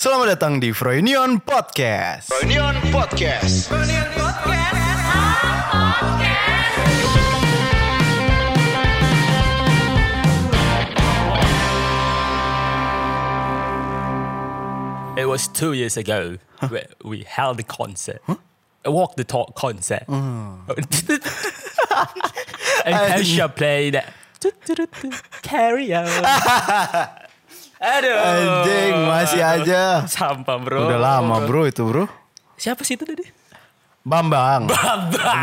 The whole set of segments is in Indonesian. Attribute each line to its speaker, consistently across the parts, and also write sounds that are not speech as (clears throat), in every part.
Speaker 1: Selamat datang di Froynion Podcast.
Speaker 2: Reunion Podcast.
Speaker 3: It was two years ago where we held the concert. A walk the talk concert.
Speaker 1: Oh.
Speaker 3: (laughs) and Kesha played carry
Speaker 1: (laughs)
Speaker 3: on. Aduh.
Speaker 1: Anjing masih aja.
Speaker 3: Sampah bro.
Speaker 1: Udah lama bro itu bro.
Speaker 3: Siapa sih itu tadi?
Speaker 1: Bambang.
Speaker 3: Bambang.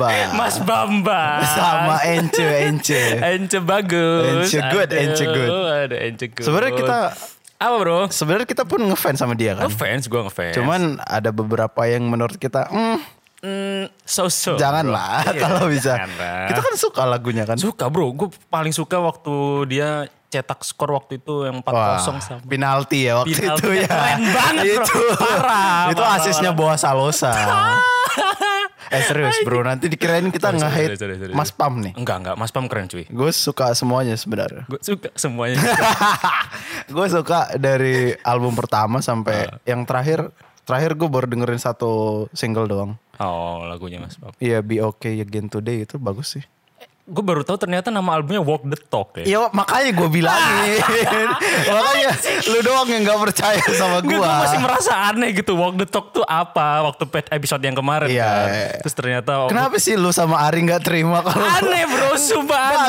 Speaker 1: Bambang.
Speaker 3: Mas Bambang.
Speaker 1: Sama Ence Ence.
Speaker 3: Ence bagus.
Speaker 1: Ence good,
Speaker 3: Aduh,
Speaker 1: Ence good.
Speaker 3: Aduh, Ence good.
Speaker 1: Sebenarnya kita-
Speaker 3: Apa bro?
Speaker 1: Sebenarnya kita pun ngefans sama dia kan.
Speaker 3: Ngefans, gue ngefans.
Speaker 1: Cuman ada beberapa yang menurut kita, hmm,
Speaker 3: so-so.
Speaker 1: janganlah
Speaker 3: bro. Iya,
Speaker 1: kalau bisa.
Speaker 3: janganlah.
Speaker 1: Kita kan suka lagunya kan.
Speaker 3: Suka bro, gue paling suka waktu dia cetak skor waktu itu yang 4-0 sama.
Speaker 1: penalti ya waktu itu
Speaker 3: Penalti kan
Speaker 1: ya.
Speaker 3: keren banget, bro.
Speaker 1: itu,
Speaker 3: Parah,
Speaker 1: Itu
Speaker 3: parah,
Speaker 1: asisnya Boa
Speaker 3: (laughs)
Speaker 1: Salosa. eh serius bro, nanti dikirain kita
Speaker 3: Sorry, sorry,
Speaker 1: nge-hate
Speaker 3: sorry, sorry, sorry.
Speaker 1: Mas Pam nih.
Speaker 3: Enggak, enggak, Mas Pam keren cuy.
Speaker 1: Gue suka semuanya sebenarnya. (laughs)
Speaker 3: Gue suka semuanya.
Speaker 1: gue suka dari album pertama sampai yang terakhir. Terakhir gue baru dengerin satu single doang.
Speaker 3: oh, lagunya Mas Pam.
Speaker 1: Iya Be Okay Again Today itu bagus sih.
Speaker 3: Gue baru tahu ternyata nama albumnya Walk the Talk ya.
Speaker 1: Iya makanya gue (laughs) bilangin. makanya lu doang yang gak percaya sama
Speaker 3: Gue masih
Speaker 1: gue.
Speaker 3: merasa aneh gitu Walk the Talk tuh apa Waktu pet episode yang kemarin
Speaker 1: Iya,
Speaker 3: kan.
Speaker 1: iya.
Speaker 3: Terus ternyata
Speaker 1: Kenapa sih lu sama Ari gak terima kalau
Speaker 3: Aneh bro Sumpah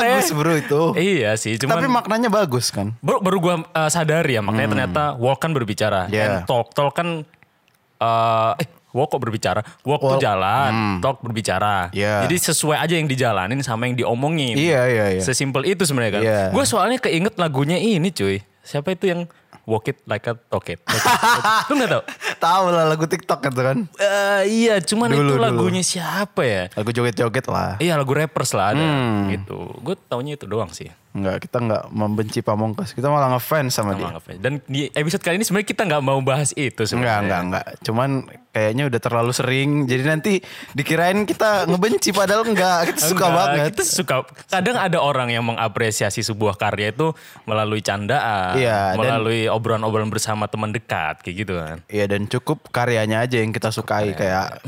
Speaker 1: (laughs)
Speaker 3: aneh
Speaker 1: Bagus bro itu.
Speaker 3: Iya sih Cuman
Speaker 1: Tapi maknanya bagus (laughs) kan.
Speaker 3: baru baru gue sadari ya makanya ternyata walk kan berbicara
Speaker 1: Hmm. Yeah.
Speaker 3: and talk talk kan eh, eh walk kok berbicara walk, tuh
Speaker 1: Walk.
Speaker 3: jalan talk berbicara
Speaker 1: Hmm. Yeah.
Speaker 3: jadi sesuai aja yang dijalanin sama yang diomongin
Speaker 1: Iya, iya, iya.
Speaker 3: sesimpel itu sebenarnya kan
Speaker 1: Iya.
Speaker 3: gue soalnya keinget lagunya ini cuy siapa itu yang walk it like a talk it, Walk it,
Speaker 1: (laughs)
Speaker 3: walk it. lu nggak tau
Speaker 1: Tahu lah lagu TikTok itu kan.
Speaker 3: Eh, iya cuman
Speaker 1: Dulu,
Speaker 3: itu
Speaker 1: dulu.
Speaker 3: lagunya siapa ya
Speaker 1: Lagu joget-joget lah.
Speaker 3: iya lagu rappers lah ada
Speaker 1: Hmm.
Speaker 3: gitu gue taunya itu doang sih
Speaker 1: Enggak, kita enggak membenci Pamungkas. Kita malah ngefans sama dia.
Speaker 3: sama Ngefans. ya. dan di episode kali ini sebenarnya kita nggak mau bahas itu
Speaker 1: Enggak,
Speaker 3: sebenarnya
Speaker 1: enggak, enggak. Cuman kayaknya udah terlalu sering. Jadi nanti dikirain kita ngebenci padahal enggak. Kita suka
Speaker 3: Enggak,
Speaker 1: banget.
Speaker 3: Kita suka. Kadang ada orang yang mengapresiasi sebuah karya itu melalui candaan,
Speaker 1: Iya, dan-
Speaker 3: melalui obrolan-obrolan bersama teman dekat kayak gitu kan.
Speaker 1: Iya dan cukup karyanya aja yang kita sukai kayak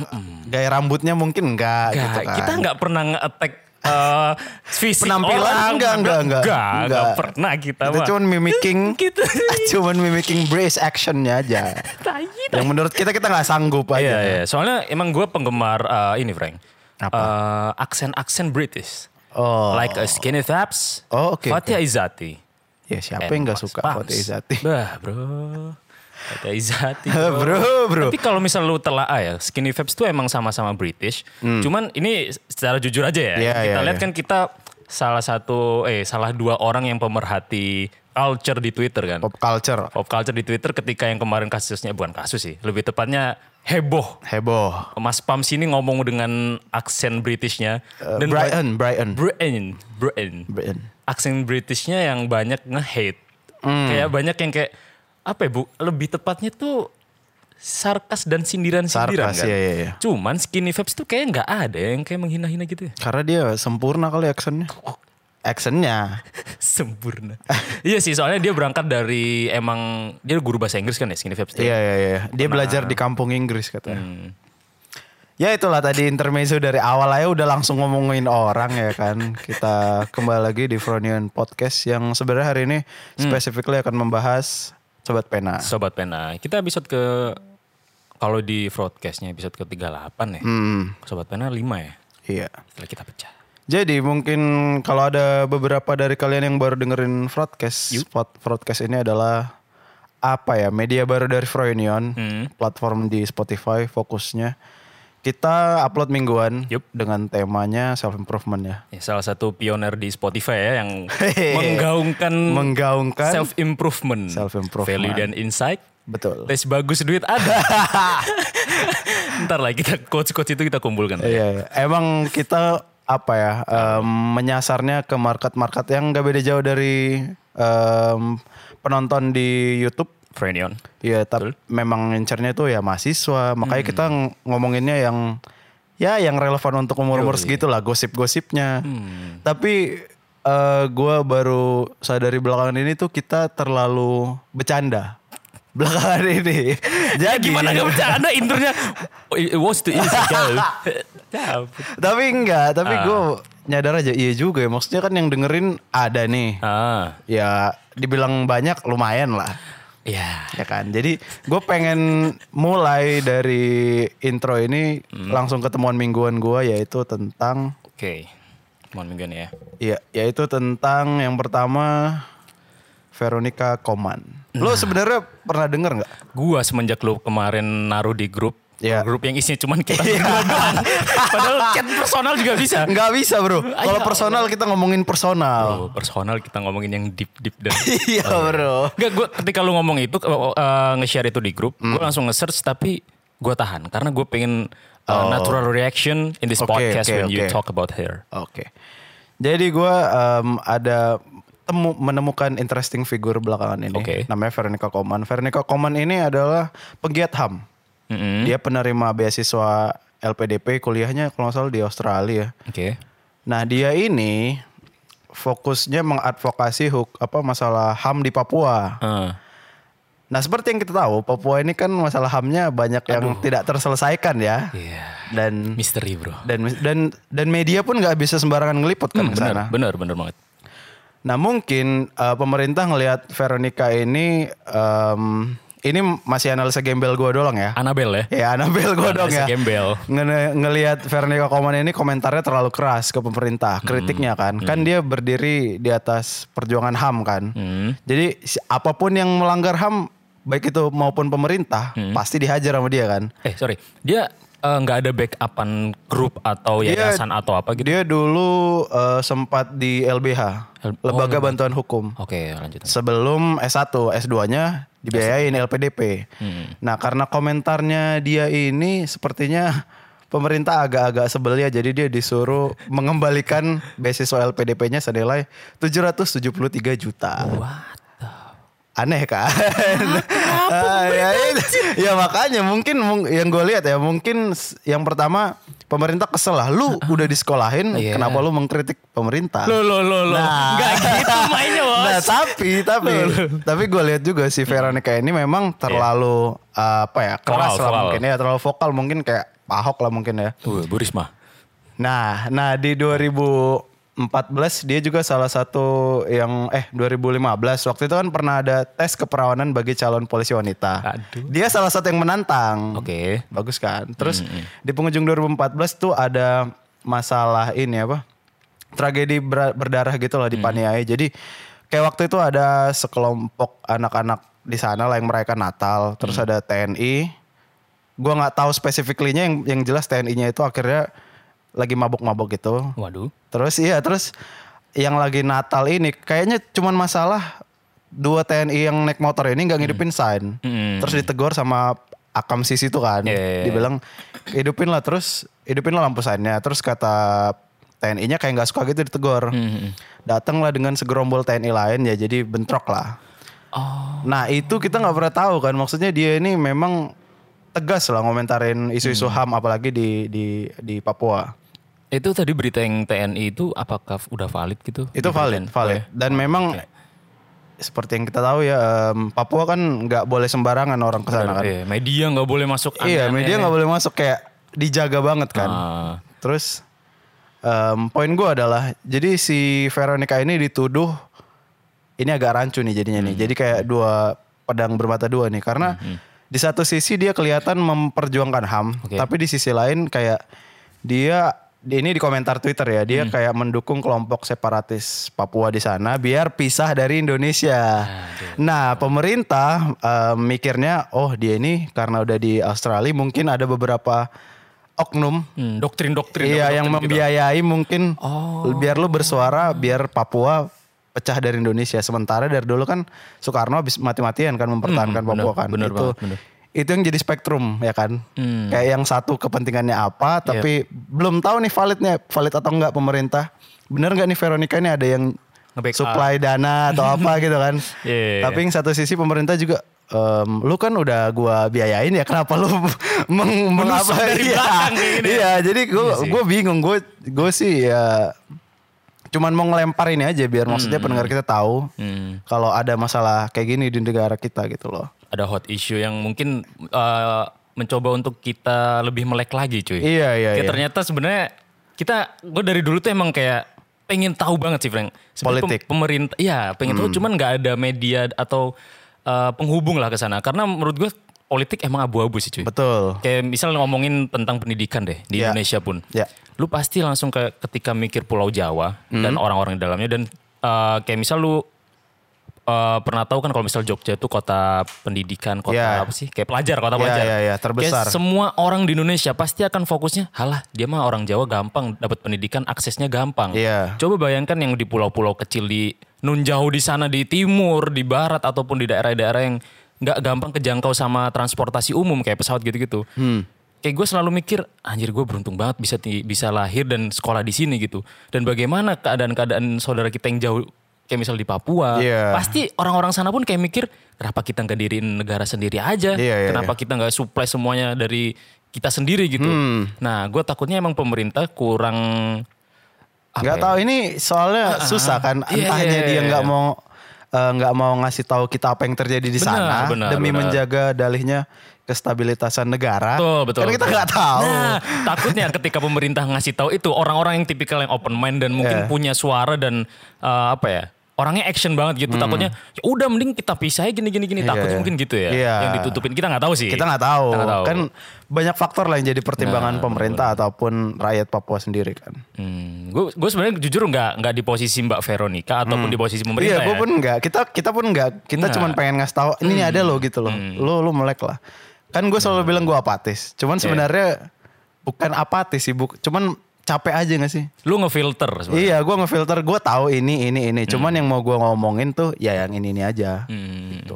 Speaker 1: gaya rambutnya mungkin enggak, gitu
Speaker 3: Enggak,
Speaker 1: kan.
Speaker 3: Kita nggak pernah nge-attack eh, fisik
Speaker 1: Penampilan
Speaker 3: orang.
Speaker 1: enggak, enggak, enggak.
Speaker 3: enggak
Speaker 1: Enggak.
Speaker 3: pernah kita. Gitu.
Speaker 1: Kita
Speaker 3: mah.
Speaker 1: cuman
Speaker 3: (laughs)
Speaker 1: mimicking
Speaker 3: Kita
Speaker 1: (laughs) cuman mimicking brace actionnya aja.
Speaker 3: tai.
Speaker 1: yang menurut kita kita nggak sanggup aja.
Speaker 3: Iya, iya. Soalnya emang gue penggemar eh, ini, Frank.
Speaker 1: Apa?
Speaker 3: Eh, aksen-aksen British.
Speaker 1: Oh.
Speaker 3: Like a Skinny Fabs,
Speaker 1: Oh, oke,
Speaker 3: Fathia Izati.
Speaker 1: Ya siapa yang nggak
Speaker 3: Mas
Speaker 1: suka
Speaker 3: Pams.
Speaker 1: Fatih Izati?
Speaker 3: Bah, bro. Fatih
Speaker 1: (laughs)
Speaker 3: Izati.
Speaker 1: bro, bro.
Speaker 3: Tapi kalau misal lu telaah ya, Skinny Vapes tuh emang sama-sama British. Cuman ini secara jujur aja ya.
Speaker 1: Hmm. Iya,
Speaker 3: kita
Speaker 1: iya,
Speaker 3: lihat
Speaker 1: iya.
Speaker 3: kan kita salah satu eh salah dua orang yang pemerhati culture di Twitter kan.
Speaker 1: Pop culture
Speaker 3: Pop culture di Twitter ketika yang kemarin kasusnya bukan kasus sih, lebih tepatnya heboh.
Speaker 1: heboh.
Speaker 3: Mas Pam sini ngomong dengan aksen Britishnya
Speaker 1: Eh, Brian, Brian,
Speaker 3: Brian, Brian
Speaker 1: Brian.
Speaker 3: aksen Britishnya yang banyak nge-hate.
Speaker 1: Hmm.
Speaker 3: Kayak banyak yang kayak apa ya bu? Lebih tepatnya tuh sarkas dan sindiran-sindiran
Speaker 1: Sarkas,
Speaker 3: kan.
Speaker 1: iya, iya, iya.
Speaker 3: Cuman skinny vibes tuh kayak nggak ada yang kayak menghina-hina gitu ya. (laughs)
Speaker 1: Karena dia sempurna kali actionnya. Actionnya. (laughs)
Speaker 3: Sempurna. iya sih, soalnya dia berangkat dari emang dia guru bahasa Inggris kan ya skinny vibes tuh.
Speaker 1: Iya iya iya. Dia belajar di kampung Inggris katanya. Ya itulah tadi intermezzo dari awal aja udah langsung ngomongin orang ya kan. Kita kembali lagi di Fronion Podcast yang sebenarnya hari ini specifically akan membahas Sobat Pena.
Speaker 3: Sobat Pena, kita episode ke kalau di broadcastnya episode ke 38 ya.
Speaker 1: Hmm.
Speaker 3: Sobat Pena 5 ya.
Speaker 1: Iya.
Speaker 3: Setelah kita pecah.
Speaker 1: Jadi mungkin kalau ada beberapa dari kalian yang baru dengerin broadcast, pod- broadcast ini adalah apa ya media baru dari Froynion, platform di Spotify fokusnya. Kita upload mingguan
Speaker 3: Yup.
Speaker 1: dengan temanya self improvement ya.
Speaker 3: Ya, salah satu pioner di Spotify ya
Speaker 1: (laughs)
Speaker 3: yang menggaungkan
Speaker 1: Menggaungkan.
Speaker 3: self improvement,
Speaker 1: Self-improvement.
Speaker 3: value dan insight.
Speaker 1: Betul.
Speaker 3: Tes bagus
Speaker 1: (laughs)
Speaker 3: duit ada. Ntar lah kita coach-coach itu kita kumpulkan.
Speaker 1: Iya, iya. emang kita apa ya em, menyasarnya ke market-market yang gak beda jauh dari em, penonton di YouTube.
Speaker 3: Frenion.
Speaker 1: Iya, tapi memang incernya itu ya mahasiswa. Makanya
Speaker 3: Hmm.
Speaker 1: kita ng- ngomonginnya yang ya yang relevan untuk umur-umur segitu lah gosip-gosipnya.
Speaker 3: Hmm.
Speaker 1: Tapi eh, gua baru sadari belakangan ini tuh kita terlalu bercanda. (laughs) belakangan ini.
Speaker 3: (laughs) Ya
Speaker 1: Jadi
Speaker 3: gimana gak bercanda
Speaker 1: (laughs)
Speaker 3: internya. Oh, It was too easy girl.
Speaker 1: Tapi enggak, tapi gue
Speaker 3: Ah.
Speaker 1: nyadar aja iya juga ya. Maksudnya kan yang dengerin ada nih.
Speaker 3: ah,
Speaker 1: Ya dibilang banyak lumayan lah.
Speaker 3: ya.
Speaker 1: Ya kan. Jadi gue pengen mulai dari intro ini langsung ketemuan mingguan gue yaitu tentang
Speaker 3: Oke. Mohon mingguan ya.
Speaker 1: ya yaitu tentang yang pertama Veronica Koman. Lo sebenarnya pernah denger nggak?
Speaker 3: Gua semenjak lu kemarin naruh di grup.
Speaker 1: Iya.
Speaker 3: Grup yang isinya cuman
Speaker 1: (laughs)
Speaker 3: kita
Speaker 1: Ya.
Speaker 3: berdua doang. Padahal chat personal juga bisa.
Speaker 1: Nggak bisa bro. Kalau personal kita ngomongin personal.
Speaker 3: Oh, personal kita ngomongin yang deep-deep dan...
Speaker 1: (laughs)
Speaker 3: (laughs)
Speaker 1: Iya bro.
Speaker 3: Enggak, gue ketika lu ngomong itu, kalau, eh, nge-share itu di grup, gue
Speaker 1: Hmm.
Speaker 3: langsung nge-search tapi gue tahan. Karena gue pengen eh, natural reaction in this
Speaker 1: Oh. Oke,
Speaker 3: podcast
Speaker 1: oke,
Speaker 3: when you
Speaker 1: oke.
Speaker 3: talk about hair.
Speaker 1: Oke. Jadi gue em, ada temu- menemukan interesting figure belakangan ini.
Speaker 3: Oke.
Speaker 1: Namanya Veronica Koman. Veronica Koman ini adalah penggiat HAM.
Speaker 3: Mm-mm.
Speaker 1: Dia penerima beasiswa LPDP kuliahnya kalau nggak salah di Australia.
Speaker 3: Oke.
Speaker 1: Nah dia ini fokusnya mengadvokasi huk apa masalah HAM di Papua.
Speaker 3: Eh,
Speaker 1: Nah seperti yang kita tahu Papua ini kan masalah HAM-nya banyak yang tidak terselesaikan ya.
Speaker 3: Iya.
Speaker 1: Dan
Speaker 3: Misteri bro.
Speaker 1: dan dan dan media pun nggak bisa sembarangan ngeliput kan ke sana.
Speaker 3: Hmm, Benar, benar, benar banget.
Speaker 1: Nah mungkin uh, pemerintah ngelihat Veronica ini um, ini masih analisa gembel gue doang ya.
Speaker 3: Annabelle ya.
Speaker 1: Ya (laughs) Anabel gue doang ya.
Speaker 3: Analisa gembel.
Speaker 1: Nge- ngelihat Veronica Koman ini komentarnya terlalu keras ke pemerintah,
Speaker 3: Hmm.
Speaker 1: kritiknya kan. Kan dia berdiri di atas perjuangan HAM kan.
Speaker 3: Hmm.
Speaker 1: Jadi si- apapun yang melanggar HAM baik itu maupun pemerintah
Speaker 3: Hmm.
Speaker 1: pasti dihajar sama dia kan.
Speaker 3: Eh sorry, dia eh, nggak ada backupan grup atau
Speaker 1: Dia-
Speaker 3: yayasan atau apa gitu?
Speaker 1: Dia dulu uh, sempat di LBH,
Speaker 3: L- oh,
Speaker 1: Lembaga Bantuan Hukum.
Speaker 3: Oke lanjut.
Speaker 1: sebelum S1, S2-nya dibiayain LPDP. Nah, karena komentarnya dia ini sepertinya pemerintah agak-agak sebel ya, jadi dia disuruh mengembalikan beasiswa LPDP-nya senilai 773 juta.
Speaker 3: What?
Speaker 1: Aneh kan? (laughs) Ah, ya, itu- ya makanya mungkin mung- yang gue lihat ya mungkin s- yang pertama pemerintah kesel lah. Lu udah disekolahin,
Speaker 3: Iya.
Speaker 1: kenapa lu mengkritik pemerintah?
Speaker 3: Lo lo lo lo.
Speaker 1: Nah.
Speaker 3: Nggak gitu
Speaker 1: (laughs)
Speaker 3: mainnya bos.
Speaker 1: Nah, tapi tapi tapi gue lihat juga si Veronica ini memang
Speaker 3: Iya.
Speaker 1: terlalu apa ya keras lah
Speaker 3: Vokal, vokal.
Speaker 1: mungkin ya terlalu vokal mungkin kayak Pak Ahok lah mungkin ya.
Speaker 3: Tuh, Bu Risma.
Speaker 1: Nah, nah di 2014 dia juga salah satu yang eh 2015 waktu itu kan pernah ada tes keperawanan bagi calon polisi wanita.
Speaker 3: Aduh.
Speaker 1: Dia salah satu yang menantang.
Speaker 3: Oke.
Speaker 1: Bagus kan. Terus di penghujung 2014 tuh ada masalah ini apa? Tragedi ber- berdarah gitu lah di Paniai. Jadi kayak waktu itu ada sekelompok anak-anak di sana lah yang merayakan Natal. Terus ada TNI. Gua nggak tahu spesifiknya yang yang jelas TNI-nya itu akhirnya lagi mabok-mabok gitu.
Speaker 3: Waduh.
Speaker 1: Terus iya terus yang lagi Natal ini kayaknya cuman masalah dua TNI yang naik motor ini nggak ngidupin sign.
Speaker 3: Hmm.
Speaker 1: Terus ditegur sama akam sisi itu kan.
Speaker 3: Iya.
Speaker 1: Dibilang hidupin lah terus hidupin lah lampu signnya. Terus kata TNI-nya kayak nggak suka gitu ditegur.
Speaker 3: Hmm,
Speaker 1: Datanglah dengan segerombol TNI lain ya jadi bentrok lah.
Speaker 3: Oh.
Speaker 1: Nah itu kita nggak pernah tahu kan maksudnya dia ini memang tegas lah ngomentarin isu-isu HAM
Speaker 3: Hmm.
Speaker 1: apalagi di di di Papua.
Speaker 3: Itu tadi berita yang TNI itu apakah udah valid gitu?
Speaker 1: Itu valid, valid. Dan memang seperti yang kita tahu ya, em, Papua kan nggak boleh sembarangan orang ke sana kan.
Speaker 3: Iya, media nggak boleh masuk.
Speaker 1: Iya, media nggak boleh masuk kayak dijaga banget kan.
Speaker 3: Ah.
Speaker 1: Terus em, poin gue adalah, jadi si Veronica ini dituduh ini agak rancu nih jadinya nih. Jadi kayak dua pedang bermata dua nih, karena di satu sisi dia kelihatan memperjuangkan ham,
Speaker 3: Oke.
Speaker 1: tapi di sisi lain kayak dia ini di komentar Twitter ya, dia kayak mendukung kelompok separatis Papua di sana biar pisah dari Indonesia. Nah, pemerintah eh, mikirnya, oh dia ini karena udah di Australia mungkin ada beberapa oknum
Speaker 3: Hmm, doktrin doktrin.
Speaker 1: Iya yang membiayai mungkin
Speaker 3: Oh.
Speaker 1: biar lu bersuara biar Papua pecah dari Indonesia. Sementara dari dulu kan Soekarno habis mati-matian kan mempertahankan Papua kan.
Speaker 3: Hmm, bener
Speaker 1: itu
Speaker 3: banget, bener. Hmm.
Speaker 1: itu yang jadi spektrum ya kan. Kayak yang satu kepentingannya apa
Speaker 3: Iya.
Speaker 1: tapi belum tahu nih validnya valid atau enggak pemerintah. Bener nggak nih Veronica ini ada yang
Speaker 3: Nge-backup.
Speaker 1: supply dana atau
Speaker 3: (laughs)
Speaker 1: apa gitu kan.
Speaker 3: Iya, iya,
Speaker 1: Tapi yang satu sisi pemerintah juga em, lu kan udah gua biayain ya kenapa lu (laughs) meng, meng-
Speaker 3: Menusuk
Speaker 1: apa-
Speaker 3: dari
Speaker 1: iya.
Speaker 3: belakang kayak gini ya.
Speaker 1: Iya, jadi gue gue bingung gue gue sih ya cuman mau ngelempar
Speaker 3: Hmm.
Speaker 1: ini aja biar maksudnya pendengar kita tahu kalau ada masalah kayak gini di negara kita gitu loh.
Speaker 3: ada hot issue yang mungkin eh, mencoba untuk kita lebih melek lagi cuy.
Speaker 1: Iya, iya,
Speaker 3: Kayak
Speaker 1: iya.
Speaker 3: ternyata sebenarnya kita gue dari dulu tuh emang kayak pengen tahu banget sih Frank. Sebenarnya
Speaker 1: Politik. Hmm.
Speaker 3: pem- pemerintah iya pengen tahu cuman nggak ada media atau eh, penghubung lah ke sana karena menurut gue politik emang abu-abu sih cuy.
Speaker 1: Betul.
Speaker 3: Kayak misal ngomongin tentang pendidikan deh di
Speaker 1: Ya.
Speaker 3: Indonesia pun.
Speaker 1: Ya.
Speaker 3: Lu pasti langsung ke ketika mikir Pulau Jawa dan
Speaker 1: Hmm.
Speaker 3: orang-orang di dalamnya dan eh, kayak misal lu eh, pernah tahu kan kalau misal Jogja itu kota pendidikan, kota
Speaker 1: Ya.
Speaker 3: apa sih? Kayak pelajar, kota
Speaker 1: Ya,
Speaker 3: pelajar.
Speaker 1: ya, ya, terbesar.
Speaker 3: Kayak semua orang di Indonesia pasti akan fokusnya, halah dia mah orang Jawa gampang dapat pendidikan, aksesnya gampang.
Speaker 1: Iya.
Speaker 3: Coba bayangkan yang di pulau-pulau kecil di nun jauh di sana di timur, di barat ataupun di daerah-daerah yang nggak gampang kejangkau sama transportasi umum kayak pesawat gitu-gitu.
Speaker 1: Hmm.
Speaker 3: Kayak gue selalu mikir, anjir gue beruntung banget bisa ti- bisa lahir dan sekolah di sini gitu. Dan bagaimana keadaan-keadaan saudara kita yang jauh kayak misal di Papua,
Speaker 1: Iya.
Speaker 3: pasti orang-orang sana pun kayak mikir kenapa kita nggak diriin negara sendiri aja,
Speaker 1: Iya, iya,
Speaker 3: kenapa kita nggak supply semuanya dari kita sendiri gitu.
Speaker 1: Hmm.
Speaker 3: Nah, gue takutnya emang pemerintah kurang
Speaker 1: nggak
Speaker 3: ya?
Speaker 1: tahu ini soalnya susah kan
Speaker 3: Iya,
Speaker 1: entahnya
Speaker 3: iya,
Speaker 1: dia
Speaker 3: iya,
Speaker 1: nggak
Speaker 3: iya.
Speaker 1: mau eh, nggak mau ngasih tahu kita apa yang terjadi di
Speaker 3: Benar,
Speaker 1: sana
Speaker 3: benar,
Speaker 1: demi
Speaker 3: benar.
Speaker 1: menjaga dalihnya kestabilitasan negara.
Speaker 3: betul betul.
Speaker 1: Ah, Karena kita
Speaker 3: betul.
Speaker 1: nggak tahu.
Speaker 3: Nah, takutnya ketika pemerintah ngasih tahu itu orang-orang yang tipikal yang open mind dan
Speaker 1: Iya.
Speaker 3: mungkin punya suara dan eh, apa ya? Orangnya action banget gitu takutnya "Ya udah mending kita pisah gini gini gini
Speaker 1: Hmm. Iya,
Speaker 3: takutnya
Speaker 1: iya.
Speaker 3: mungkin gitu ya.
Speaker 1: Iya.
Speaker 3: Yang ditutupin kita nggak tahu sih.
Speaker 1: Kita nggak tahu.
Speaker 3: Kita nggak tahu. Nah,
Speaker 1: Kan banyak faktor lah yang jadi pertimbangan pemerintah ataupun rakyat Papua sendiri kan.
Speaker 3: Hmm, gue gue sebenarnya jujur nggak nggak di posisi Mbak Veronica ataupun di posisi pemerintah
Speaker 1: Iya, gue
Speaker 3: ya. Nah. Hmm.
Speaker 1: pun nggak. Kita kita pun nggak. Kita
Speaker 3: Nggak.
Speaker 1: cuman pengen ngasih tahu ini ada lo gitu loh. Lo lo melek lah. Kan gue
Speaker 3: Nah.
Speaker 1: selalu bilang gue apatis. Cuman
Speaker 3: Iya.
Speaker 1: sebenarnya bukan apatis sih, bu. Cuman capek aja gak sih?
Speaker 3: Lu ngefilter sebenarnya.
Speaker 1: Iya, gue ngefilter. Gue tahu ini, ini, ini. Cuman
Speaker 3: Hmm.
Speaker 1: yang mau gue ngomongin tuh ya yang ini, ini aja. Gitu.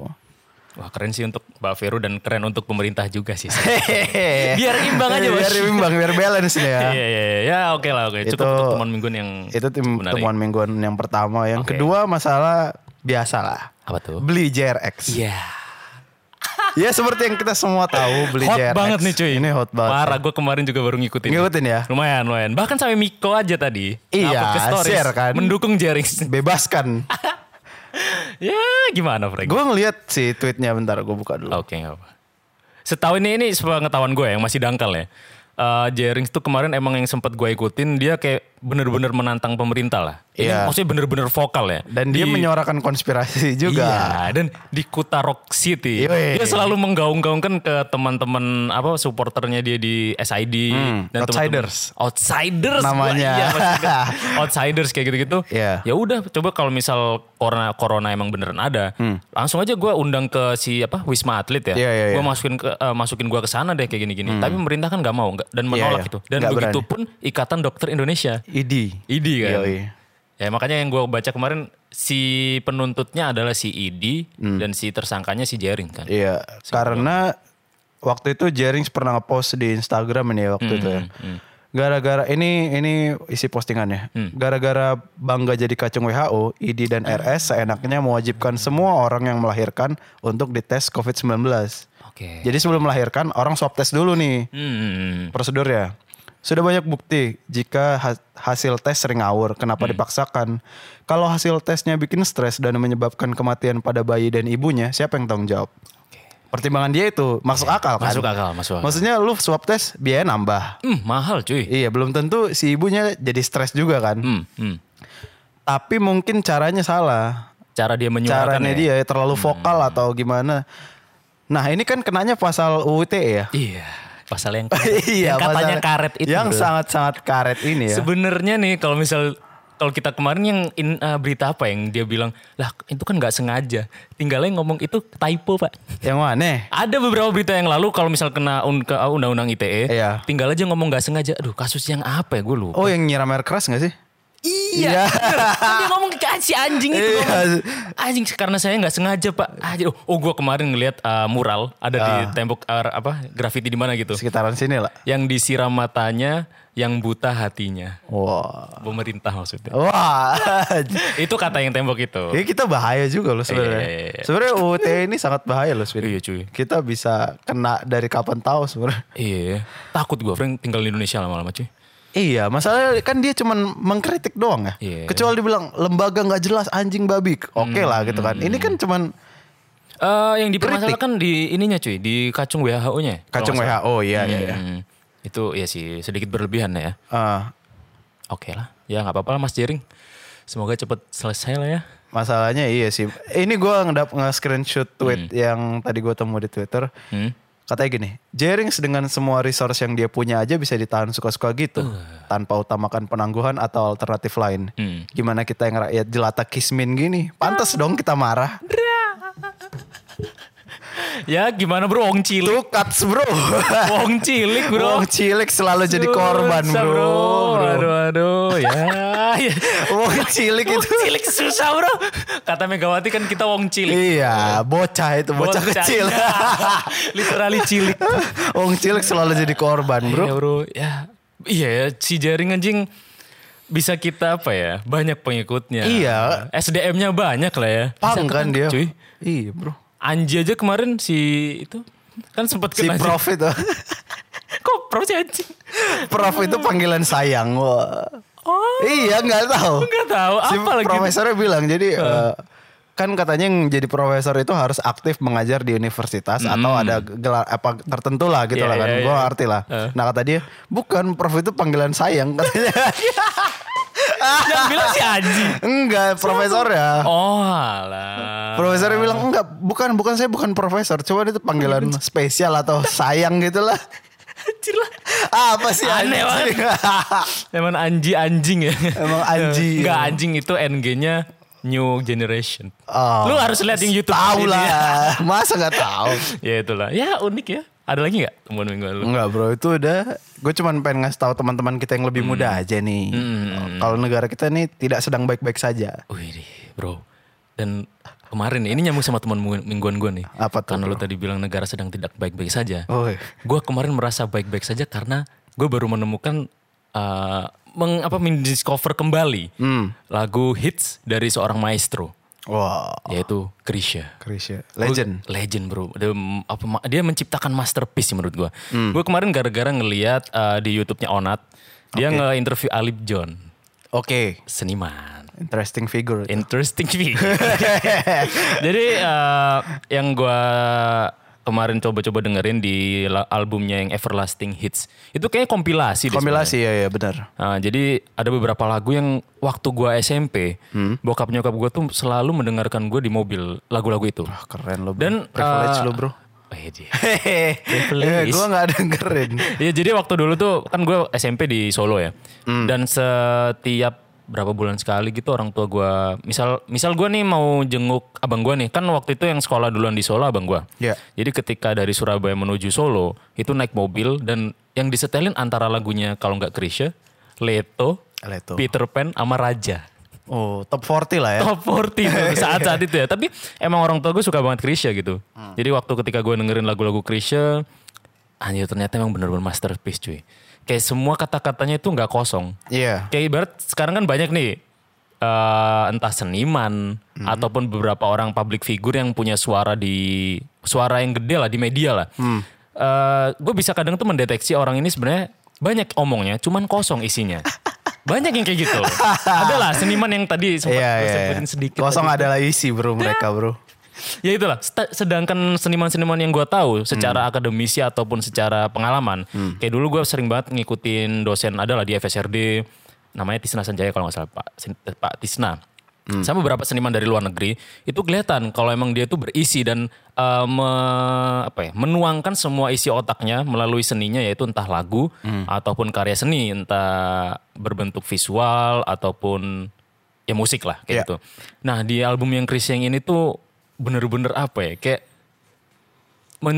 Speaker 3: Wah keren sih untuk Mbak Vero dan keren untuk pemerintah juga
Speaker 1: (laughs) biar
Speaker 3: sih. (laughs) Biar imbang aja, Bos.
Speaker 1: (laughs) Biar imbang, biar balance nih
Speaker 3: (laughs)
Speaker 1: ya.
Speaker 3: Iya iya iya. ya oke lah oke. Cukup
Speaker 1: Itu-
Speaker 3: untuk teman mingguan yang
Speaker 1: Hmm. Itu tim,
Speaker 3: menarik.
Speaker 1: temuan mingguan yang pertama. Yang
Speaker 3: Oke.
Speaker 1: kedua masalah biasa lah.
Speaker 3: Apa tuh?
Speaker 1: Beli JRX.
Speaker 3: Iya.
Speaker 1: (laughs) ya seperti yang kita semua tahu beli
Speaker 3: Hot
Speaker 1: JRX.
Speaker 3: banget nih cuy.
Speaker 1: Ini hot banget.
Speaker 3: Parah gue kemarin juga baru ngikutin.
Speaker 1: Ngikutin ya?
Speaker 3: Lumayan lumayan. Bahkan sampai Miko aja tadi.
Speaker 1: Iya,
Speaker 3: Ngupload ke stories,
Speaker 1: share kan.
Speaker 3: Mendukung Jerings.
Speaker 1: Bebaskan.
Speaker 3: (laughs) ya gimana Frank?
Speaker 1: gue ngeliat si tweetnya bentar gue buka dulu.
Speaker 3: Oke nggak apa. Setahu ini ini sepengetahuan gue yang masih dangkal ya. Eh Jerings tuh kemarin emang yang sempat gue ikutin dia kayak bener-bener menantang pemerintah lah. Ini
Speaker 1: Iya.
Speaker 3: maksudnya bener-bener vokal ya.
Speaker 1: Dan dia
Speaker 3: Di-
Speaker 1: menyuarakan konspirasi juga.
Speaker 3: Iya, dan di Kutarok City.
Speaker 1: Yoi.
Speaker 3: Dia selalu menggaung-gaungkan ke teman-teman apa supporternya dia di SID dan teman-teman-
Speaker 1: Hmm, Outsiders.
Speaker 3: Outsiders gua,
Speaker 1: Namanya.
Speaker 3: iya, maksudnya.
Speaker 1: (laughs)
Speaker 3: outsiders kayak gitu-gitu.
Speaker 1: Iya.
Speaker 3: Ya udah, coba kalau misal corona corona emang beneran ada, langsung aja gua undang ke si apa Wisma Atlet ya.
Speaker 1: Hmm. Iya, iya, iya. Hmm.
Speaker 3: Gua masukin ke eh, masukin gua ke sana deh kayak gini-gini. Tapi pemerintah kan nggak mau nggak- dan menolak
Speaker 1: iya.
Speaker 3: itu. Dan
Speaker 1: Nggak
Speaker 3: begitu pun Ikatan Dokter Indonesia
Speaker 1: Idi.
Speaker 3: ID kan.
Speaker 1: Yoi.
Speaker 3: Ya makanya yang gue baca kemarin si penuntutnya adalah si ID dan si tersangkanya si Jering kan.
Speaker 1: Hmm. Iya, karena waktu itu Jerings pernah ngepost di Instagram ini ya waktu itu ya. Gara-gara ini ini isi postingannya. Gara-gara bangga jadi kacung WHO, ID dan RS seenaknya mewajibkan semua orang yang melahirkan untuk dites COVID-19.
Speaker 3: Oke.
Speaker 1: Jadi sebelum melahirkan orang swab test dulu nih
Speaker 3: Hmm.
Speaker 1: Iya. prosedurnya. Sudah banyak bukti jika ha- hasil tes sering ngawur,
Speaker 3: Hmm.
Speaker 1: kenapa dipaksakan? Kalau hasil tesnya bikin stres dan menyebabkan kematian pada bayi dan ibunya, siapa yang tanggung jawab?
Speaker 3: Oke. Iya.
Speaker 1: Pertimbangan dia itu masuk akal kan?
Speaker 3: Masuk akal, masuk akal.
Speaker 1: Maksudnya lu swab tes biaya nambah.
Speaker 3: Hmm, mahal cuy.
Speaker 1: Iya, belum tentu si ibunya jadi stres juga kan.
Speaker 3: Hmm, hmm.
Speaker 1: Tapi mungkin caranya salah.
Speaker 3: Cara dia menyuarakan ya.
Speaker 1: Caranya dia terlalu
Speaker 3: Hmm.
Speaker 1: vokal atau gimana. Nah, ini kan kenanya pasal UU ITE ya.
Speaker 3: Iya. Pasal yang,
Speaker 1: (laughs) iya,
Speaker 3: yang katanya
Speaker 1: pasal-
Speaker 3: karet itu.
Speaker 1: Yang
Speaker 3: bro.
Speaker 1: sangat-sangat karet ini ya.
Speaker 3: Sebenarnya nih kalau misal kalau kita kemarin yang in- eh, berita apa yang dia bilang lah itu kan nggak sengaja tinggalnya ngomong itu typo pak
Speaker 1: Yang mana?
Speaker 3: Ada beberapa berita yang lalu kalau misal kena un- ke- uh, undang-undang ITE,
Speaker 1: Iya.
Speaker 3: tinggal aja ngomong nggak sengaja. Aduh, kasus yang apa ya gue lupa.
Speaker 1: Oh yang nyiram air keras gak sih?
Speaker 3: iya. bener. Kan Dia ngomong ke si anjing itu.
Speaker 1: Iya.
Speaker 3: ngomong, Anjing karena saya nggak sengaja, Pak. Anjing. Oh, gue kemarin ngelihat uh, mural ada di
Speaker 1: Ah.
Speaker 3: tembok uh, apa? Grafiti di mana gitu.
Speaker 1: Sekitaran sini lah.
Speaker 3: Yang disiram matanya, yang buta hatinya.
Speaker 1: Wah.
Speaker 3: Pemerintah maksudnya.
Speaker 1: Wah. (laughs)
Speaker 3: Itu kata yang tembok itu.
Speaker 1: Ini kita bahaya juga loh sebenarnya.
Speaker 3: Iya, iya, iya.
Speaker 1: Sebenarnya UUT ini sangat bahaya loh sebenarnya.
Speaker 3: Iya, cuy.
Speaker 1: Kita bisa kena dari kapan tahu sebenarnya.
Speaker 3: Iya, takut gue Frank tinggal di Indonesia lama-lama cuy. Eh,
Speaker 1: Iya, masalahnya kan dia cuman mengkritik doang ya.
Speaker 3: Iya.
Speaker 1: Hmm, Kecuali dibilang lembaga nggak jelas anjing babi. Oke lah gitu kan. Ini kan cuman
Speaker 3: Eh, yang dipermasalahkan di ininya cuy, di kacung WHO-nya.
Speaker 1: Kacung WHO, iya, iya, iya.
Speaker 3: Itu ya sih sedikit berlebihan ya.
Speaker 1: Ah,
Speaker 3: Oke lah, ya nggak apa-apa lah Mas Jering. Semoga cepet selesai lah ya.
Speaker 1: masalahnya iya sih. Ini gue ngedap nge-screenshot tweet yang tadi gue temu di Twitter.
Speaker 3: Hmm.
Speaker 1: Katanya gini, Jerings dengan semua resource yang dia punya aja bisa ditahan suka-suka gitu. Tanpa utamakan penangguhan atau alternatif lain.
Speaker 3: Hmm.
Speaker 1: Gimana kita yang rakyat jelata kismin gini. Pantas dong kita marah.
Speaker 3: Ya gimana bro, wong cilik.
Speaker 1: Itu cuts bro.
Speaker 3: (laughs) wong cilik bro.
Speaker 1: Wong cilik selalu jadi korban
Speaker 3: Susah,
Speaker 1: bro. bro.
Speaker 3: Aduh, aduh. Ya, (laughs) ya. (laughs)
Speaker 1: Wong cilik
Speaker 3: Wong
Speaker 1: itu.
Speaker 3: cilik susah bro. Kata Megawati kan kita wong cilik. iya.
Speaker 1: Iya, bocah itu, bocah, kecil.
Speaker 3: (laughs) Literally cilik.
Speaker 1: (laughs) Wong cilik selalu jadi korban,
Speaker 3: Bro.
Speaker 1: Bro.
Speaker 3: Iya bro, ya. Iya ya, si jaring anjing bisa kita apa ya, banyak pengikutnya.
Speaker 1: Iya.
Speaker 3: SDM-nya banyak lah ya.
Speaker 1: Pang
Speaker 3: Bisa
Speaker 1: kan
Speaker 3: ketangkep,
Speaker 1: dia.
Speaker 3: Cuy.
Speaker 1: Iya, Bro.
Speaker 3: Anji aja kemarin si itu kan sempat
Speaker 1: Si
Speaker 3: kena.
Speaker 1: Prof itu.
Speaker 3: Kok Prof sih anjing?
Speaker 1: Prof itu panggilan sayang. Wah.
Speaker 3: Oh,
Speaker 1: Iya, nggak tahu.
Speaker 3: nggak tahu
Speaker 1: Si
Speaker 3: apa lagi.
Speaker 1: profesornya bilang jadi eh, kan katanya yang jadi profesor itu harus aktif mengajar di universitas atau ada gelar apa tertentu lah gitu
Speaker 3: Hmm. Iya,
Speaker 1: lah kan.
Speaker 3: iya,
Speaker 1: Gua
Speaker 3: iya.
Speaker 1: ngerti lah. Nah, kata dia, "Bukan, Prof itu panggilan sayang." (laughs) katanya. (laughs)
Speaker 3: Yang bilang si Anji.
Speaker 1: Enggak, profesor ya.
Speaker 3: Oh, alah.
Speaker 1: Profesornya bilang enggak, bukan bukan saya bukan profesor, cuman itu panggilan spesial atau sayang gitu lah.
Speaker 3: Anjir lah.
Speaker 1: Apa sih
Speaker 3: Aneh
Speaker 1: anjing?
Speaker 3: Emang Anji anjing ya.
Speaker 1: Emang
Speaker 3: (laughs)
Speaker 1: anji.
Speaker 3: Enggak anjing itu NG-nya New Generation.
Speaker 1: Oh.
Speaker 3: Lu harus lihat yang YouTube.
Speaker 1: (laughs) Tahu
Speaker 3: ini ya.
Speaker 1: lah, masa nggak tahu?
Speaker 3: (laughs) ya itulah. Ya unik ya. Ada lagi nggak temuan minggu lalu?
Speaker 1: Enggak bro, itu udah. Gue cuman pengen ngasih tahu teman-teman kita yang lebih
Speaker 3: Hmm.
Speaker 1: muda aja nih. Kalau negara kita nih tidak sedang baik-baik saja.
Speaker 3: Wih deh, bro. Dan kemarin ini nyambung sama teman mu- mingguan gue nih.
Speaker 1: Apa tuh,
Speaker 3: Karena lu tadi bilang negara sedang tidak baik-baik saja.
Speaker 1: Oi.
Speaker 3: Gue kemarin merasa baik-baik saja karena gue baru menemukan eh, meng, apa mendiscover kembali lagu hits dari seorang maestro
Speaker 1: Wah,
Speaker 3: yaitu Krisya.
Speaker 1: Krisya, legend.
Speaker 3: Gua- legend bro. Dia, apa, ma- dia menciptakan masterpiece sih menurut gue. Gue kemarin gara-gara ngeliat eh, di YouTube-nya Onat, dia nge-interview Alip John,
Speaker 1: Oke,
Speaker 3: seniman.
Speaker 1: interesting figure.
Speaker 3: Interesting figure. Jadi eh, yang gue kemarin coba-coba dengerin di la- albumnya yang Everlasting Hits, itu kayaknya kompilasi. deh sebenarnya.
Speaker 1: Kompilasi ya ya benar.
Speaker 3: Nah, jadi ada beberapa lagu yang waktu gue SMP, bokap nyokap gue tuh selalu mendengarkan gue di mobil lagu-lagu itu.
Speaker 1: Wah, Ah, Keren lo bro.
Speaker 3: Dan
Speaker 1: privilege
Speaker 3: eh,
Speaker 1: lo bro.
Speaker 3: eh, dia.
Speaker 1: Hehehe, (laughs) gue nggak dengerin.
Speaker 3: Iya jadi waktu dulu tuh kan gue SMP di Solo ya.
Speaker 1: Hmm.
Speaker 3: Dan setiap berapa bulan sekali gitu orang tua gue misal misal gue nih mau jenguk abang gue nih kan waktu itu yang sekolah duluan di Solo abang gue.
Speaker 1: Iya.
Speaker 3: Jadi ketika dari Surabaya menuju Solo itu naik mobil dan yang disetelin antara lagunya kalau nggak Krisya, Leto,
Speaker 1: Leto.
Speaker 3: Peter Pan, sama Raja.
Speaker 1: Oh, top 40 lah ya.
Speaker 3: Top 40 tuh, saat-saat itu ya. Tapi emang orang tua gue suka banget Krisya gitu. Jadi waktu ketika gue dengerin lagu-lagu Krisya, anjir ternyata emang bener-bener masterpiece cuy. Kayak semua kata-katanya itu nggak kosong.
Speaker 1: Iya.
Speaker 3: Kayak ibarat sekarang kan banyak nih eh, entah seniman
Speaker 1: Hmm.
Speaker 3: ataupun beberapa orang public figure yang punya suara di suara yang gede lah di media lah.
Speaker 1: Hmm.
Speaker 3: gue bisa kadang tuh mendeteksi orang ini sebenarnya banyak omongnya, cuman kosong
Speaker 1: (laughs)
Speaker 3: isinya. banyak yang kayak gitu. Adalah seniman yang tadi sempat
Speaker 1: Iya,
Speaker 3: gue
Speaker 1: iya.
Speaker 3: sebutin
Speaker 1: iya.
Speaker 3: sedikit.
Speaker 1: Kosong adalah isi bro mereka bro.
Speaker 3: Ya itulah. sta- Sedangkan seniman-seniman yang gue tahu secara akademisi ataupun secara pengalaman, kayak dulu gue sering banget ngikutin dosen adalah di FSRD, namanya Tisna Sanjaya kalau nggak salah Pak Sin- eh, Pak Tisna. Sama beberapa seniman dari luar negeri itu kelihatan kalau emang dia tuh berisi dan eh, me- apa ya, menuangkan semua isi otaknya melalui seninya yaitu entah lagu ataupun karya seni, entah berbentuk visual ataupun ya musik lah
Speaker 1: Iya.
Speaker 3: kayak gitu. Nah di album yang Chris yang ini tuh bener-bener apa ya kayak men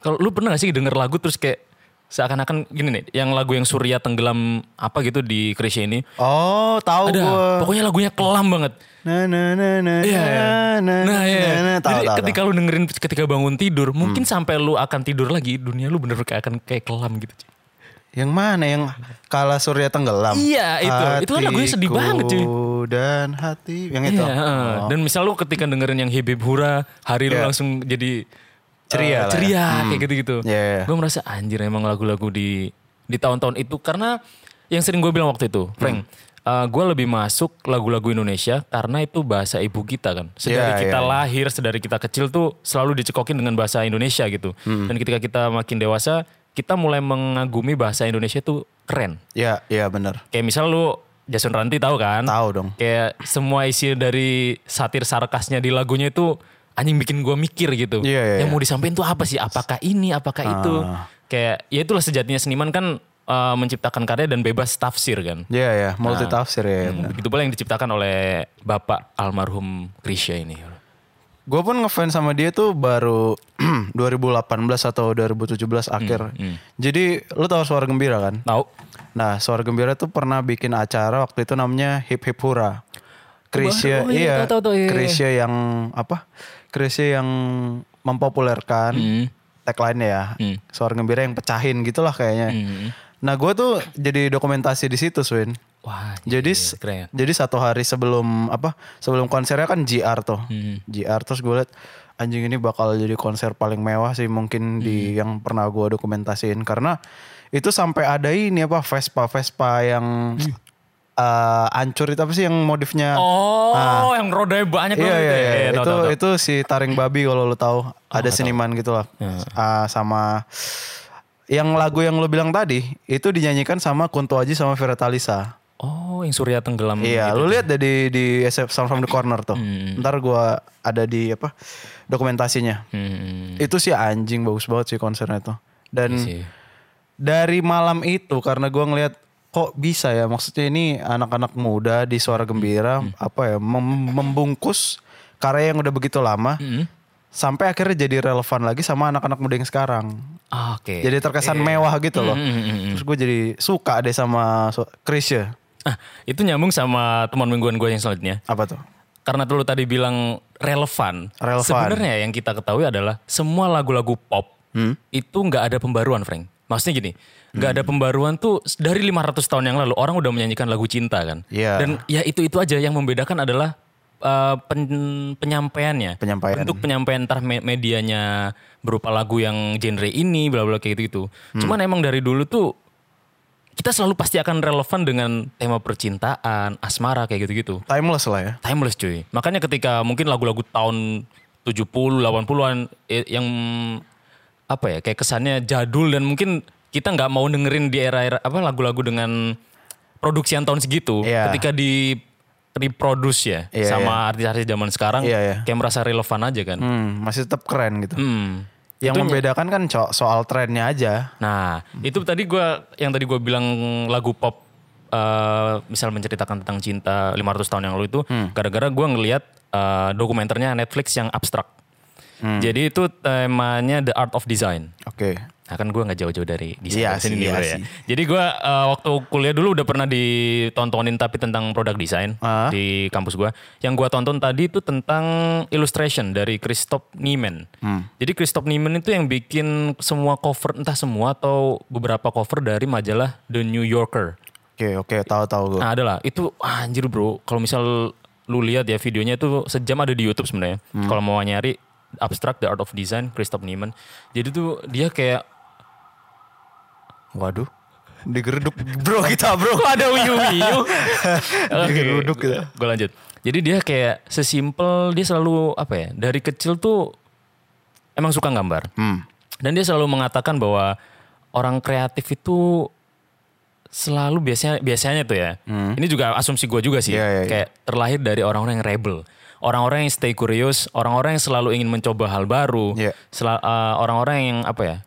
Speaker 3: kalau lu pernah gak sih denger lagu terus kayak seakan-akan gini nih yang lagu yang Surya tenggelam apa gitu di Chris ini
Speaker 1: Oh, tahu
Speaker 3: ada
Speaker 1: gue.
Speaker 3: pokoknya lagunya kelam banget.
Speaker 1: Na na na na
Speaker 3: Iya.
Speaker 1: na na
Speaker 3: Nah, iya.
Speaker 1: na na. Tahu
Speaker 3: Jadi
Speaker 1: tahu, Hmm.
Speaker 3: ketika lu dengerin ketika bangun tidur, mungkin sampai lu akan tidur lagi, dunia lu bener-bener kayak akan kayak kelam gitu. cuy.
Speaker 1: tahu. Yang mana yang kala surya tenggelam?
Speaker 3: Iya, itu. Itu kan lagunya sedih banget, cuy.
Speaker 1: Hatiku Dan hati yang itu.
Speaker 3: Iya, heeh. Dan misal lu ketika dengerin yang Hibib Hura, hari
Speaker 1: Oh.
Speaker 3: lu
Speaker 1: Iya.
Speaker 3: langsung jadi
Speaker 1: Ceria
Speaker 3: eh,
Speaker 1: lah ya.
Speaker 3: ceria kayak gitu-gitu.
Speaker 1: Iya, iya.
Speaker 3: Gue merasa
Speaker 1: Hmm.
Speaker 3: anjir emang lagu-lagu di di tahun-tahun itu karena yang sering gue bilang waktu itu, Frank, eh, gue lebih masuk lagu-lagu Indonesia karena itu bahasa ibu kita kan. Sedari
Speaker 1: Iya,
Speaker 3: kita
Speaker 1: iya.
Speaker 3: lahir, sedari kita kecil tuh selalu dicekokin dengan bahasa Indonesia gitu.
Speaker 1: Hmm.
Speaker 3: Dan ketika kita makin dewasa, kita mulai mengagumi bahasa Indonesia tuh keren.
Speaker 1: Ya, ya benar.
Speaker 3: Kayak misal lu Jason Ranti tahu kan?
Speaker 1: Tahu dong.
Speaker 3: Kayak semua isi dari satir sarkasnya di lagunya itu anjing bikin gue mikir gitu.
Speaker 1: Iya, iya,
Speaker 3: Yang
Speaker 1: iya. Ah.
Speaker 3: mau disampaikan tuh apa sih? Apakah ini? Apakah itu? Kayak ya itulah sejatinya seniman kan eh, menciptakan karya dan bebas tafsir kan.
Speaker 1: Ya, ya, multi tafsir ya.
Speaker 3: Begitu pula yang diciptakan oleh Bapak almarhum Krisya ini.
Speaker 1: Gue pun ngefans sama dia tuh baru (clears throat) 2018 atau 2017 akhir.
Speaker 3: Hmm,
Speaker 1: Jadi lu tahu suara gembira kan?
Speaker 3: Tahu?
Speaker 1: Nah, suara gembira tuh pernah bikin acara waktu itu namanya Hip Hip Hura. Krisya,
Speaker 3: Oh,
Speaker 1: iya,
Speaker 3: iya, tahu, tahu, tahu, iya, iya.
Speaker 1: Krisya yang apa? Krisya yang mempopulerkan
Speaker 3: Hmm.
Speaker 1: tagline ya, suara gembira yang pecahin gitulah kayaknya.
Speaker 3: Hmm.
Speaker 1: Nah, gue tuh jadi dokumentasi di situ, Swin.
Speaker 3: Wah,
Speaker 1: Jadi
Speaker 3: iya, keren ya.
Speaker 1: jadi satu hari sebelum apa sebelum konsernya kan GR tuh
Speaker 3: Mm-hmm.
Speaker 1: GR terus gue liat anjing ini bakal jadi konser paling mewah sih mungkin di
Speaker 3: Mm-hmm.
Speaker 1: yang pernah gue dokumentasiin karena itu sampai ada ini apa Vespa Vespa yang eh, ancur itu apa sih yang modifnya
Speaker 3: Mm. Oh, yang rodanya
Speaker 1: Ah.
Speaker 3: banyak
Speaker 1: Iya
Speaker 3: banget
Speaker 1: iya
Speaker 3: ya.
Speaker 1: iya.
Speaker 3: Iya,
Speaker 1: itu
Speaker 3: tahu, tahu, tahu.
Speaker 1: itu si Taring Babi kalau lo tahu ada seniman gitu lah.
Speaker 3: Iya.
Speaker 1: Ah, sama yang lagu yang lo bilang tadi itu dinyanyikan sama Kunto Aji sama Vira Talisa.
Speaker 3: Oh, yang surya tenggelam.
Speaker 1: Iya, lu lihat deh di di SF Sound from the Corner tuh. Ntar gua ada di apa dokumentasinya.
Speaker 3: Hmm. Iya
Speaker 1: Itu sih anjing bagus banget sih konsernya tuh. Dan
Speaker 3: sih.
Speaker 1: dari malam itu karena gua ngelihat kok bisa ya maksudnya ini anak-anak muda di suara gembira
Speaker 3: Hmm.
Speaker 1: apa ya mem- membungkus karya yang udah begitu lama
Speaker 3: Hmm.
Speaker 1: sampai akhirnya jadi relevan lagi sama anak-anak muda yang sekarang.
Speaker 3: Ah, Oke.
Speaker 1: Jadi terkesan mewah gitu loh.
Speaker 3: Hmm, hmm, hmm, hmm.
Speaker 1: Terus gue jadi suka deh sama ya, su- Chrisye.
Speaker 3: Ah, itu nyambung sama teman mingguan gue yang selanjutnya.
Speaker 1: Apa tuh?
Speaker 3: Karena dulu tadi bilang relevan.
Speaker 1: Relevan.
Speaker 3: Sebenarnya yang kita ketahui adalah semua lagu-lagu pop
Speaker 1: Hmm?
Speaker 3: itu nggak ada pembaruan, Frank. Maksudnya gini, nggak ada pembaruan tuh dari 500 tahun yang lalu orang udah menyanyikan lagu cinta kan.
Speaker 1: Iya.
Speaker 3: Dan ya itu-itu aja yang membedakan adalah eh, pen- penyampaiannya.
Speaker 1: Penyampaian.
Speaker 3: Bentuk penyampaian entah me- medianya berupa lagu yang genre ini bla bla kayak gitu-gitu.
Speaker 1: Hmm.
Speaker 3: Cuman emang dari dulu tuh kita selalu pasti akan relevan dengan tema percintaan, asmara kayak gitu-gitu
Speaker 1: Timeless lah ya.
Speaker 3: timeless cuy. Makanya ketika mungkin lagu-lagu tahun 70, 80-an eh, yang apa ya kayak kesannya jadul dan mungkin kita nggak mau dengerin di era-era apa lagu-lagu dengan produksi yang tahun segitu
Speaker 1: Iya.
Speaker 3: ketika di reproduce ya
Speaker 1: Iya,
Speaker 3: sama artis-artis zaman sekarang
Speaker 1: Iya, iya.
Speaker 3: kayak merasa relevan aja kan.
Speaker 1: Hmm, masih tetap keren gitu.
Speaker 3: Hmm.
Speaker 1: Yang membedakan kan co- soal trennya aja.
Speaker 3: Nah, itu tadi gua yang tadi gua bilang lagu pop eh, misal menceritakan tentang cinta 500 tahun yang lalu itu gara-gara gua ngelihat eh, dokumenternya Netflix yang abstrak. Jadi itu temanya The Art of Design.
Speaker 1: Oke.
Speaker 3: Nah kan gue nggak jauh-jauh dari desain
Speaker 1: Iya
Speaker 3: dan seni
Speaker 1: sih,
Speaker 3: nih,
Speaker 1: iya
Speaker 3: bro, ya.
Speaker 1: sih.
Speaker 3: Jadi gue waktu kuliah dulu udah pernah ditontonin tapi tentang produk desain
Speaker 1: Ah.
Speaker 3: di kampus gue. Yang gue tonton tadi itu tentang illustration dari Christoph Niemann.
Speaker 1: Hmm.
Speaker 3: Jadi Christoph Niemann itu yang bikin semua cover entah semua atau beberapa cover dari majalah The New Yorker.
Speaker 1: Oke, oke, tahu-tahu gue.
Speaker 3: Nah adalah itu ah, anjir bro. Kalau misal lu lihat ya videonya itu sejam ada di YouTube sebenarnya.
Speaker 1: Hmm.
Speaker 3: Kalau mau nyari abstract the art of design Christoph Niemann. Jadi tuh dia kayak
Speaker 1: Waduh. Digeruduk bro kita, bro.
Speaker 3: Kok (laughs) ada uyu
Speaker 1: (laughs)
Speaker 3: uyu?
Speaker 1: Digeruduk kita.
Speaker 3: Gue lanjut. Jadi dia kayak sesimpel dia selalu apa ya? Dari kecil tuh emang suka gambar.
Speaker 1: Hmm.
Speaker 3: Dan dia selalu mengatakan bahwa orang kreatif itu selalu biasanya biasanya tuh ya. Ini juga asumsi gue juga sih.
Speaker 1: Hmm. Iya, iya, iya.
Speaker 3: Kayak terlahir dari orang-orang yang rebel, orang-orang yang stay curious, orang-orang yang selalu ingin mencoba hal baru,
Speaker 1: Iya.
Speaker 3: sela- eh, orang-orang yang apa ya?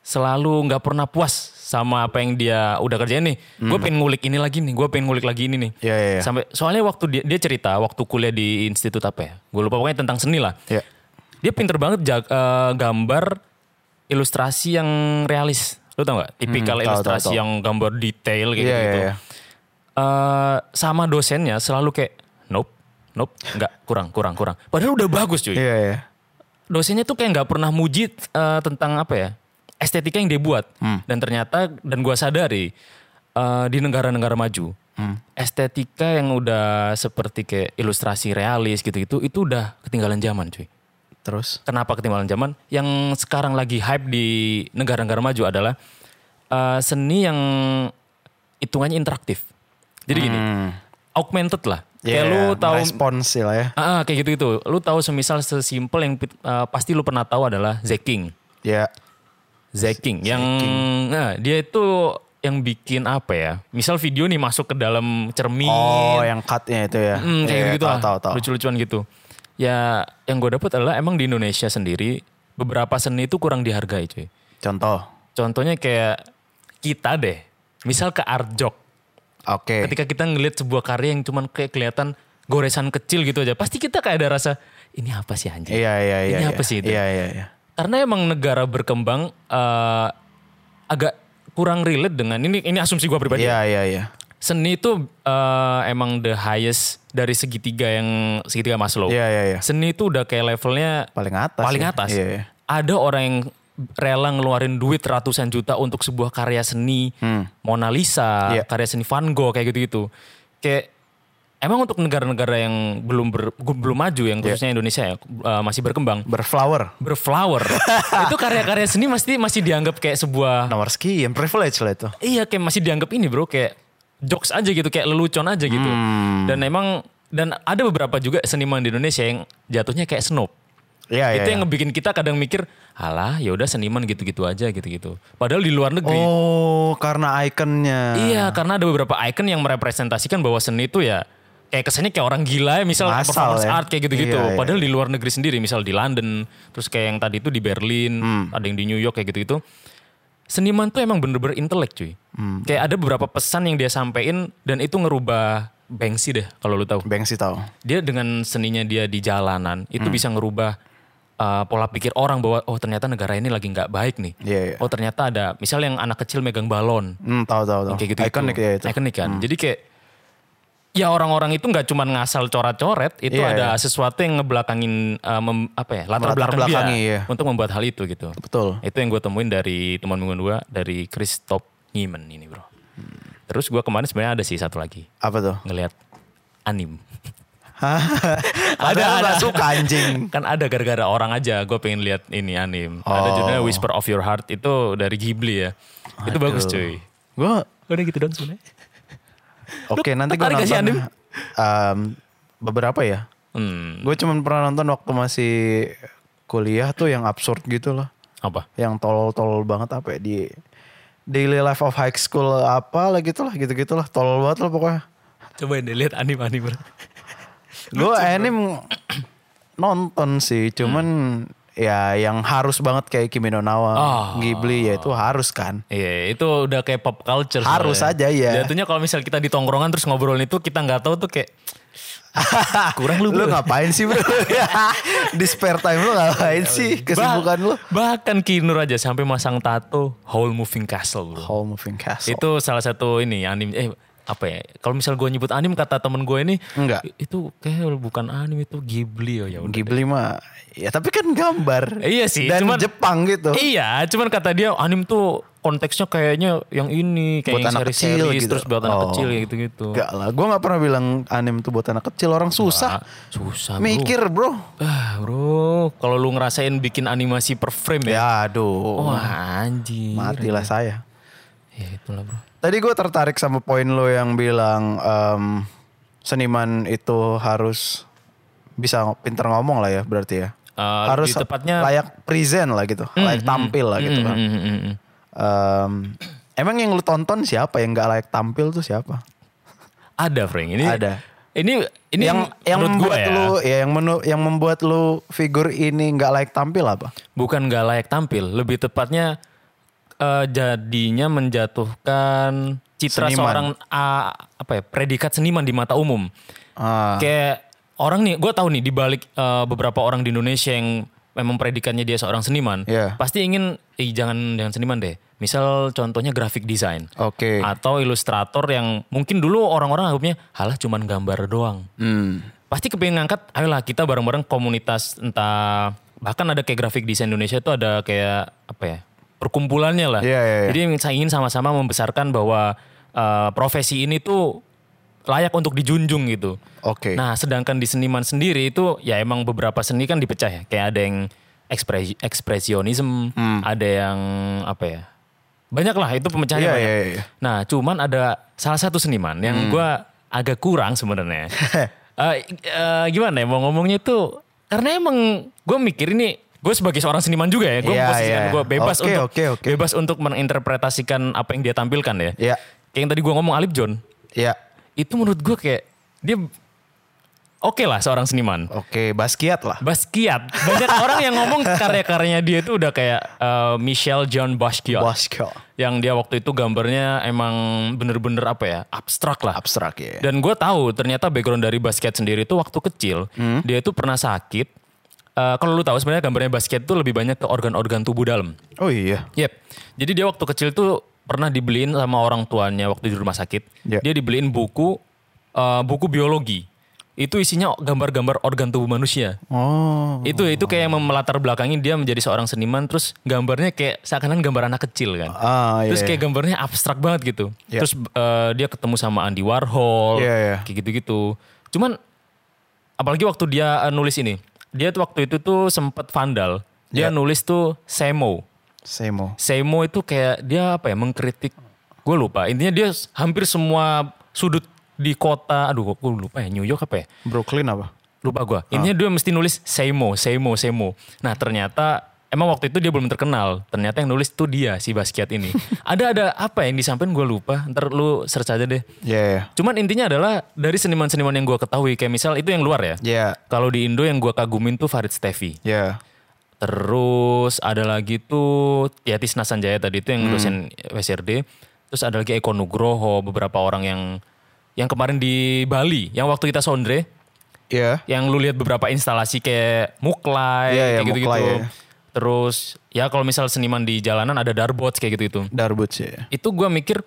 Speaker 3: selalu nggak pernah puas sama apa yang dia udah kerjain nih. Gue pengen ngulik ini lagi nih, gue pengen ngulik lagi ini nih.
Speaker 1: Hmm. Iya, iya, iya.
Speaker 3: Sampai soalnya waktu dia, dia cerita waktu kuliah di institut apa ya? Gue lupa pokoknya tentang seni lah.
Speaker 1: Ya.
Speaker 3: Dia pinter banget jag- eh, gambar ilustrasi yang realis. Lu tau gak? Tipikal
Speaker 1: tahu,
Speaker 3: ilustrasi
Speaker 1: tahu, tahu.
Speaker 3: yang gambar detail kayak
Speaker 1: Iya,
Speaker 3: gitu.
Speaker 1: iya, iya.
Speaker 3: Eh, sama dosennya selalu kayak nope, nope, nggak kurang, kurang, kurang. Padahal udah bagus cuy
Speaker 1: Iya, iya.
Speaker 3: dosennya tuh kayak nggak pernah muji eh, tentang apa ya estetika yang dia buat dan ternyata dan gua sadari eh, di negara-negara maju estetika yang udah seperti kayak ilustrasi realis gitu-gitu itu udah ketinggalan zaman cuy
Speaker 1: Terus.
Speaker 3: kenapa ketinggalan zaman yang sekarang lagi hype di negara-negara maju adalah eh, seni yang hitungannya interaktif Jadi gini, augmented lah. Kayak
Speaker 1: Ya,
Speaker 3: lu tahu
Speaker 1: respons sih lah ya.
Speaker 3: Ah, ah, kayak gitu-gitu. Lu tahu semisal sesimpel yang pit- ah, pasti lu pernah tahu adalah Zeking.
Speaker 1: Ya.
Speaker 3: Zeking yang nah, dia itu yang bikin apa ya? Misal video nih masuk ke dalam cermin.
Speaker 1: Oh, yang cutnya itu ya.
Speaker 3: Iya. Hmm, kayak
Speaker 1: Iya,
Speaker 3: gitu
Speaker 1: tahu, tahu, tahu.
Speaker 3: Lucu-lucuan gitu. Ya yang gue dapet adalah emang di Indonesia sendiri beberapa seni itu kurang dihargai cuy.
Speaker 1: Contoh.
Speaker 3: Contohnya kayak kita deh. Misal ke Arjok.
Speaker 1: Oke.
Speaker 3: Ketika kita ngelihat sebuah karya yang cuman kayak kelihatan goresan kecil gitu aja. Pasti kita kayak ada rasa ini apa sih anjing?
Speaker 1: Iya, iya, iya.
Speaker 3: Ini
Speaker 1: iya.
Speaker 3: apa sih itu?
Speaker 1: Iya, iya, iya.
Speaker 3: Karena emang negara berkembang eh, agak kurang relate dengan ini ini asumsi gue pribadi.
Speaker 1: Iya, iya, iya.
Speaker 3: Seni itu eh, emang the highest dari segitiga yang segitiga Maslow.
Speaker 1: Iya, iya, iya.
Speaker 3: Seni itu udah kayak levelnya
Speaker 1: Paling atas.
Speaker 3: Oh. paling
Speaker 1: ya.
Speaker 3: atas.
Speaker 1: Iya, iya.
Speaker 3: Ada orang yang rela ngeluarin duit ratusan juta untuk sebuah karya seni Mona
Speaker 1: Hmm.
Speaker 3: Lisa,
Speaker 1: Iya.
Speaker 3: karya seni Van Gogh kayak gitu-gitu. Kayak emang untuk negara-negara yang belum ber- belum maju
Speaker 1: Iya.
Speaker 3: yang khususnya Indonesia ya eh, masih berkembang
Speaker 1: Berflower. (laughs)
Speaker 3: berflower. itu karya-karya seni masih masih dianggap kayak sebuah
Speaker 1: Nomor sekian, privilege lah itu.
Speaker 3: iya kayak masih dianggap ini bro kayak jokes aja gitu kayak lelucon aja gitu.
Speaker 1: Hmm.
Speaker 3: Dan emang dan ada beberapa juga seniman di Indonesia yang jatuhnya kayak snob.
Speaker 1: Iya, iya.
Speaker 3: itu
Speaker 1: iya.
Speaker 3: yang ngebikin kita kadang mikir, alah ya udah seniman gitu-gitu aja gitu-gitu. Padahal di luar negeri
Speaker 1: Oh, karena ikonnya.
Speaker 3: Iya, karena ada beberapa icon yang merepresentasikan bahwa seni itu ya kayak kesannya kayak orang gila ya, misal
Speaker 1: Masal
Speaker 3: performance
Speaker 1: ya.
Speaker 3: art kayak gitu-gitu.
Speaker 1: Iya, iya.
Speaker 3: Padahal di luar negeri sendiri, misal di London, terus kayak yang tadi itu di Berlin,
Speaker 1: Hmm.
Speaker 3: ada yang di New York kayak gitu-gitu. Seniman tuh emang bener-bener intelek cuy.
Speaker 1: Hmm.
Speaker 3: Kayak ada beberapa pesan yang dia sampein dan itu ngerubah Banksy deh kalau lu tahu.
Speaker 1: Banksy tahu.
Speaker 3: Dia dengan seninya dia di jalanan itu
Speaker 1: Hmm.
Speaker 3: bisa ngerubah uh, pola pikir orang bahwa oh ternyata negara ini lagi nggak baik nih.
Speaker 1: Iya, iya.
Speaker 3: Oh ternyata ada misal yang anak kecil megang balon.
Speaker 1: Hmm, tahu tahu tahu.
Speaker 3: Kayak gitu.
Speaker 1: Ikonik ya itu.
Speaker 3: Ikonik kan. Jadi kayak ya orang-orang itu nggak cuma ngasal coret-coret, itu
Speaker 1: Iya,
Speaker 3: ada sesuatu yang ngebelakangin eh, mem- apa ya latar,
Speaker 1: Latar
Speaker 3: belakang
Speaker 1: belakangi,
Speaker 3: dia
Speaker 1: iya.
Speaker 3: untuk membuat hal itu gitu.
Speaker 1: Betul.
Speaker 3: Itu yang gue temuin dari teman gue dua dari Christoph Niemann ini bro.
Speaker 1: Hmm.
Speaker 3: Terus gue kemarin sebenarnya ada sih satu lagi
Speaker 1: Apa
Speaker 3: (laughs)
Speaker 1: tuh?
Speaker 3: ngelihat anim.
Speaker 1: (laughs) Ada
Speaker 3: ada.
Speaker 1: ada suka anjing.
Speaker 3: kan ada gara-gara orang aja gue pengen lihat ini anim. Ada
Speaker 1: Oh.
Speaker 3: judulnya Whisper of Your Heart itu dari Ghibli ya. Itu bagus cuy.
Speaker 1: Gua
Speaker 3: Udah gitu dong sebenarnya.
Speaker 1: Oke, nanti gue
Speaker 3: tertarik gak
Speaker 1: nonton.
Speaker 3: sih,
Speaker 1: Em, beberapa ya.
Speaker 3: Hmm,
Speaker 1: Gue cuman pernah nonton waktu masih kuliah tuh yang absurd gitu loh.
Speaker 3: apa?
Speaker 1: Yang tolol-tolol banget apa ya di Daily Life of High School apa lah gitu lah gitu-gitu lah. Tolol banget lah pokoknya.
Speaker 3: Coba deh lihat anim-anim bro.
Speaker 1: Gue anime nonton sih, cuman
Speaker 3: Hmm.
Speaker 1: ya yang harus banget kayak Kimi no Nawa,
Speaker 3: Ah.
Speaker 1: Ghibli ya itu harus kan.
Speaker 3: Iya, itu udah kayak pop culture.
Speaker 1: Harus aja,
Speaker 3: sebenarnya.
Speaker 1: iya.
Speaker 3: Jatuhnya kalau misal kita di tongkrongan terus ngobrolin itu kita nggak tahu tuh
Speaker 1: (laughs)
Speaker 3: kayak kurang lu.
Speaker 1: Lu
Speaker 3: bro.
Speaker 1: ngapain sih
Speaker 3: (laughs)
Speaker 1: bro? Ya, Di spare time lu ngapain
Speaker 3: Iya,
Speaker 1: sih? Kesibukan
Speaker 3: Bah-
Speaker 1: lu?
Speaker 3: Bahkan Kinur aja sampai masang tato Whole Moving Castle. Bro.
Speaker 1: Home Moving Castle.
Speaker 3: Itu salah satu ini anime eh apa ya? Kalau misal gue nyebut anime kata temen gue ini
Speaker 1: Enggak.
Speaker 3: "I- Itu kayak bukan anime itu Ghibli oh ya udah.
Speaker 1: Ghibli mah, ya tapi kan gambar.
Speaker 3: Eh, iya sih,
Speaker 1: Dan
Speaker 3: cuman-
Speaker 1: Jepang gitu.
Speaker 3: Iya, cuman kata dia anime tuh konteksnya kayaknya yang ini kayak
Speaker 1: Buat
Speaker 3: yang
Speaker 1: anak kecil
Speaker 3: seri-seri,
Speaker 1: gitu.
Speaker 3: terus buat anak
Speaker 1: Oh.
Speaker 3: kecil gitu-gitu.
Speaker 1: Enggak lah, gue gak pernah bilang anime tuh buat anak kecil. Orang susah.
Speaker 3: Susah bro.
Speaker 1: Mikir bro.
Speaker 3: Ah bro, kalau lu ngerasain bikin animasi per frame ya.
Speaker 1: Ya aduh,
Speaker 3: Wah anjir.
Speaker 1: matilah
Speaker 3: iya.
Speaker 1: saya.
Speaker 3: Ya itulah bro.
Speaker 1: Tadi gue tertarik sama poin lo yang bilang em, seniman itu harus bisa ngo- pinter ngomong lah ya berarti ya.
Speaker 3: Eh,
Speaker 1: harus
Speaker 3: lebih tepatnya- Hmm,
Speaker 1: layak present lah gitu, layak tampil lah gitu kan.
Speaker 3: Mm, mm, mm.
Speaker 1: Em, emang yang lu tonton siapa yang nggak layak tampil tuh siapa?
Speaker 3: Ada Frank ini.
Speaker 1: Ada.
Speaker 3: Ini ini
Speaker 1: yang yang
Speaker 3: menurut gua
Speaker 1: membuat
Speaker 3: ya.
Speaker 1: lu ya yang menu- yang membuat lu figur ini nggak layak tampil apa?
Speaker 3: Bukan gak layak tampil, lebih tepatnya eh, jadinya menjatuhkan citra
Speaker 1: Seniman.
Speaker 3: seorang ah, apa ya predikat seniman di mata umum.
Speaker 1: Ah,
Speaker 3: Kayak orang nih, gue tahu nih di balik eh, beberapa orang di Indonesia yang memang predikatnya dia seorang seniman,
Speaker 1: Iya.
Speaker 3: pasti ingin "Ih, jangan jangan seniman deh. Misal contohnya grafik desain
Speaker 1: Oke.
Speaker 3: atau ilustrator yang mungkin dulu orang-orang anggapnya halah cuman gambar doang.
Speaker 1: Hmm.
Speaker 3: Pasti kepengen ngangkat, ayolah kita bareng-bareng komunitas entah bahkan ada kayak grafik desain Indonesia itu ada kayak apa ya perkumpulannya lah.
Speaker 1: Iya, iya, iya.
Speaker 3: Jadi saya ingin sama-sama membesarkan bahwa eh, profesi ini tuh layak untuk dijunjung gitu.
Speaker 1: Oke.
Speaker 3: Nah, sedangkan di seniman sendiri itu ya emang beberapa seni kan dipecah
Speaker 1: Hmm.
Speaker 3: ya. Kayak ada yang ekspres ekspresionisme, ada yang apa ya? Banyak lah itu pemecahnya
Speaker 1: Iya,
Speaker 3: banyak.
Speaker 1: iya, iya. Hmm.
Speaker 3: Nah cuman ada salah satu seniman yang gua agak kurang
Speaker 1: (laughs)
Speaker 3: sebenarnya. Eh, eh, gimana ya mau ngomongnya itu karena emang gue mikir ini gue sebagai seorang seniman juga ya gue
Speaker 1: Iya,
Speaker 3: posisikan
Speaker 1: iya.
Speaker 3: gue bebas
Speaker 1: Oke,
Speaker 3: untuk
Speaker 1: oke, oke.
Speaker 3: bebas untuk menginterpretasikan apa yang dia tampilkan ya.
Speaker 1: Iya.
Speaker 3: Kayak yang tadi gue ngomong Alip John
Speaker 1: Iya.
Speaker 3: itu menurut gue kayak dia oke lah seorang seniman.
Speaker 1: Oke, Basquiat lah.
Speaker 3: Basquiat. Banyak (laughs) orang yang ngomong karya-karyanya dia itu udah kayak eh, Michel John Basquiat.
Speaker 1: Basquiat.
Speaker 3: Yang dia waktu itu gambarnya emang bener-bener apa ya, abstrak lah.
Speaker 1: Abstrak ya.
Speaker 3: Dan gue tahu ternyata background dari Basquiat sendiri itu waktu kecil, dia itu pernah sakit. Eh, kalau lu tahu sebenarnya gambarnya Basquiat itu lebih banyak ke organ-organ tubuh dalam.
Speaker 1: Oh iya.
Speaker 3: Yep. Jadi dia waktu kecil tuh pernah dibeliin sama orang tuanya waktu di rumah sakit.
Speaker 1: Ya.
Speaker 3: Dia dibeliin buku eh, buku biologi. Itu isinya gambar-gambar organ tubuh manusia.
Speaker 1: Oh.
Speaker 3: Itu itu kayak yang melatar belakangi dia menjadi seorang seniman terus gambarnya kayak seakan-akan gambar anak kecil kan.
Speaker 1: Ah, iya.
Speaker 3: Terus kayak gambarnya abstrak banget gitu.
Speaker 1: Ya.
Speaker 3: Terus eh, dia ketemu sama Andy Warhol,
Speaker 1: Iya, iya.
Speaker 3: kayak gitu-gitu. Cuman apalagi waktu dia eh, nulis ini, dia tuh waktu itu tuh sempat vandal.
Speaker 1: Ya.
Speaker 3: Dia nulis tuh Semo.
Speaker 1: Semo.
Speaker 3: Semo itu kayak dia apa ya mengkritik gue lupa intinya dia s- hampir semua sudut di kota aduh gue lupa ya New York apa ya
Speaker 1: Brooklyn apa?
Speaker 3: lupa gue intinya dia mesti nulis Semo Semo Semo nah ternyata emang waktu itu dia belum terkenal ternyata yang nulis tuh dia si Basquiat ini ada ada apa yang disampaikan gue lupa ntar lu search aja deh
Speaker 1: Iya. iya.
Speaker 3: cuman intinya adalah dari seniman-seniman yang gue ketahui kayak misal itu yang luar ya
Speaker 1: Iya.
Speaker 3: kalau di Indo yang gue kagumin tuh Farid Steffi
Speaker 1: Iya.
Speaker 3: Terus ada lagi tuh ya Tisna Sanjaya tadi itu yang
Speaker 1: Hmm.
Speaker 3: dosen WSRD. Terus ada lagi Eko Nugroho, beberapa orang yang yang kemarin di Bali, yang waktu kita sondre,
Speaker 1: Iya.
Speaker 3: yang lu lihat beberapa instalasi kayak
Speaker 1: Iya,
Speaker 3: Muklai,
Speaker 1: iya,
Speaker 3: kayak gitu-gitu.
Speaker 1: Muklai, ya.
Speaker 3: Terus ya kalau misal seniman di jalanan ada Darbots kayak gitu-gitu.
Speaker 1: Darbut sih. ya.
Speaker 3: Itu gua mikir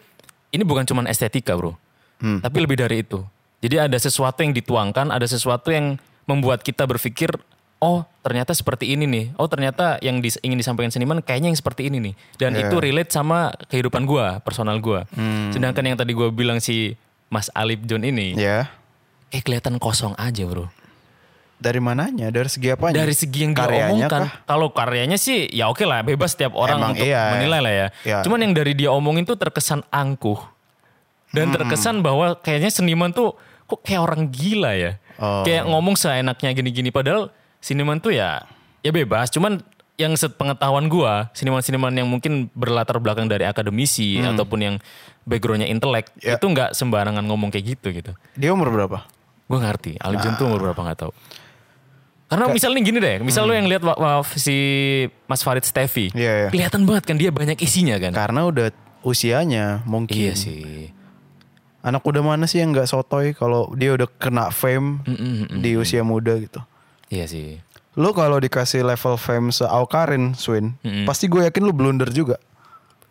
Speaker 3: ini bukan cuman estetika, Bro. Tapi lebih dari itu. Jadi ada sesuatu yang dituangkan, ada sesuatu yang membuat kita berpikir, oh ternyata seperti ini nih. Oh ternyata yang dis- ingin disampaikan seniman kayaknya yang seperti ini nih. Dan itu relate sama kehidupan gua, personal gua. Sedangkan yang tadi gua bilang si Mas Alip John ini,
Speaker 1: Iya.
Speaker 3: eh kelihatan kosong aja, Bro.
Speaker 1: Dari mananya? Dari segi apanya?
Speaker 3: Dari segi yang
Speaker 1: Karyanya
Speaker 3: diomongkan,
Speaker 1: kah?
Speaker 3: kalau karyanya sih ya oke lah, bebas tiap orang
Speaker 1: Emang
Speaker 3: untuk
Speaker 1: iya, ya.
Speaker 3: menilai lah ya.
Speaker 1: Iya.
Speaker 3: Cuman yang dari dia omongin tuh terkesan angkuh dan
Speaker 1: Hmm.
Speaker 3: terkesan bahwa kayaknya seniman tuh kok kayak orang gila ya,
Speaker 1: Oh.
Speaker 3: kayak ngomong seenaknya gini-gini. Padahal seniman tuh ya ya bebas. Cuman yang sepengetahuan gua seniman-seniman yang mungkin berlatar belakang dari akademisi
Speaker 1: Hmm.
Speaker 3: ataupun yang backgroundnya intelek
Speaker 1: Iya.
Speaker 3: itu nggak sembarangan ngomong kayak gitu gitu.
Speaker 1: Dia umur berapa?
Speaker 3: Gue ngerti. Alif John tuh umur
Speaker 1: Ah.
Speaker 3: berapa nggak tahu. Karena misalnya gini deh, misal lu yang lihat wa- wa- si Mas Farid Steffi,
Speaker 1: Hmm. Iya, iya.
Speaker 3: kelihatan banget kan dia banyak isinya kan.
Speaker 1: Karena udah usianya mungkin.
Speaker 3: Iya sih.
Speaker 1: Anak udah mana sih yang nggak sotoy kalau dia udah kena
Speaker 3: Mm,
Speaker 1: fame di usia muda gitu.
Speaker 3: Iya sih.
Speaker 1: Lu kalau dikasih level fame se Aukarin, Swin, pasti gue yakin lu blunder juga.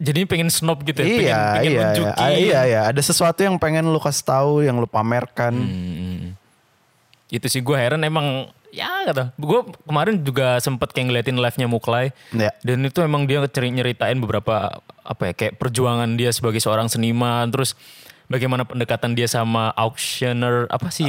Speaker 3: Jadi pengen snob gitu ya,
Speaker 1: iya,
Speaker 3: pengen,
Speaker 1: iya,
Speaker 3: pengen
Speaker 1: iya,
Speaker 3: nunjukin.
Speaker 1: Ah, iya, iya. Ada sesuatu yang pengen lu kasih tahu, yang lu pamerkan.
Speaker 3: Hmm. Itu sih gue heran emang ya kata gue kemarin juga sempet kayak ngeliatin live-nya Muklai
Speaker 1: Ya.
Speaker 3: dan itu emang dia ceri- nyeritain beberapa apa ya kayak perjuangan dia sebagai seorang seniman terus bagaimana pendekatan dia sama auctioneer apa sih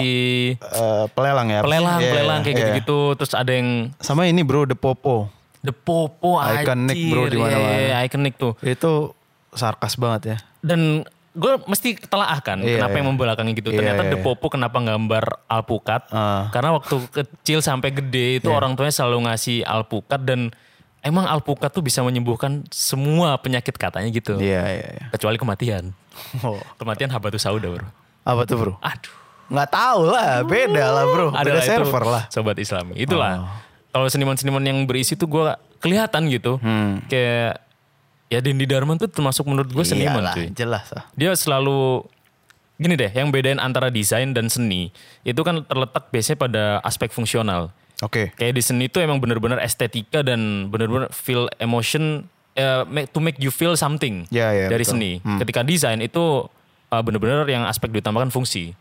Speaker 1: Eh, pelelang ya.
Speaker 3: pelelang
Speaker 1: Iya,
Speaker 3: pelelang kayak
Speaker 1: iya.
Speaker 3: gitu-gitu terus ada yang
Speaker 1: Sama ini bro, The Popo.
Speaker 3: the popo
Speaker 1: Iconic,
Speaker 3: anjir.
Speaker 1: bro, di mana-mana.
Speaker 3: Iya, iya, iconic tuh
Speaker 1: Itu sarkas banget ya.
Speaker 3: dan gue mesti telaah kan
Speaker 1: Iya,
Speaker 3: kenapa
Speaker 1: iya.
Speaker 3: yang membelakangi gitu
Speaker 1: Iya,
Speaker 3: ternyata
Speaker 1: iya,
Speaker 3: the popo kenapa gambar alpukat
Speaker 1: Ah.
Speaker 3: karena waktu kecil sampai gede itu orang tuanya selalu ngasih alpukat dan emang alpukat tuh bisa menyembuhkan semua penyakit katanya gitu
Speaker 1: Iya, iya, iya.
Speaker 3: kecuali kematian
Speaker 1: Oh.
Speaker 3: kematian habatus sauda bro
Speaker 1: Apa tuh bro?
Speaker 3: aduh
Speaker 1: Nggak tahu lah, beda lah bro. Beda
Speaker 3: itu
Speaker 1: server lah. Oh.
Speaker 3: Sobat Islami. Itulah. Kalau seniman-seniman yang berisi tuh gue kelihatan gitu.
Speaker 1: Hmm.
Speaker 3: Kayak ya Dendi Darman tuh termasuk menurut gue seniman
Speaker 1: Iyalah,
Speaker 3: cuy.
Speaker 1: jelas lah.
Speaker 3: Dia selalu gini deh, yang bedain antara desain dan seni itu kan terletak biasanya pada aspek fungsional.
Speaker 1: Oke.
Speaker 3: Kayak di seni itu emang bener-bener estetika dan bener-bener feel emotion eh, make- to make you feel something
Speaker 1: Ya, ya,
Speaker 3: dari
Speaker 1: betul.
Speaker 3: seni. Ketika desain itu eh, bener-bener yang aspek ditambahkan fungsi.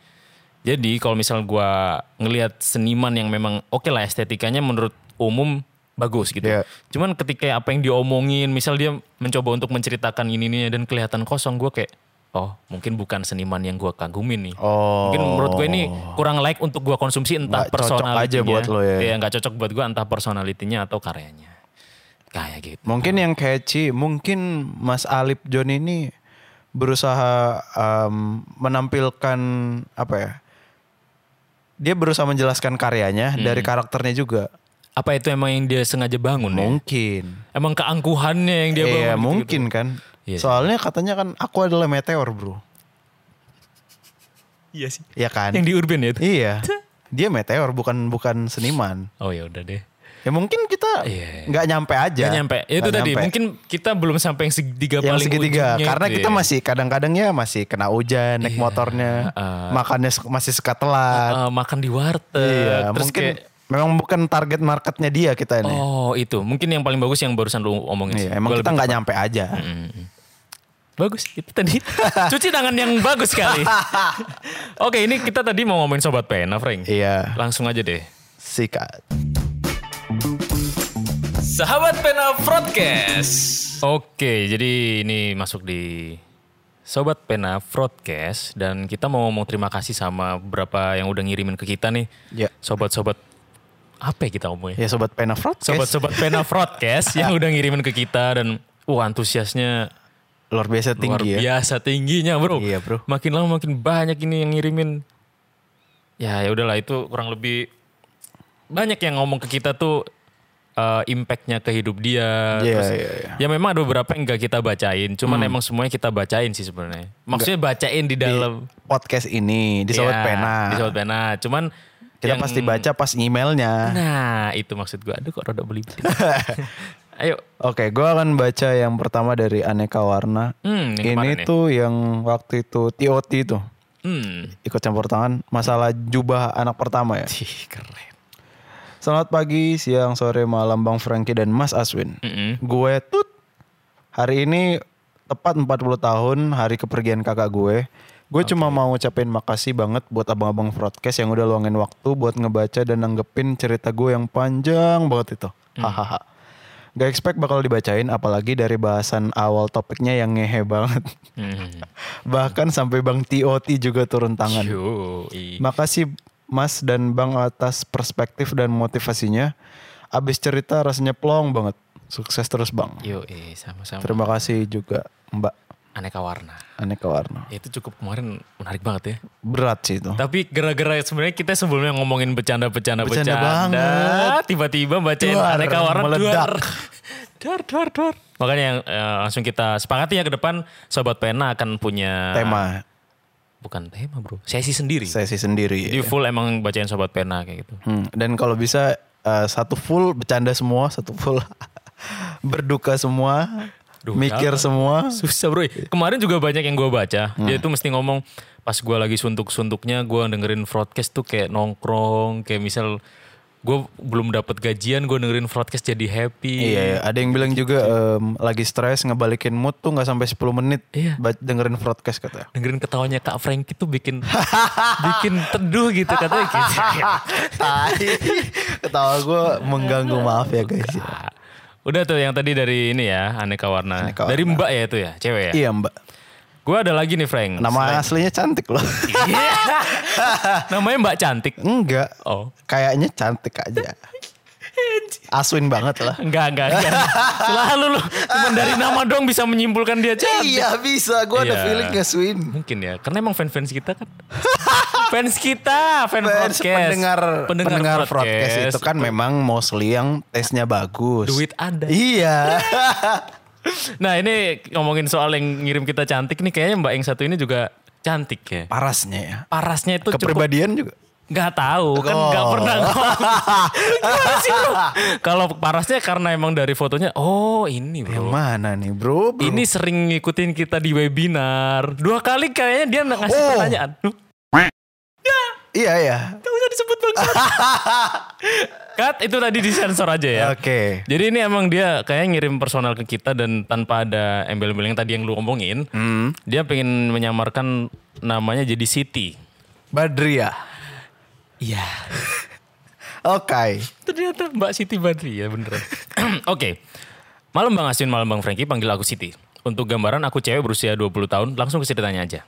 Speaker 3: Jadi kalau misal gua ngelihat seniman yang memang oke lah estetikanya menurut umum bagus gitu.
Speaker 1: Ya.
Speaker 3: Cuman ketika apa yang diomongin, misal dia mencoba untuk menceritakan ini ini dan kelihatan kosong, gua kayak oh mungkin bukan seniman yang gua kagumin nih.
Speaker 1: Oh.
Speaker 3: Mungkin menurut gue ini kurang like untuk gua konsumsi entah
Speaker 1: Nggak cocok
Speaker 3: personalitinya.
Speaker 1: aja buat lo ya.
Speaker 3: Iya nggak cocok buat gue entah personalitinya atau karyanya. kayak gitu.
Speaker 1: Mungkin yang catchy, mungkin Mas Alip John ini berusaha em, menampilkan apa ya? Dia berusaha menjelaskan karyanya
Speaker 3: Hmm.
Speaker 1: dari karakternya juga.
Speaker 3: Apa itu emang yang dia sengaja bangun ya?
Speaker 1: Mungkin.
Speaker 3: Emang keangkuhannya yang dia bangun.
Speaker 1: Iya,
Speaker 3: gitu-gitu.
Speaker 1: mungkin kan.
Speaker 3: Iya.
Speaker 1: Soalnya katanya kan aku adalah meteor, Bro.
Speaker 3: Iya sih.
Speaker 1: Iya kan?
Speaker 3: Yang di urban ya itu. (laughs)
Speaker 1: Iya. Dia meteor bukan bukan seniman.
Speaker 3: Oh ya udah deh.
Speaker 1: Ya mungkin kita
Speaker 3: Iya.
Speaker 1: nggak nyampe aja.
Speaker 3: Gak nyampe. Ya
Speaker 1: Nggak
Speaker 3: Itu tadi
Speaker 1: nyampe.
Speaker 3: mungkin kita belum sampai yang segitiga
Speaker 1: yang
Speaker 3: paling
Speaker 1: segitiga
Speaker 3: ujungnya
Speaker 1: karena
Speaker 3: itu
Speaker 1: kita
Speaker 3: ya. Iya,
Speaker 1: masih kadang-kadang ya masih kena hujan naik motornya makannya se- masih suka telat
Speaker 3: Eh, makan di warteg.
Speaker 1: iya
Speaker 3: terus
Speaker 1: mungkin
Speaker 3: kayak,
Speaker 1: memang bukan target marketnya dia kita ini
Speaker 3: oh itu mungkin yang paling bagus yang barusan lu omongin. sih.
Speaker 1: Iya, emang kita
Speaker 3: Gua lebih-
Speaker 1: nggak nyampe aja
Speaker 3: bagus itu
Speaker 1: (laughs)
Speaker 3: tadi. Cuci tangan yang bagus sekali. Oke, ini kita tadi mau ngomongin sobat pena, Frank.
Speaker 1: iya
Speaker 3: Langsung aja deh.
Speaker 1: sikat
Speaker 3: Sahabat Pena Broadcast. Oke, jadi ini masuk di Sobat Pena Broadcast dan kita mau ngomong terima kasih sama beberapa yang udah ngirimin ke kita nih.
Speaker 1: Ya.
Speaker 3: Sobat-sobat apa ya kita ngomongnya?
Speaker 1: ya sobat pena Broadcast,
Speaker 3: Sobat-sobat Pena Broadcast yang udah ngirimin ke kita dan wah antusiasnya
Speaker 1: luar biasa
Speaker 3: luar
Speaker 1: tinggi ya
Speaker 3: biasa tingginya, Bro.
Speaker 1: Iya, Bro.
Speaker 3: Makin lama makin banyak ini yang ngirimin. Ya, ya udahlah itu kurang lebih banyak yang ngomong ke kita tuh eh, impactnya ke hidup dia.
Speaker 1: Iya,
Speaker 3: Terus,
Speaker 1: iya, Hmm. iya.
Speaker 3: Ya memang ada beberapa yang gak kita bacain, cuman emang semuanya kita bacain sih sebenarnya. Maksudnya bacain di dalam
Speaker 1: podcast ini di sobat
Speaker 3: Ya,
Speaker 1: pena
Speaker 3: Di sobat pena. Cuman
Speaker 1: kita
Speaker 3: yang-
Speaker 1: pasti baca pas emailnya
Speaker 3: Nah, itu maksud gua. Aduh kok rada belibet. ya?
Speaker 1: (laughs)
Speaker 3: Ayo.
Speaker 1: Oke, gua akan baca yang pertama dari Aneka Warna.
Speaker 3: Hmm, yang kemarin
Speaker 1: ini
Speaker 3: ya.
Speaker 1: tuh yang waktu itu TOT itu.
Speaker 3: Hmm.
Speaker 1: ikut campur tangan masalah jubah anak pertama ya.
Speaker 3: Ih, keren.
Speaker 1: Selamat pagi, siang, sore, malam Bang Frankie dan Mas Aswin.
Speaker 3: Mm-mm.
Speaker 1: Gue tut. Hari ini tepat 40 tahun hari kepergian kakak gue. Gue cuma mau ucapin makasih banget buat abang-abang broadcast yang udah luangin waktu buat ngebaca dan nanggepin cerita gue yang panjang banget itu. Hahaha. Gak expect bakal dibacain apalagi dari bahasan awal topiknya yang ngehe banget.
Speaker 3: Hmm.
Speaker 1: (laughs) Bahkan sampai Bang TOT juga turun tangan.
Speaker 3: Yoi.
Speaker 1: Makasih Mas dan Bang atas perspektif dan motivasinya. Abis cerita rasanya plong banget. Sukses terus Bang.
Speaker 3: Yoi, sama-sama.
Speaker 1: Terima kasih juga Mbak
Speaker 3: Aneka warna.
Speaker 1: Aneka Warna.
Speaker 3: Itu cukup kemarin menarik banget ya.
Speaker 1: Berat sih itu.
Speaker 3: Tapi gara-gara sebenarnya kita sebelumnya ngomongin bercanda-bercanda
Speaker 1: Bercanda
Speaker 3: bercanda,
Speaker 1: banget.
Speaker 3: tiba-tiba bacain
Speaker 1: Duar,
Speaker 3: aneka warna
Speaker 1: meledak.
Speaker 3: duar. Duar, duar, duar. Makanya yang eh, langsung kita sepakati ya ke depan sobat pena akan punya
Speaker 1: Tema
Speaker 3: bukan tema, Bro. Sesi Nah, sendiri.
Speaker 1: sesi ya. sendiri.
Speaker 3: Jadi full emang bacain sobat pena kayak gitu.
Speaker 1: Hmm, Dan kalau bisa eh, satu full bercanda semua, satu full (laughs) berduka semua,
Speaker 3: Duh,
Speaker 1: mikir semua.
Speaker 3: (laughs) Susah bro. Kemarin juga banyak yang gue baca.
Speaker 1: Hmm.
Speaker 3: Dia tuh mesti ngomong pas gue lagi suntuk-suntuknya gue dengerin broadcast tuh kayak nongkrong. Kayak misal gue belum dapat gajian gue dengerin broadcast jadi happy.
Speaker 1: Iya, iya. ada yang bilang juga em, lagi stres ngebalikin mood tuh nggak sampai 10 menit
Speaker 3: Iya.
Speaker 1: ba- dengerin broadcast katanya.
Speaker 3: Dengerin ketawanya Kak Frank itu bikin (laughs) bikin teduh gitu katanya gitu.
Speaker 1: (laughs) Tai. Ketawa gue mengganggu maaf ya guys.
Speaker 3: Ah. Udah tuh yang tadi dari ini ya aneka warna.
Speaker 1: Aneka
Speaker 3: Dari Mbak ya itu ya cewek ya.
Speaker 1: Iya mbak.
Speaker 3: Gue ada lagi nih Frank.
Speaker 1: Nama aslinya cantik loh.
Speaker 3: Iya. (laughs) Namanya Mbak cantik.
Speaker 1: (laughs) Enggak.
Speaker 3: Oh.
Speaker 1: Kayaknya cantik aja. Aswin banget lah.
Speaker 3: Enggak, enggak, enggak. Selalu lu cuma dari nama dong bisa menyimpulkan dia cantik.
Speaker 1: Iya bisa. Gue
Speaker 3: Iya.
Speaker 1: Swin.
Speaker 3: Mungkin ya, karena emang fans-fans kita kan. (laughs) fans kita, fan
Speaker 1: Fans,
Speaker 3: podcast.
Speaker 1: pendengar pendengar,
Speaker 3: podcast
Speaker 1: broadcast itu kan memang mostly yang tesnya bagus.
Speaker 3: Duit ada. (laughs)
Speaker 1: Iya.
Speaker 3: Nah ini ngomongin soal yang ngirim kita cantik nih, kayaknya mbak yang satu ini juga cantik ya.
Speaker 1: Parasnya ya.
Speaker 3: Parasnya itu cukup
Speaker 1: Kepribadian juga.
Speaker 3: nggak tahu kan nggak
Speaker 1: Oh.
Speaker 3: pernah
Speaker 1: (laughs)
Speaker 3: ngomong. Gimana sih lu? Kalau parasnya karena emang dari fotonya, oh ini bro.
Speaker 1: Yang mana nih bro? bro?
Speaker 3: Ini sering ngikutin kita di webinar. Dua kali kayaknya dia ngasih
Speaker 1: Oh.
Speaker 3: pertanyaan. Duh,
Speaker 1: Iya ya.
Speaker 3: Gak usah disebut
Speaker 1: (laughs)
Speaker 3: bang. Kat itu tadi disensor aja ya.
Speaker 1: Oke.
Speaker 3: Jadi ini emang dia kayaknya ngirim personal ke kita dan tanpa ada embel-embel yang tadi yang lu ngomongin.
Speaker 1: Hmm.
Speaker 3: Dia pengen menyamarkan namanya jadi Siti.
Speaker 1: Badria.
Speaker 3: Iya.
Speaker 1: Oke.
Speaker 3: Ternyata Mbak Siti Badri ya beneran. (clears throat) Oke. Malam Bang Asin, malam Bang Frankie, panggil aku Siti. Untuk gambaran aku cewek berusia 20 tahun, langsung ke ceritanya aja.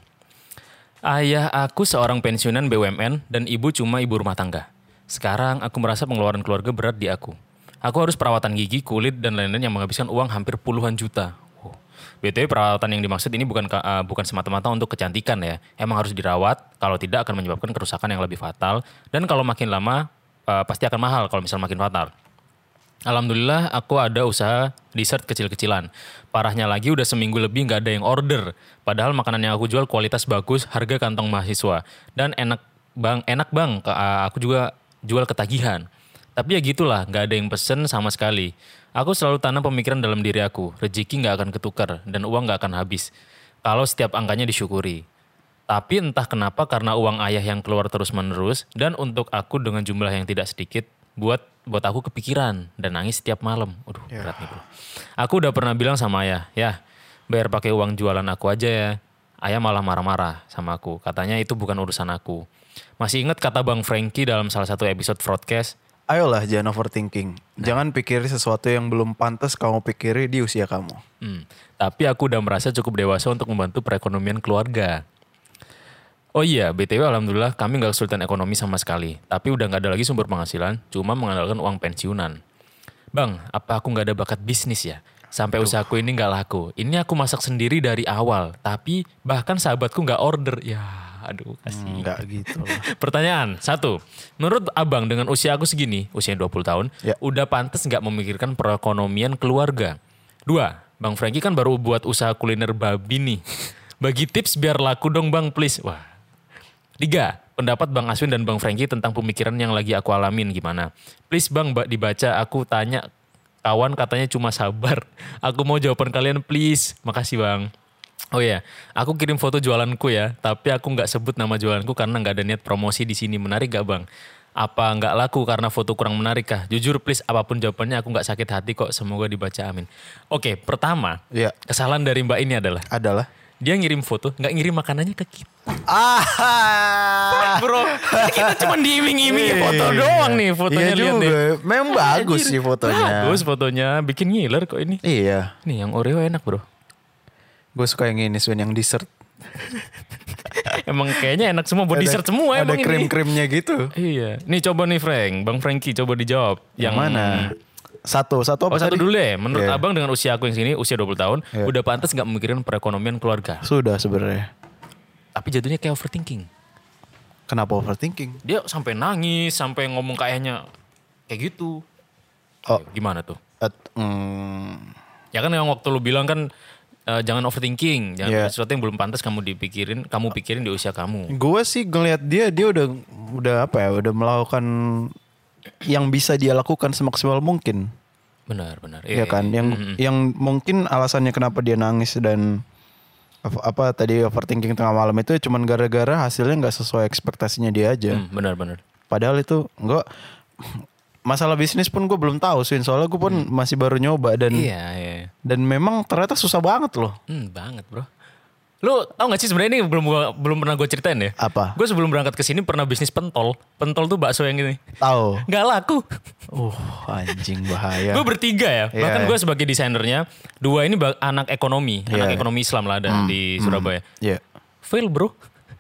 Speaker 3: Ayah aku seorang pensiunan BUMN dan ibu cuma ibu rumah tangga. Sekarang aku merasa pengeluaran keluarga berat di aku. Aku harus perawatan gigi, kulit dan lain-lain yang menghabiskan uang hampir puluhan juta. Wow. BTW perawatan yang dimaksud ini bukan ka- eh, bukan semata-mata untuk kecantikan ya. Emang harus dirawat, kalau tidak akan menyebabkan kerusakan yang lebih fatal dan kalau makin lama eh, pasti akan mahal kalau misal makin fatal. Alhamdulillah aku ada usaha dessert kecil-kecilan. Parahnya lagi udah seminggu lebih nggak ada yang order. Padahal makanan yang aku jual kualitas bagus, harga kantong mahasiswa. Dan enak bang, enak bang, Ke- uh, aku juga jual ketagihan. Tapi ya gitulah, nggak ada yang pesen sama sekali. Aku selalu tanam pemikiran dalam diri aku, rezeki nggak akan ketukar dan uang nggak akan habis. Kalau setiap angkanya disyukuri. Tapi entah kenapa karena uang ayah yang keluar terus-menerus dan untuk aku dengan jumlah yang tidak sedikit buat buat aku kepikiran dan nangis setiap malam. Aduh, berat nih, Bro. Aku udah pernah bilang sama ayah, "Ya, bayar pakai uang jualan aku aja ya." Ayah malah marah-marah sama aku. Katanya itu bukan urusan aku. Masih ingat kata Bang Frankie dalam salah satu episode broadcast,
Speaker 1: Ayolah jangan overthinking.
Speaker 3: Nah.
Speaker 1: Jangan pikirin sesuatu yang belum pantas kamu pikiri di usia kamu.
Speaker 3: Hmm, Tapi aku udah merasa cukup dewasa untuk membantu perekonomian keluarga. Oh iya, BTW Alhamdulillah kami nggak kesulitan ekonomi sama sekali. Tapi udah nggak ada lagi sumber penghasilan, cuma mengandalkan uang pensiunan. Bang, apa aku nggak ada bakat bisnis ya? Sampai usahaku ini nggak laku. Ini aku masak sendiri dari awal, tapi bahkan sahabatku nggak order. Ya, aduh kasih.
Speaker 1: Enggak gitu. lah.
Speaker 3: (laughs) Pertanyaan satu, menurut abang dengan usia aku segini, usia 20 tahun,
Speaker 1: Ya.
Speaker 3: udah pantas nggak memikirkan perekonomian keluarga? Dua, bang Frankie kan baru buat usaha kuliner babi nih. Bagi tips biar laku dong bang, please. Wah. Tiga, pendapat bang Aswin dan bang Frankie tentang pemikiran yang lagi aku alamin gimana? Please bang, mbak dibaca. Aku tanya kawan katanya cuma sabar. (laughs) Aku mau jawaban kalian please. Makasih bang. Oh iya, aku kirim foto jualanku ya, tapi aku nggak sebut nama jualanku karena nggak ada niat promosi di sini. Menarik gak bang? Apa nggak laku karena foto kurang menarik kah? Jujur please, apapun jawabannya aku nggak sakit hati kok. Semoga dibaca amin. Oke, pertama
Speaker 1: Iya.
Speaker 3: kesalahan dari mbak ini adalah
Speaker 1: Adalah.
Speaker 3: dia ngirim foto, nggak ngirim makanannya ke kita.
Speaker 1: Ah.
Speaker 3: Bro, kita cuma diiming-iming foto doang nih fotonya
Speaker 1: Iya
Speaker 3: lihat
Speaker 1: juga.
Speaker 3: nih.
Speaker 1: Memang bagus sih fotonya.
Speaker 3: Bagus fotonya, bikin ngiler kok ini.
Speaker 1: (laughs) Iya.
Speaker 3: Nih yang Oreo enak bro.
Speaker 1: Gue suka yang ini Swin yang dessert.
Speaker 3: Emang kayaknya enak semua buat
Speaker 1: Ada-
Speaker 3: Oh, dessert semua
Speaker 1: Ada
Speaker 3: emang ini.
Speaker 1: krim-krimnya gitu.
Speaker 3: Iya. Nih coba nih Frank, Bang Frankie coba dijawab. Yang
Speaker 1: Yang mana? Satu, satu apa
Speaker 3: Oh
Speaker 1: tadi?
Speaker 3: satu dulu ya, menurut
Speaker 1: Iya.
Speaker 3: abang dengan usia aku yang sini, usia 20 tahun, udah pantas nggak memikirin perekonomian keluarga.
Speaker 1: Sudah sebenarnya.
Speaker 3: Tapi jatuhnya kayak overthinking.
Speaker 1: Kenapa overthinking?
Speaker 3: Dia sampai nangis, sampai ngomong kayaknya kayak gitu.
Speaker 1: Oh.
Speaker 3: Gimana tuh?
Speaker 1: At, mm,
Speaker 3: Ya kan yang waktu lu bilang kan eh, jangan overthinking, jangan
Speaker 1: Iya.
Speaker 3: sesuatu yang belum pantas kamu dipikirin, kamu pikirin di usia kamu.
Speaker 1: gue sih ngelihat dia dia udah udah apa ya udah melakukan yang bisa dia lakukan semaksimal mungkin
Speaker 3: Benar, benar. Iya,
Speaker 1: ya kan yang yang mungkin alasannya kenapa dia nangis dan apa, apa tadi overthinking tengah malam itu cuman gara-gara hasilnya nggak sesuai ekspektasinya dia aja
Speaker 3: Hmm, benar, benar.
Speaker 1: padahal itu gue masalah bisnis pun gue belum tahu Swin soalnya gue pun masih baru nyoba dan
Speaker 3: Mm. Iya, iya.
Speaker 1: dan memang ternyata susah banget loh
Speaker 3: Hmm, banget, Bro. Lu tau gak sih sebenarnya ini belum gua- belum pernah gue ceritain ya?
Speaker 1: apa
Speaker 3: Gue sebelum berangkat ke sini pernah bisnis pentol. Pentol tuh bakso yang gini.
Speaker 1: tahu
Speaker 3: Gak laku.
Speaker 1: uh anjing bahaya
Speaker 3: Gue bertiga ya.
Speaker 1: Iya,
Speaker 3: Bahkan
Speaker 1: iya.
Speaker 3: gue sebagai desainernya, dua ini ba- anak ekonomi,
Speaker 1: Iya.
Speaker 3: anak ekonomi Islam lah ada di Surabaya.
Speaker 1: ya
Speaker 3: Fail bro.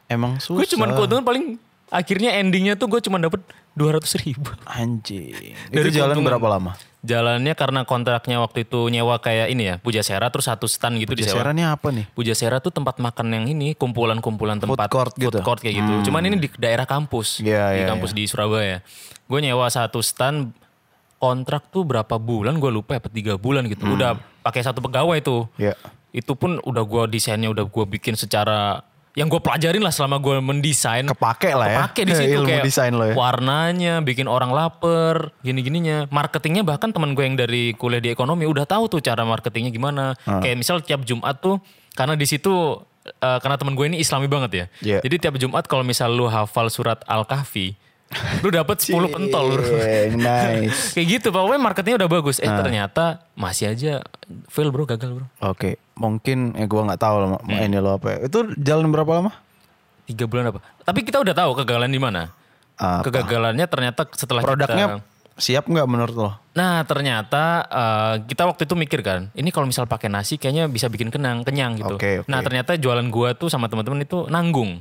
Speaker 1: emang susah
Speaker 3: Gue cuman keuntungan paling akhirnya endingnya tuh gue cuman dapet 200 ribu.
Speaker 1: Anjing.
Speaker 3: Dari
Speaker 1: itu jalan
Speaker 3: keuntungan.
Speaker 1: berapa lama?
Speaker 3: Jalannya karena kontraknya waktu itu nyewa kayak ini ya, Pujasera terus satu stand gitu disewa.
Speaker 1: Jasarannya apa nih?
Speaker 3: Pujasera tuh tempat makan yang ini, kumpulan-kumpulan tempat
Speaker 1: court gitu.
Speaker 3: court kayak gitu. Cuman ini di daerah kampus,
Speaker 1: Iya,
Speaker 3: di
Speaker 1: iya,
Speaker 3: kampus di Surabaya. Gue nyewa satu stand kontrak tuh berapa bulan gue lupa ya, apa tiga bulan gitu. Udah pakai satu pegawai tuh.
Speaker 1: Ya.
Speaker 3: Itu pun udah gua desainnya udah gua bikin secara yang gue pelajarin lah selama gue mendesain
Speaker 1: Kepake lah ya.
Speaker 3: Kepake di
Speaker 1: (laughs)
Speaker 3: situ
Speaker 1: Ilmu
Speaker 3: kayak
Speaker 1: desain lo ya.
Speaker 3: warnanya, bikin orang lapar, gini-gininya. Marketingnya bahkan teman gue yang dari kuliah di ekonomi udah tahu tuh cara marketingnya gimana.
Speaker 1: Ah.
Speaker 3: Kayak misal tiap Jumat tuh karena di situ eh, karena teman gue ini islami banget ya.
Speaker 1: Iya.
Speaker 3: Jadi tiap Jumat kalau misal lu hafal surat Al-Kahfi,
Speaker 1: (laughs)
Speaker 3: lu dapat 10 pentol. bro.
Speaker 1: Cing, Eh, nice.
Speaker 3: Kayak gitu, pokoknya marketingnya udah bagus.
Speaker 1: Ah.
Speaker 3: Eh ternyata masih aja fail bro, gagal bro.
Speaker 1: Oke, mungkin eh gua nggak tahu lah ma-
Speaker 3: Hmm.
Speaker 1: ini lo apa. Ya. Itu jalan berapa lama?
Speaker 3: Tiga bulan apa? Tapi kita udah tahu kegagalan di mana.
Speaker 1: Apa?
Speaker 3: Kegagalannya ternyata setelah kita-
Speaker 1: Ah, Produknya siap nggak menurut lo?
Speaker 3: Nah ternyata eh, kita waktu itu mikir kan, ini kalau misal pakai nasi kayaknya bisa bikin kenang, kenyang gitu.
Speaker 1: Oke, oke.
Speaker 3: Nah ternyata jualan gua tuh sama teman-teman itu nanggung,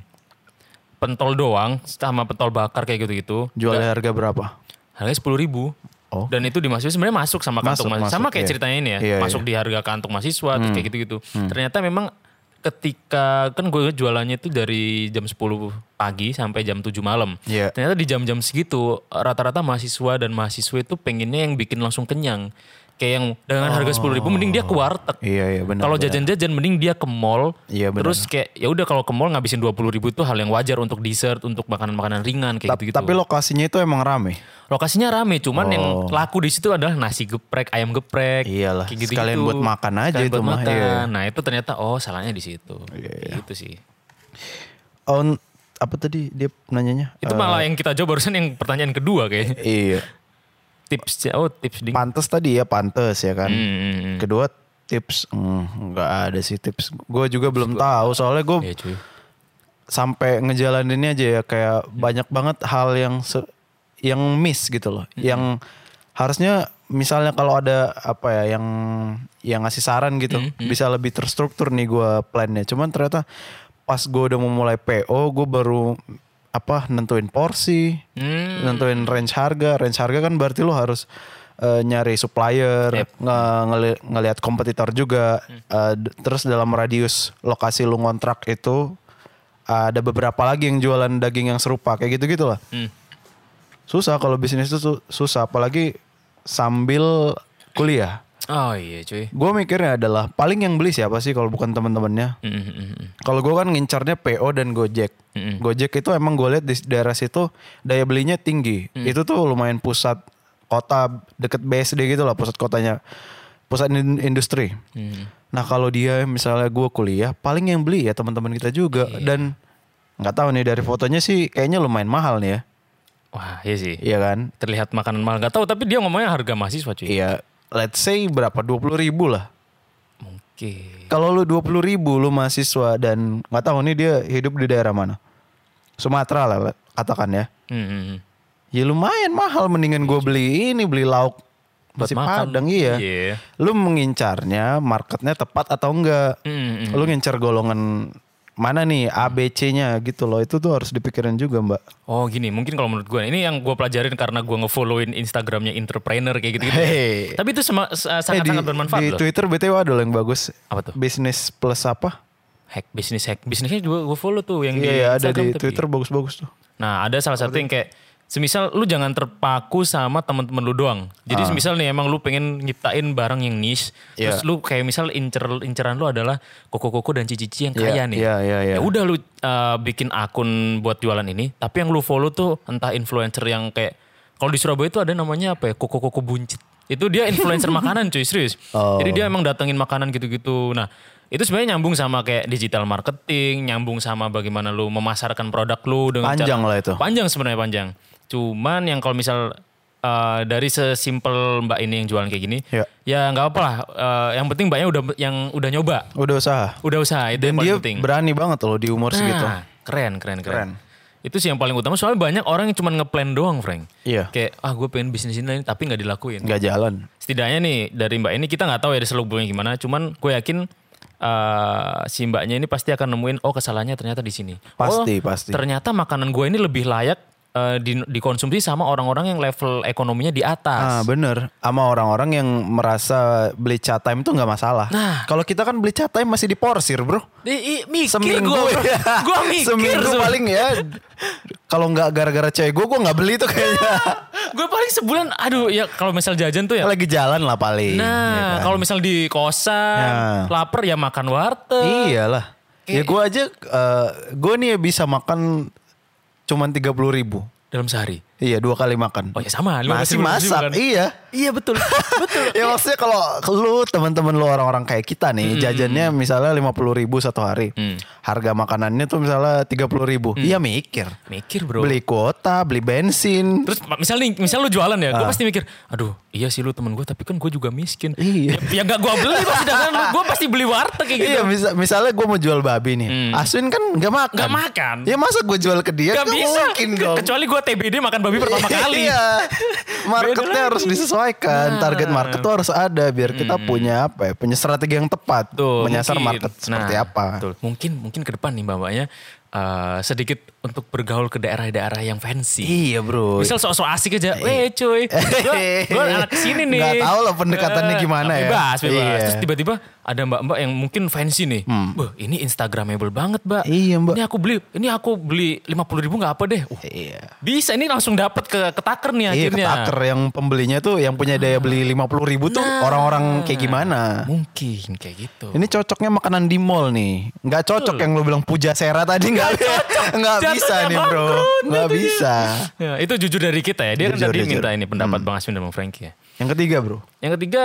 Speaker 3: pentol doang sama pentol bakar kayak gitu-gitu.
Speaker 1: Jualnya harga berapa?
Speaker 3: Harganya sepuluh ribu.
Speaker 1: Oh.
Speaker 3: Dan itu di mahasiswa sebenarnya masuk sama
Speaker 1: Masuk,
Speaker 3: kantung mahasiswa.
Speaker 1: masuk,
Speaker 3: sama kayak
Speaker 1: iya.
Speaker 3: ceritanya ini ya,
Speaker 1: Iya, Hmm.
Speaker 3: masuk di harga kantung mahasiswa terus kayak gitu-gitu. Ternyata memang ketika kan gue jualannya itu dari jam 10 pagi sampai jam 7 malam.
Speaker 1: Iya.
Speaker 3: Ternyata di jam-jam segitu rata-rata mahasiswa dan mahasiswa itu pengennya yang bikin langsung kenyang. Kayak yang dengan harga 10.000 mending dia ke warteg.
Speaker 1: Oh. Iya iya benar.
Speaker 3: Kalau
Speaker 1: benar.
Speaker 3: jajan-jajan mending dia ke mall.
Speaker 1: Iya, benar.
Speaker 3: terus kayak ya udah kalau ke mall ngabisin 20.000 ribu itu hal yang wajar untuk dessert, untuk makanan-makanan ringan kayak
Speaker 1: Ta-
Speaker 3: gitu-gitu.
Speaker 1: Tapi lokasinya itu emang rame.
Speaker 3: Lokasinya rame, cuman yang laku di situ adalah nasi geprek, ayam geprek.
Speaker 1: Oh. Iyalah,
Speaker 3: kayak
Speaker 1: sekalian buat makan aja
Speaker 3: Sekalian
Speaker 1: itu
Speaker 3: buat
Speaker 1: mah,
Speaker 3: makan.
Speaker 1: iya.
Speaker 3: Nah, itu ternyata oh salahnya di situ. Gitu sih.
Speaker 1: On apa tadi dia nanyanya?
Speaker 3: Itu
Speaker 1: Eh,
Speaker 3: malah yang kita jawab barusan yang pertanyaan kedua kayaknya.
Speaker 1: iya.
Speaker 3: tips oh tips ding.
Speaker 1: Pantes tadi ya pantes ya kan.
Speaker 3: Hmm,
Speaker 1: Kedua tips hmm, nggak ada sih tips. Gue juga belum tahu soalnya gue
Speaker 3: Iya, cuy.
Speaker 1: sampai ngejalaninnya aja ya kayak banyak banget hal yang se- yang miss gitu loh. Yang harusnya misalnya kalau ada apa ya yang yang ngasih saran gitu bisa lebih terstruktur nih gue plannya. Cuman ternyata pas gue udah mau mulai PO gue baru apa nentuin porsi,
Speaker 3: Hmm.
Speaker 1: nentuin range harga. Range harga kan berarti lo harus eh, nyari supplier, nge- ngeli- ngelihat kompetitor juga. Eh, d- terus dalam radius lokasi lu ngontrak itu ada beberapa lagi yang jualan daging yang serupa kayak gitu-gitu lah.
Speaker 3: Hmm.
Speaker 1: Susah kalau bisnis itu su- susah apalagi sambil kuliah.
Speaker 3: Oh iya cuy.
Speaker 1: Gue mikirnya adalah paling yang beli siapa sih kalau bukan teman-temannya.
Speaker 3: Hmm, hmm, hmm, hmm.
Speaker 1: Kalau gue kan ngincarnya PO dan Gojek. Gojek itu emang gue lihat di daerah situ daya belinya tinggi. Itu tuh lumayan pusat kota deket BSD gitu lah pusat kotanya. Pusat in- industri. Nah kalau dia misalnya gue kuliah paling yang beli ya teman-teman kita juga. Dan nggak tahu nih dari fotonya sih kayaknya lumayan mahal nih ya.
Speaker 3: Wah, iya sih.
Speaker 1: Iya kan?
Speaker 3: Terlihat makanan mahal gak tahu tapi dia ngomongnya harga mahasiswa cuy.
Speaker 1: Iya let's say berapa? 20 ribu lah.
Speaker 3: Mungkin.
Speaker 1: Kalau lu 20 ribu lu mahasiswa dan nggak tahu nih dia hidup di daerah mana. Sumatera lah katakan ya.
Speaker 3: Hmm, hmm, hmm.
Speaker 1: Ya lumayan mahal mendingan gue beli ini beli lauk
Speaker 3: Buat
Speaker 1: nasi
Speaker 3: makan.
Speaker 1: padang iya.
Speaker 3: Iya.
Speaker 1: Lu mengincarnya marketnya tepat atau enggak?
Speaker 3: Hmm, hmm.
Speaker 1: Lu ngincar golongan mana nih ABC-nya gitu loh. Itu tuh harus dipikirin juga, Mbak.
Speaker 3: Oh gini, mungkin kalau menurut gue ini yang gue pelajarin karena gue ngefollowin Instagramnya entrepreneur kayak gitu-gitu. ya.
Speaker 1: Hey.
Speaker 3: Tapi itu sema- s-
Speaker 1: Eh, di,
Speaker 3: sangat-sangat Kan bermanfaat
Speaker 1: di
Speaker 3: loh.
Speaker 1: Twitter BTW ada loh yang bagus.
Speaker 3: Apa tuh?
Speaker 1: Bisnis plus apa?
Speaker 3: Hack bisnis hack bisnisnya juga gue follow tuh yang
Speaker 1: Iya,
Speaker 3: di
Speaker 1: iya, ada
Speaker 3: Instagram
Speaker 1: di
Speaker 3: tapi-
Speaker 1: Twitter bagus-bagus tuh.
Speaker 3: Nah ada salah satu yang kayak semisal lu jangan terpaku sama teman-teman lu doang. Jadi semisal nih emang lu pengen nyiptain barang yang niche,
Speaker 1: Ah.
Speaker 3: terus
Speaker 1: Iya.
Speaker 3: lu kayak misal incer inceran lu adalah koko-koko dan cici-cici yang kaya
Speaker 1: Iya,
Speaker 3: nih.
Speaker 1: iya, iya, iya.
Speaker 3: Ya udah lu uh, bikin akun buat jualan ini, tapi yang lu follow tuh entah influencer yang kayak kalau di Surabaya itu ada namanya apa ya? Koko-koko buncit. Itu dia
Speaker 1: (laughs)
Speaker 3: influencer makanan cuy, serius.
Speaker 1: Oh.
Speaker 3: Jadi dia emang datengin makanan gitu-gitu. Nah, itu sebenarnya nyambung sama kayak digital marketing, nyambung sama bagaimana lu memasarkan produk lu dengan cara-
Speaker 1: Panjang lah itu.
Speaker 3: Panjang sebenarnya panjang. Cuman yang kalau misal uh, dari sesimpel Mbak ini yang jualan kayak gini,
Speaker 1: Iya.
Speaker 3: ya nggak apa-apa lah. Uh, yang penting Mbaknya udah yang udah nyoba,
Speaker 1: Udah usaha.
Speaker 3: udah usaha itu yang
Speaker 1: Dan
Speaker 3: paling
Speaker 1: dia
Speaker 3: penting.
Speaker 1: berani banget loh di umur segitu.
Speaker 3: Nah, keren, keren,
Speaker 1: Keren.
Speaker 3: keren. Itu sih yang paling utama. Soalnya banyak orang yang cuma ngeplan doang, Frank.
Speaker 1: Iya.
Speaker 3: Kayak ah gue pengen bisnis ini tapi nggak dilakuin
Speaker 1: Nggak jalan.
Speaker 3: setidaknya nih dari mbak ini kita nggak tahu ya selubungnya gimana cuman gue yakin eh, si mbaknya ini pasti akan nemuin oh kesalahannya ternyata di sini
Speaker 1: Pasti,
Speaker 3: oh,
Speaker 1: pasti.
Speaker 3: ternyata makanan gue ini lebih layak eh, di- dikonsumsi sama orang-orang yang level ekonominya di
Speaker 1: Ah
Speaker 3: atas
Speaker 1: bener, sama orang-orang yang merasa beli cat time tuh nggak masalah.
Speaker 3: Nah.
Speaker 1: kalau kita kan beli cat time masih diporsir bro.
Speaker 3: Ih, ih, mikir
Speaker 1: Seminggu, ya.
Speaker 3: gua, bro. (laughs) Gua mikir
Speaker 1: seminggu
Speaker 3: sebenarnya.
Speaker 1: paling ya. Kalau nggak gara-gara cewek gue, gue nggak beli tuh
Speaker 3: (laughs)
Speaker 1: kayaknya.
Speaker 3: gue paling sebulan aduh ya kalau misal jajan tuh ya
Speaker 1: Lagi jalan lah paling. kan?
Speaker 3: nah kalau misal di kosan
Speaker 1: Nah.
Speaker 3: lapar ya makan
Speaker 1: Iya.
Speaker 3: warteg
Speaker 1: Iyalah. Ya gue aja, gue nih bisa makan cuman tiga puluh ribu.
Speaker 3: dalam sehari
Speaker 1: Iya dua kali makan.
Speaker 3: oh ya sama
Speaker 1: Masih
Speaker 3: 15.000,
Speaker 1: masak,
Speaker 3: bukan?
Speaker 1: iya.
Speaker 3: iya (laughs) betul betul
Speaker 1: ya maksudnya kalau lu teman-teman lu orang-orang kayak kita
Speaker 3: Hmm.
Speaker 1: nih jajannya misalnya lima puluh ribu satu hari harga makanannya tuh misalnya tiga puluh ribu iya mikir
Speaker 3: mikir Hmm. bro
Speaker 1: beli kuota beli bensin
Speaker 3: Terus misal nih, misal lu jualan ya,
Speaker 1: Ah.
Speaker 3: gue pasti mikir, aduh, iya sih lu temen gue, tapi kan gue juga miskin.
Speaker 1: Iya.
Speaker 3: Ya, ya gak gue beli, pasti gue pasti beli warteg kayak gitu. Hmm.
Speaker 1: Iya misa- misalnya gue mau jual babi nih Aswin kan gak makan
Speaker 3: Nggak makan.
Speaker 1: Ya masa gue jual ke dia
Speaker 3: Gak
Speaker 1: Nggak
Speaker 3: bisa.
Speaker 1: mungkin
Speaker 3: Ke-
Speaker 1: dong
Speaker 3: Kecuali gue TBD makan babi
Speaker 1: (laughs)
Speaker 3: pertama kali.
Speaker 1: Iya Marketnya
Speaker 3: Beda
Speaker 1: harus
Speaker 3: lagi.
Speaker 1: disesuaikan
Speaker 3: Nah.
Speaker 1: Target market tuh harus ada Biar kita punya apa ya Punya strategi yang tepat
Speaker 3: Betul,
Speaker 1: Menyasar
Speaker 3: mungkin.
Speaker 1: market seperti
Speaker 3: Nah,
Speaker 1: apa
Speaker 3: betul. Mungkin mungkin ke depan nih mbak-mbaknya eh, sedikit untuk bergaul ke daerah-daerah yang fancy.
Speaker 1: Iya bro.
Speaker 3: Misal sok-sok asik aja, weh cuy,
Speaker 1: (laughs)
Speaker 3: gue anak kesini nih.
Speaker 1: Iya. Nggak tahu lah pendekatannya
Speaker 3: Eh,
Speaker 1: gimana ya.
Speaker 3: Bebas, bebas.
Speaker 1: Iya. Hmm.
Speaker 3: Terus tiba-tiba ada mbak-mbak yang mungkin fancy nih. Wah ini instagramable banget mbak.
Speaker 1: Iya, mbak.
Speaker 3: Ini aku beli, ini aku beli 50 ribu gak apa deh. Uh,
Speaker 1: Iya.
Speaker 3: bisa, ini langsung dapat ke ketaker nih
Speaker 1: Iya
Speaker 3: akhirnya.
Speaker 1: ketaker yang pembelinya tuh yang punya daya beli 50 ribu tuh
Speaker 3: Nah.
Speaker 1: orang-orang kayak gimana.
Speaker 3: Mungkin kayak gitu.
Speaker 1: Ini cocoknya makanan di mall nih. Nggak cocok yang lu bilang puja sera tadi nggak (laughs) nggak bisa
Speaker 3: Jatuhnya
Speaker 1: nih bro.
Speaker 3: bangkrut
Speaker 1: Nggak
Speaker 3: jatuhnya.
Speaker 1: bisa.
Speaker 3: Ya, itu jujur dari kita ya. Dia kan
Speaker 1: Jujur,
Speaker 3: tadi
Speaker 1: jujur. Hmm.
Speaker 3: minta ini pendapat Bang Aswin dan Bang Frankie ya.
Speaker 1: Yang ketiga bro.
Speaker 3: Yang ketiga,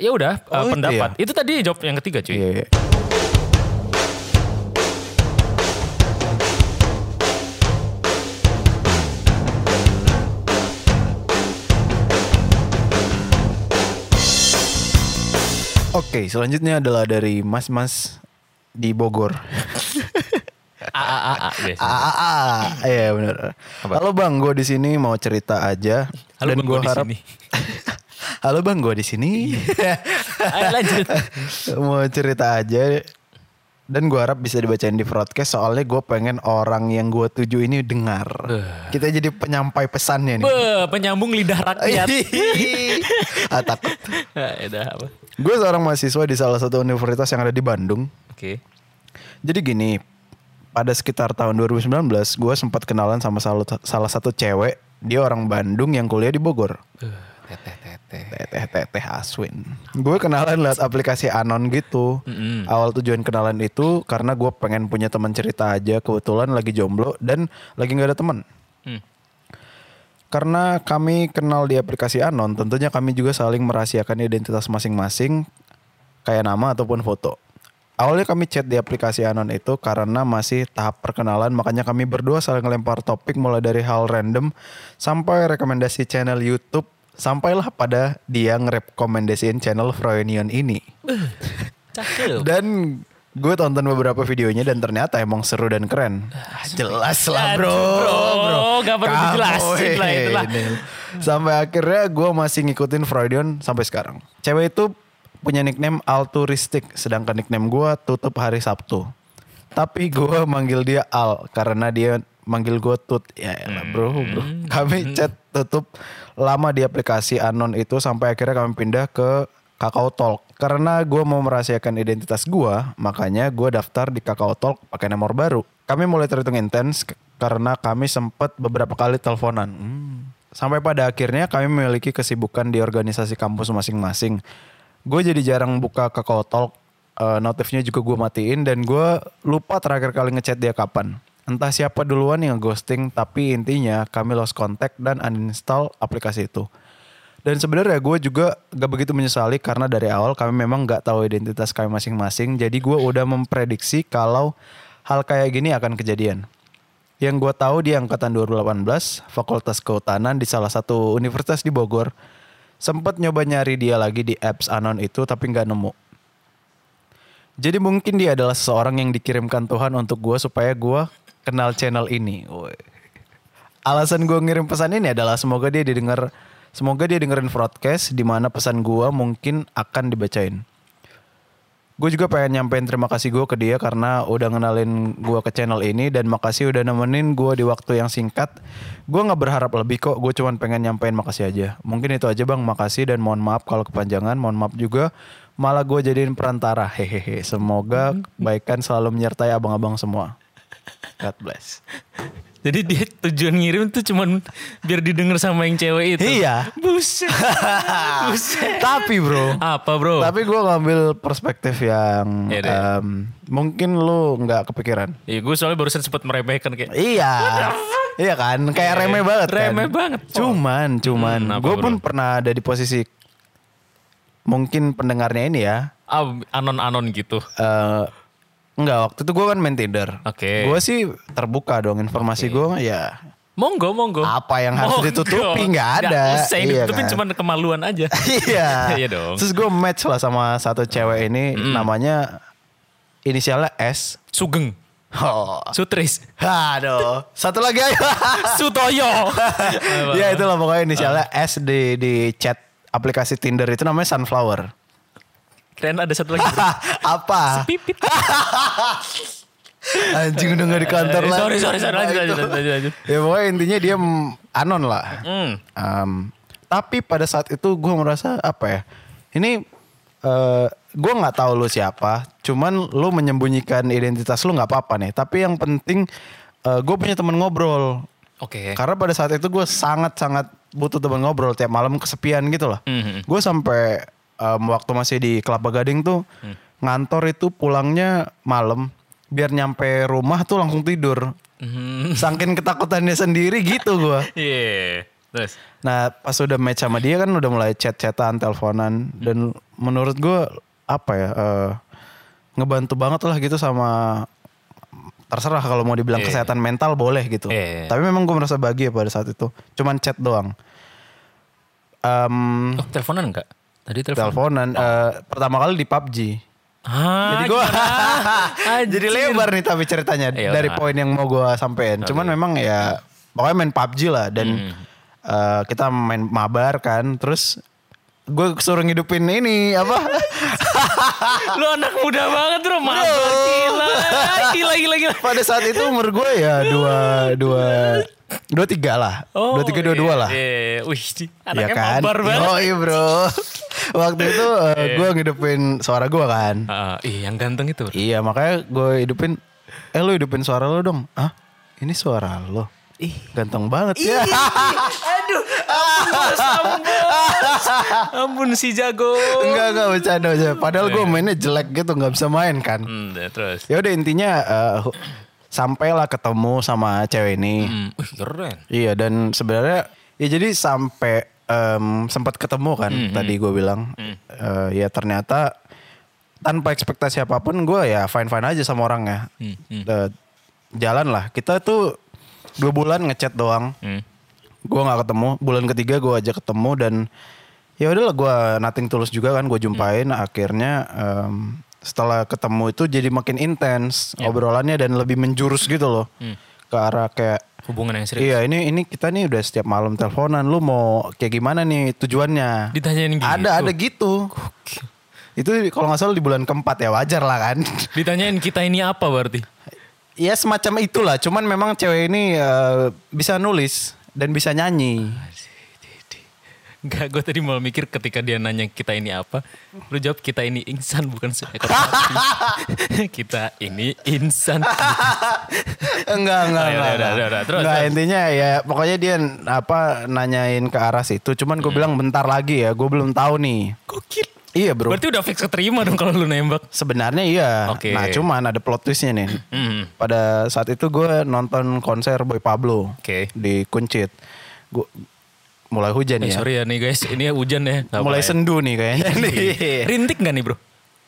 Speaker 3: ya udah eh,
Speaker 1: Oh, itu
Speaker 3: pendapat. Itu, tadi jawab yang ketiga cuy.
Speaker 1: Iya. Oke, selanjutnya adalah dari mas-mas di Bogor.
Speaker 3: A A A A. biasa.
Speaker 1: (laughs) Ah, iya benar. Halo Bang, gue di sini mau cerita aja
Speaker 3: Halo
Speaker 1: dan
Speaker 3: Bang,
Speaker 1: gue
Speaker 3: gua di
Speaker 1: harap
Speaker 3: sini.
Speaker 1: (laughs) Halo Bang, gue di sini. Iya.
Speaker 3: Ayo lanjut.
Speaker 1: (laughs) mau cerita aja dan gue harap bisa dibacain di broadcast soalnya gue pengen orang yang gue tuju ini dengar. Kita jadi penyampai pesannya nih.
Speaker 3: Be, penyambung lidah rakyat.
Speaker 1: (laughs) Iya. ah, takut.
Speaker 3: Ah, (laughs) ya udah apa?
Speaker 1: Gue seorang mahasiswa di salah satu universitas yang ada di Bandung.
Speaker 3: Oke.
Speaker 1: Jadi gini, pada sekitar tahun 2019 gue sempat kenalan sama salah, salah satu cewek. Dia orang Bandung yang kuliah di Bogor.
Speaker 3: Eh, Teteh teteh.
Speaker 1: Teh teh teh teh Aswin. Gue kenalan lewat aplikasi Anon gitu. Awal tujuan kenalan itu karena gue pengen punya teman cerita aja. Kebetulan lagi jomblo dan lagi nggak ada teman.
Speaker 3: Hmm.
Speaker 1: Karena kami kenal di aplikasi Anon, tentunya kami juga saling merahasiakan identitas masing-masing, kayak nama ataupun foto. Awalnya kami chat di aplikasi Anon itu karena masih tahap perkenalan, makanya kami berdua saling lempar topik mulai dari hal random sampai rekomendasi channel YouTube, sampailah pada dia ngerekomendasiin channel Froyonion ini.
Speaker 3: Cakep.
Speaker 1: Dan gue tonton beberapa videonya dan ternyata emang seru dan keren. Jelas lah bro,
Speaker 3: Ah, bro, gak perlu
Speaker 1: Kamu,
Speaker 3: dijelasin lah
Speaker 1: eh,
Speaker 3: itulah.
Speaker 1: Del. Sampai akhirnya gue masih ngikutin Freudian sampai sekarang. Cewek itu punya nickname Alturistik, sedangkan nickname gue Tutup Hari Sabtu. Tapi gue manggil dia Al karena dia manggil gue Tut. Ya elah, bro, bro. Kami chat tutup lama di aplikasi Anon itu sampai akhirnya kami pindah ke Kakao Talk. Karena gue mau merahasiakan identitas gue, makanya gue daftar di Kakao Talk pakai nomor baru. Kami mulai terhitung intens k- karena kami sempat beberapa kali teleponan. Hmm. Sampai pada akhirnya kami memiliki kesibukan di organisasi kampus masing-masing. Gue jadi jarang buka Kakao Talk, eh, notifnya juga gue matiin dan gue lupa terakhir kali ngechat dia kapan. Entah siapa duluan yang ghosting, tapi intinya kami lost contact dan uninstall aplikasi itu. Dan sebenarnya gue juga gak begitu menyesali karena dari awal kami memang gak tahu identitas kami masing-masing. Jadi gue udah memprediksi kalau hal kayak gini akan kejadian. Yang gue tahu di angkatan 2018, Fakultas Kehutanan di salah satu universitas di Bogor. Sempat nyoba nyari dia lagi di apps Anon itu tapi gak nemu. Jadi mungkin dia adalah seseorang yang dikirimkan Tuhan untuk gue supaya gue kenal channel ini. Woi. Alasan gue ngirim pesan ini adalah semoga dia didengar, semoga dia dengerin broadcast di mana pesan gue mungkin akan dibacain. Gue juga pengen nyampein terima kasih gue ke dia karena udah ngenalin gue ke channel ini dan makasih udah nemenin gue di waktu yang singkat. Gue nggak berharap lebih kok, gue cuman pengen nyampein makasih aja. Mungkin itu aja bang, makasih dan mohon maaf kalau kepanjangan, mohon maaf juga. Malah gue jadiin perantara, hehehe. Semoga kebaikan selalu menyertai abang-abang semua. God
Speaker 3: (laughs)
Speaker 1: bless.
Speaker 3: Jadi dia tujuan ngirim tuh cuman biar didengar sama yang cewek itu.
Speaker 1: Iya. (laughs)
Speaker 3: Buset.
Speaker 1: Tapi bro,
Speaker 3: Apa bro?
Speaker 1: Tapi gue ngambil perspektif yang
Speaker 3: Iya deh.
Speaker 1: em, mungkin lu nggak kepikiran.
Speaker 3: Iya gue soalnya barusan sempat meremehkan kayak.
Speaker 1: Iya. Iya kan, kayak remeh banget kan.
Speaker 3: Remeh banget, Pol.
Speaker 1: Cuman, cuman,
Speaker 3: Hmm, apa,
Speaker 1: gue pun
Speaker 3: bro?
Speaker 1: pernah ada di posisi mungkin pendengarnya ini ya.
Speaker 3: Ah, anon-anon gitu.
Speaker 1: eh enggak, waktu itu gue kan main Tinder.
Speaker 3: Oke.
Speaker 1: Gue sih terbuka dong informasi gue ya.
Speaker 3: Monggo, monggo.
Speaker 1: Apa yang harus ditutupi? Nggak ada.
Speaker 3: Oh, usah yang
Speaker 1: Iya
Speaker 3: ditutupin
Speaker 1: kan?
Speaker 3: cuman kemaluan aja.
Speaker 1: (laughs) Iya.
Speaker 3: (laughs) Iya dong. Hmm.
Speaker 1: Terus gue match lah sama satu cewek ini namanya inisialnya S.
Speaker 3: Sugeng,
Speaker 1: Oh. (laughs)
Speaker 3: Sutris,
Speaker 1: Aduh, satu lagi ayo. (laughs)
Speaker 3: Sutoyo.
Speaker 1: ya itulah pokoknya inisialnya
Speaker 3: Ah.
Speaker 1: S di di chat aplikasi Tinder itu namanya Sunflower. (laughs)
Speaker 3: Keren ada satu lagi.
Speaker 1: Apa?
Speaker 3: Pipit.
Speaker 1: Anjing udah gak di kantor
Speaker 3: Eh,
Speaker 1: lah.
Speaker 3: sorry, sorry, sorry, lanjut, lanjut, lanjut, lanjut.
Speaker 1: Ya pokoknya intinya dia mm, anon lah.
Speaker 3: Hmm.
Speaker 1: Um, tapi pada saat itu gue merasa apa ya. Ini eh gue gak tahu lu siapa. Cuman lu menyembunyikan identitas lu gak apa-apa nih. Tapi yang penting gue punya temen ngobrol.
Speaker 3: Oke.
Speaker 1: Karena pada saat itu gue sangat-sangat butuh teman ngobrol tiap malam kesepian gitu loh.
Speaker 3: Mhm.
Speaker 1: Gue sampai em, waktu masih di Kelapa Gading tuh ngantor itu pulangnya malam biar nyampe rumah tuh langsung tidur. Saking ketakutannya sendiri gitu gue.
Speaker 3: Iya. Terus.
Speaker 1: Nah pas udah match sama dia kan udah mulai chat-chatan, teleponan dan menurut gue apa ya eh, ngebantu banget lah gitu sama terserah kalau mau dibilang kesehatan mental boleh gitu.
Speaker 3: Iya, iya.
Speaker 1: Tapi memang gue merasa bahagia pada saat itu. Cuman chat doang. Em,
Speaker 3: Oh, teleponan enggak? Tadi telepon.
Speaker 1: teleponan eh, pertama kali di PUBG.
Speaker 3: Ah,
Speaker 1: Jadi gue (laughs) jadi
Speaker 3: Anjir.
Speaker 1: lebar nih tapi ceritanya
Speaker 3: Iya,
Speaker 1: dari
Speaker 3: nah.
Speaker 1: poin yang mau gue sampein. Cuman memang ya pokoknya main PUBG lah
Speaker 3: Hmm.
Speaker 1: dan eh, kita main mabar kan. Terus gue suruh ngidupin ini apa (laughs)
Speaker 3: Lu anak muda banget bro, mabar
Speaker 1: (laughs)
Speaker 3: gila. Gila, gila, gila.
Speaker 1: pada saat itu umur gue ya dua dua dua tiga lah dua tiga dua dua
Speaker 3: iya,
Speaker 1: lah.
Speaker 3: Iya, iya. wih, di-
Speaker 1: Iya
Speaker 3: anaknya
Speaker 1: kan?
Speaker 3: mabar banget. Iya.
Speaker 1: Yoi bro. (laughs) Waktu itu gue ngidupin suara gue kan.
Speaker 3: Ah, iya, yang ganteng itu bro.
Speaker 1: Iya makanya gue hidupin. Eh lu hidupin suara lu dong. Hah? Ini suara lo. Ih ganteng banget ya.
Speaker 3: Aduh, ampun, sambas. ampun si jago.
Speaker 1: (laughs) (laughs) enggak enggak bercanda aja. Padahal gue mainnya jelek gitu nggak bisa main kan.
Speaker 3: Hmm, terus.
Speaker 1: Ya udah intinya eh, hu- sampailah ketemu sama cewek ini.
Speaker 3: Hmm, wih, keren.
Speaker 1: Iya dan sebenarnya ya jadi sampai em, sempat ketemu kan tadi gue bilang Eh, ya ternyata tanpa ekspektasi apapun gue ya fine fine aja sama orangnya Eh, jalan lah kita tuh dua bulan ngechat doang
Speaker 3: Hmm.
Speaker 1: gue nggak ketemu bulan ketiga gue aja ketemu dan ya udahlah gue nating tulus juga kan gue jumpain akhirnya em, setelah ketemu itu jadi makin intens obrolannya dan lebih menjurus gitu loh ke arah kayak
Speaker 3: Hubungan yang serius.
Speaker 1: Iya ini ini kita nih udah setiap malam teleponan. Lu mau kayak gimana nih tujuannya?
Speaker 3: Ditanyain gitu.
Speaker 1: Ada ada gitu. Itu kalau nggak salah di bulan keempat ya wajar lah kan.
Speaker 3: Ditanyain kita ini apa berarti?
Speaker 1: (laughs) ya semacam itulah. Cuman memang cewek ini eh, bisa nulis dan bisa nyanyi.
Speaker 3: Enggak, gue tadi mau mikir ketika dia nanya kita ini apa, lu jawab kita ini insan bukan seekor sapi.
Speaker 1: (laughs)
Speaker 3: (laughs) kita ini insan.
Speaker 1: (laughs) enggak enggak
Speaker 3: Oh, ya
Speaker 1: enggak.
Speaker 3: udah,
Speaker 1: enggak.
Speaker 3: udah, udah, terus,
Speaker 1: Enggak,
Speaker 3: terus.
Speaker 1: intinya ya pokoknya dia apa nanyain ke arah situ. Cuman gue bilang bentar lagi ya. Gue belum tahu nih.
Speaker 3: Gokil.
Speaker 1: Iya bro.
Speaker 3: Berarti udah fix keterima dong kalau lu nembak.
Speaker 1: Sebenarnya iya.
Speaker 3: Oke.
Speaker 1: Nah cuman ada plot twistnya nih.
Speaker 3: Hmm.
Speaker 1: Pada saat itu gue nonton konser Boy Pablo
Speaker 3: Oke.
Speaker 1: di Kuncit. Gue mulai hujan ya.
Speaker 3: Eh, sorry ya nih guys, ini hujan ya. Nggak
Speaker 1: Mulai
Speaker 3: apa-apa
Speaker 1: sendu nih kayaknya.
Speaker 3: ya.
Speaker 1: nih.
Speaker 3: (laughs) Rintik gak nih bro?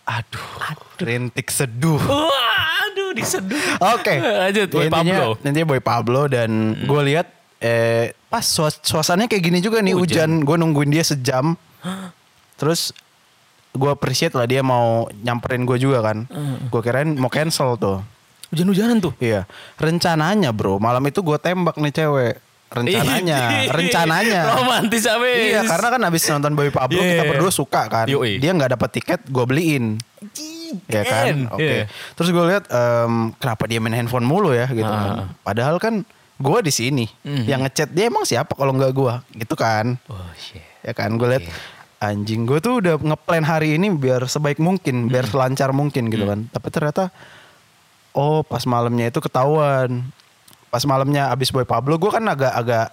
Speaker 1: Aduh, (laughs) rintik seduh.
Speaker 3: Wah, aduh diseduh.
Speaker 1: Oke.
Speaker 3: (laughs) Lanjut, Boy
Speaker 1: Intinya-
Speaker 3: Pablo. Hmm.
Speaker 1: Intinya Boy Pablo dan gue lihat eh pas suas- suasananya kayak gini juga nih hujan. Gue nungguin dia
Speaker 3: (gasps)
Speaker 1: sejam. Terus gue appreciate lah dia mau nyamperin gue juga kan.
Speaker 3: Hmm.
Speaker 1: Gue kirain mau cancel tuh.
Speaker 3: Hujan-hujanan tuh.
Speaker 1: Iya, rencananya bro, malam itu gue tembak nih cewek. Rencananya, rencananya.
Speaker 3: Romantis abis.
Speaker 1: Iya, karena kan abis nonton Boy Pablo kita
Speaker 3: Yeah.
Speaker 1: berdua suka kan.
Speaker 3: Yoi.
Speaker 1: Dia nggak dapat tiket, gue beliin. Iya kan?
Speaker 3: Keren.
Speaker 1: Oke.
Speaker 3: Iya.
Speaker 1: Terus gue lihat em, kenapa dia main handphone mulu ya
Speaker 3: Ah.
Speaker 1: gitu kan. Padahal kan gue di sini.
Speaker 3: Mhm.
Speaker 1: Yang ngechat dia emang siapa kalau nggak gue gitu kan.
Speaker 3: Oh shit.
Speaker 1: Ya kan gue lihat anjing gue tuh udah ngeplan hari ini biar sebaik mungkin, biar selancar mungkin
Speaker 3: Mm.
Speaker 1: gitu kan. Tapi ternyata oh pas malamnya itu ketahuan. Pas malamnya abis Boy Pablo gue kan agak agak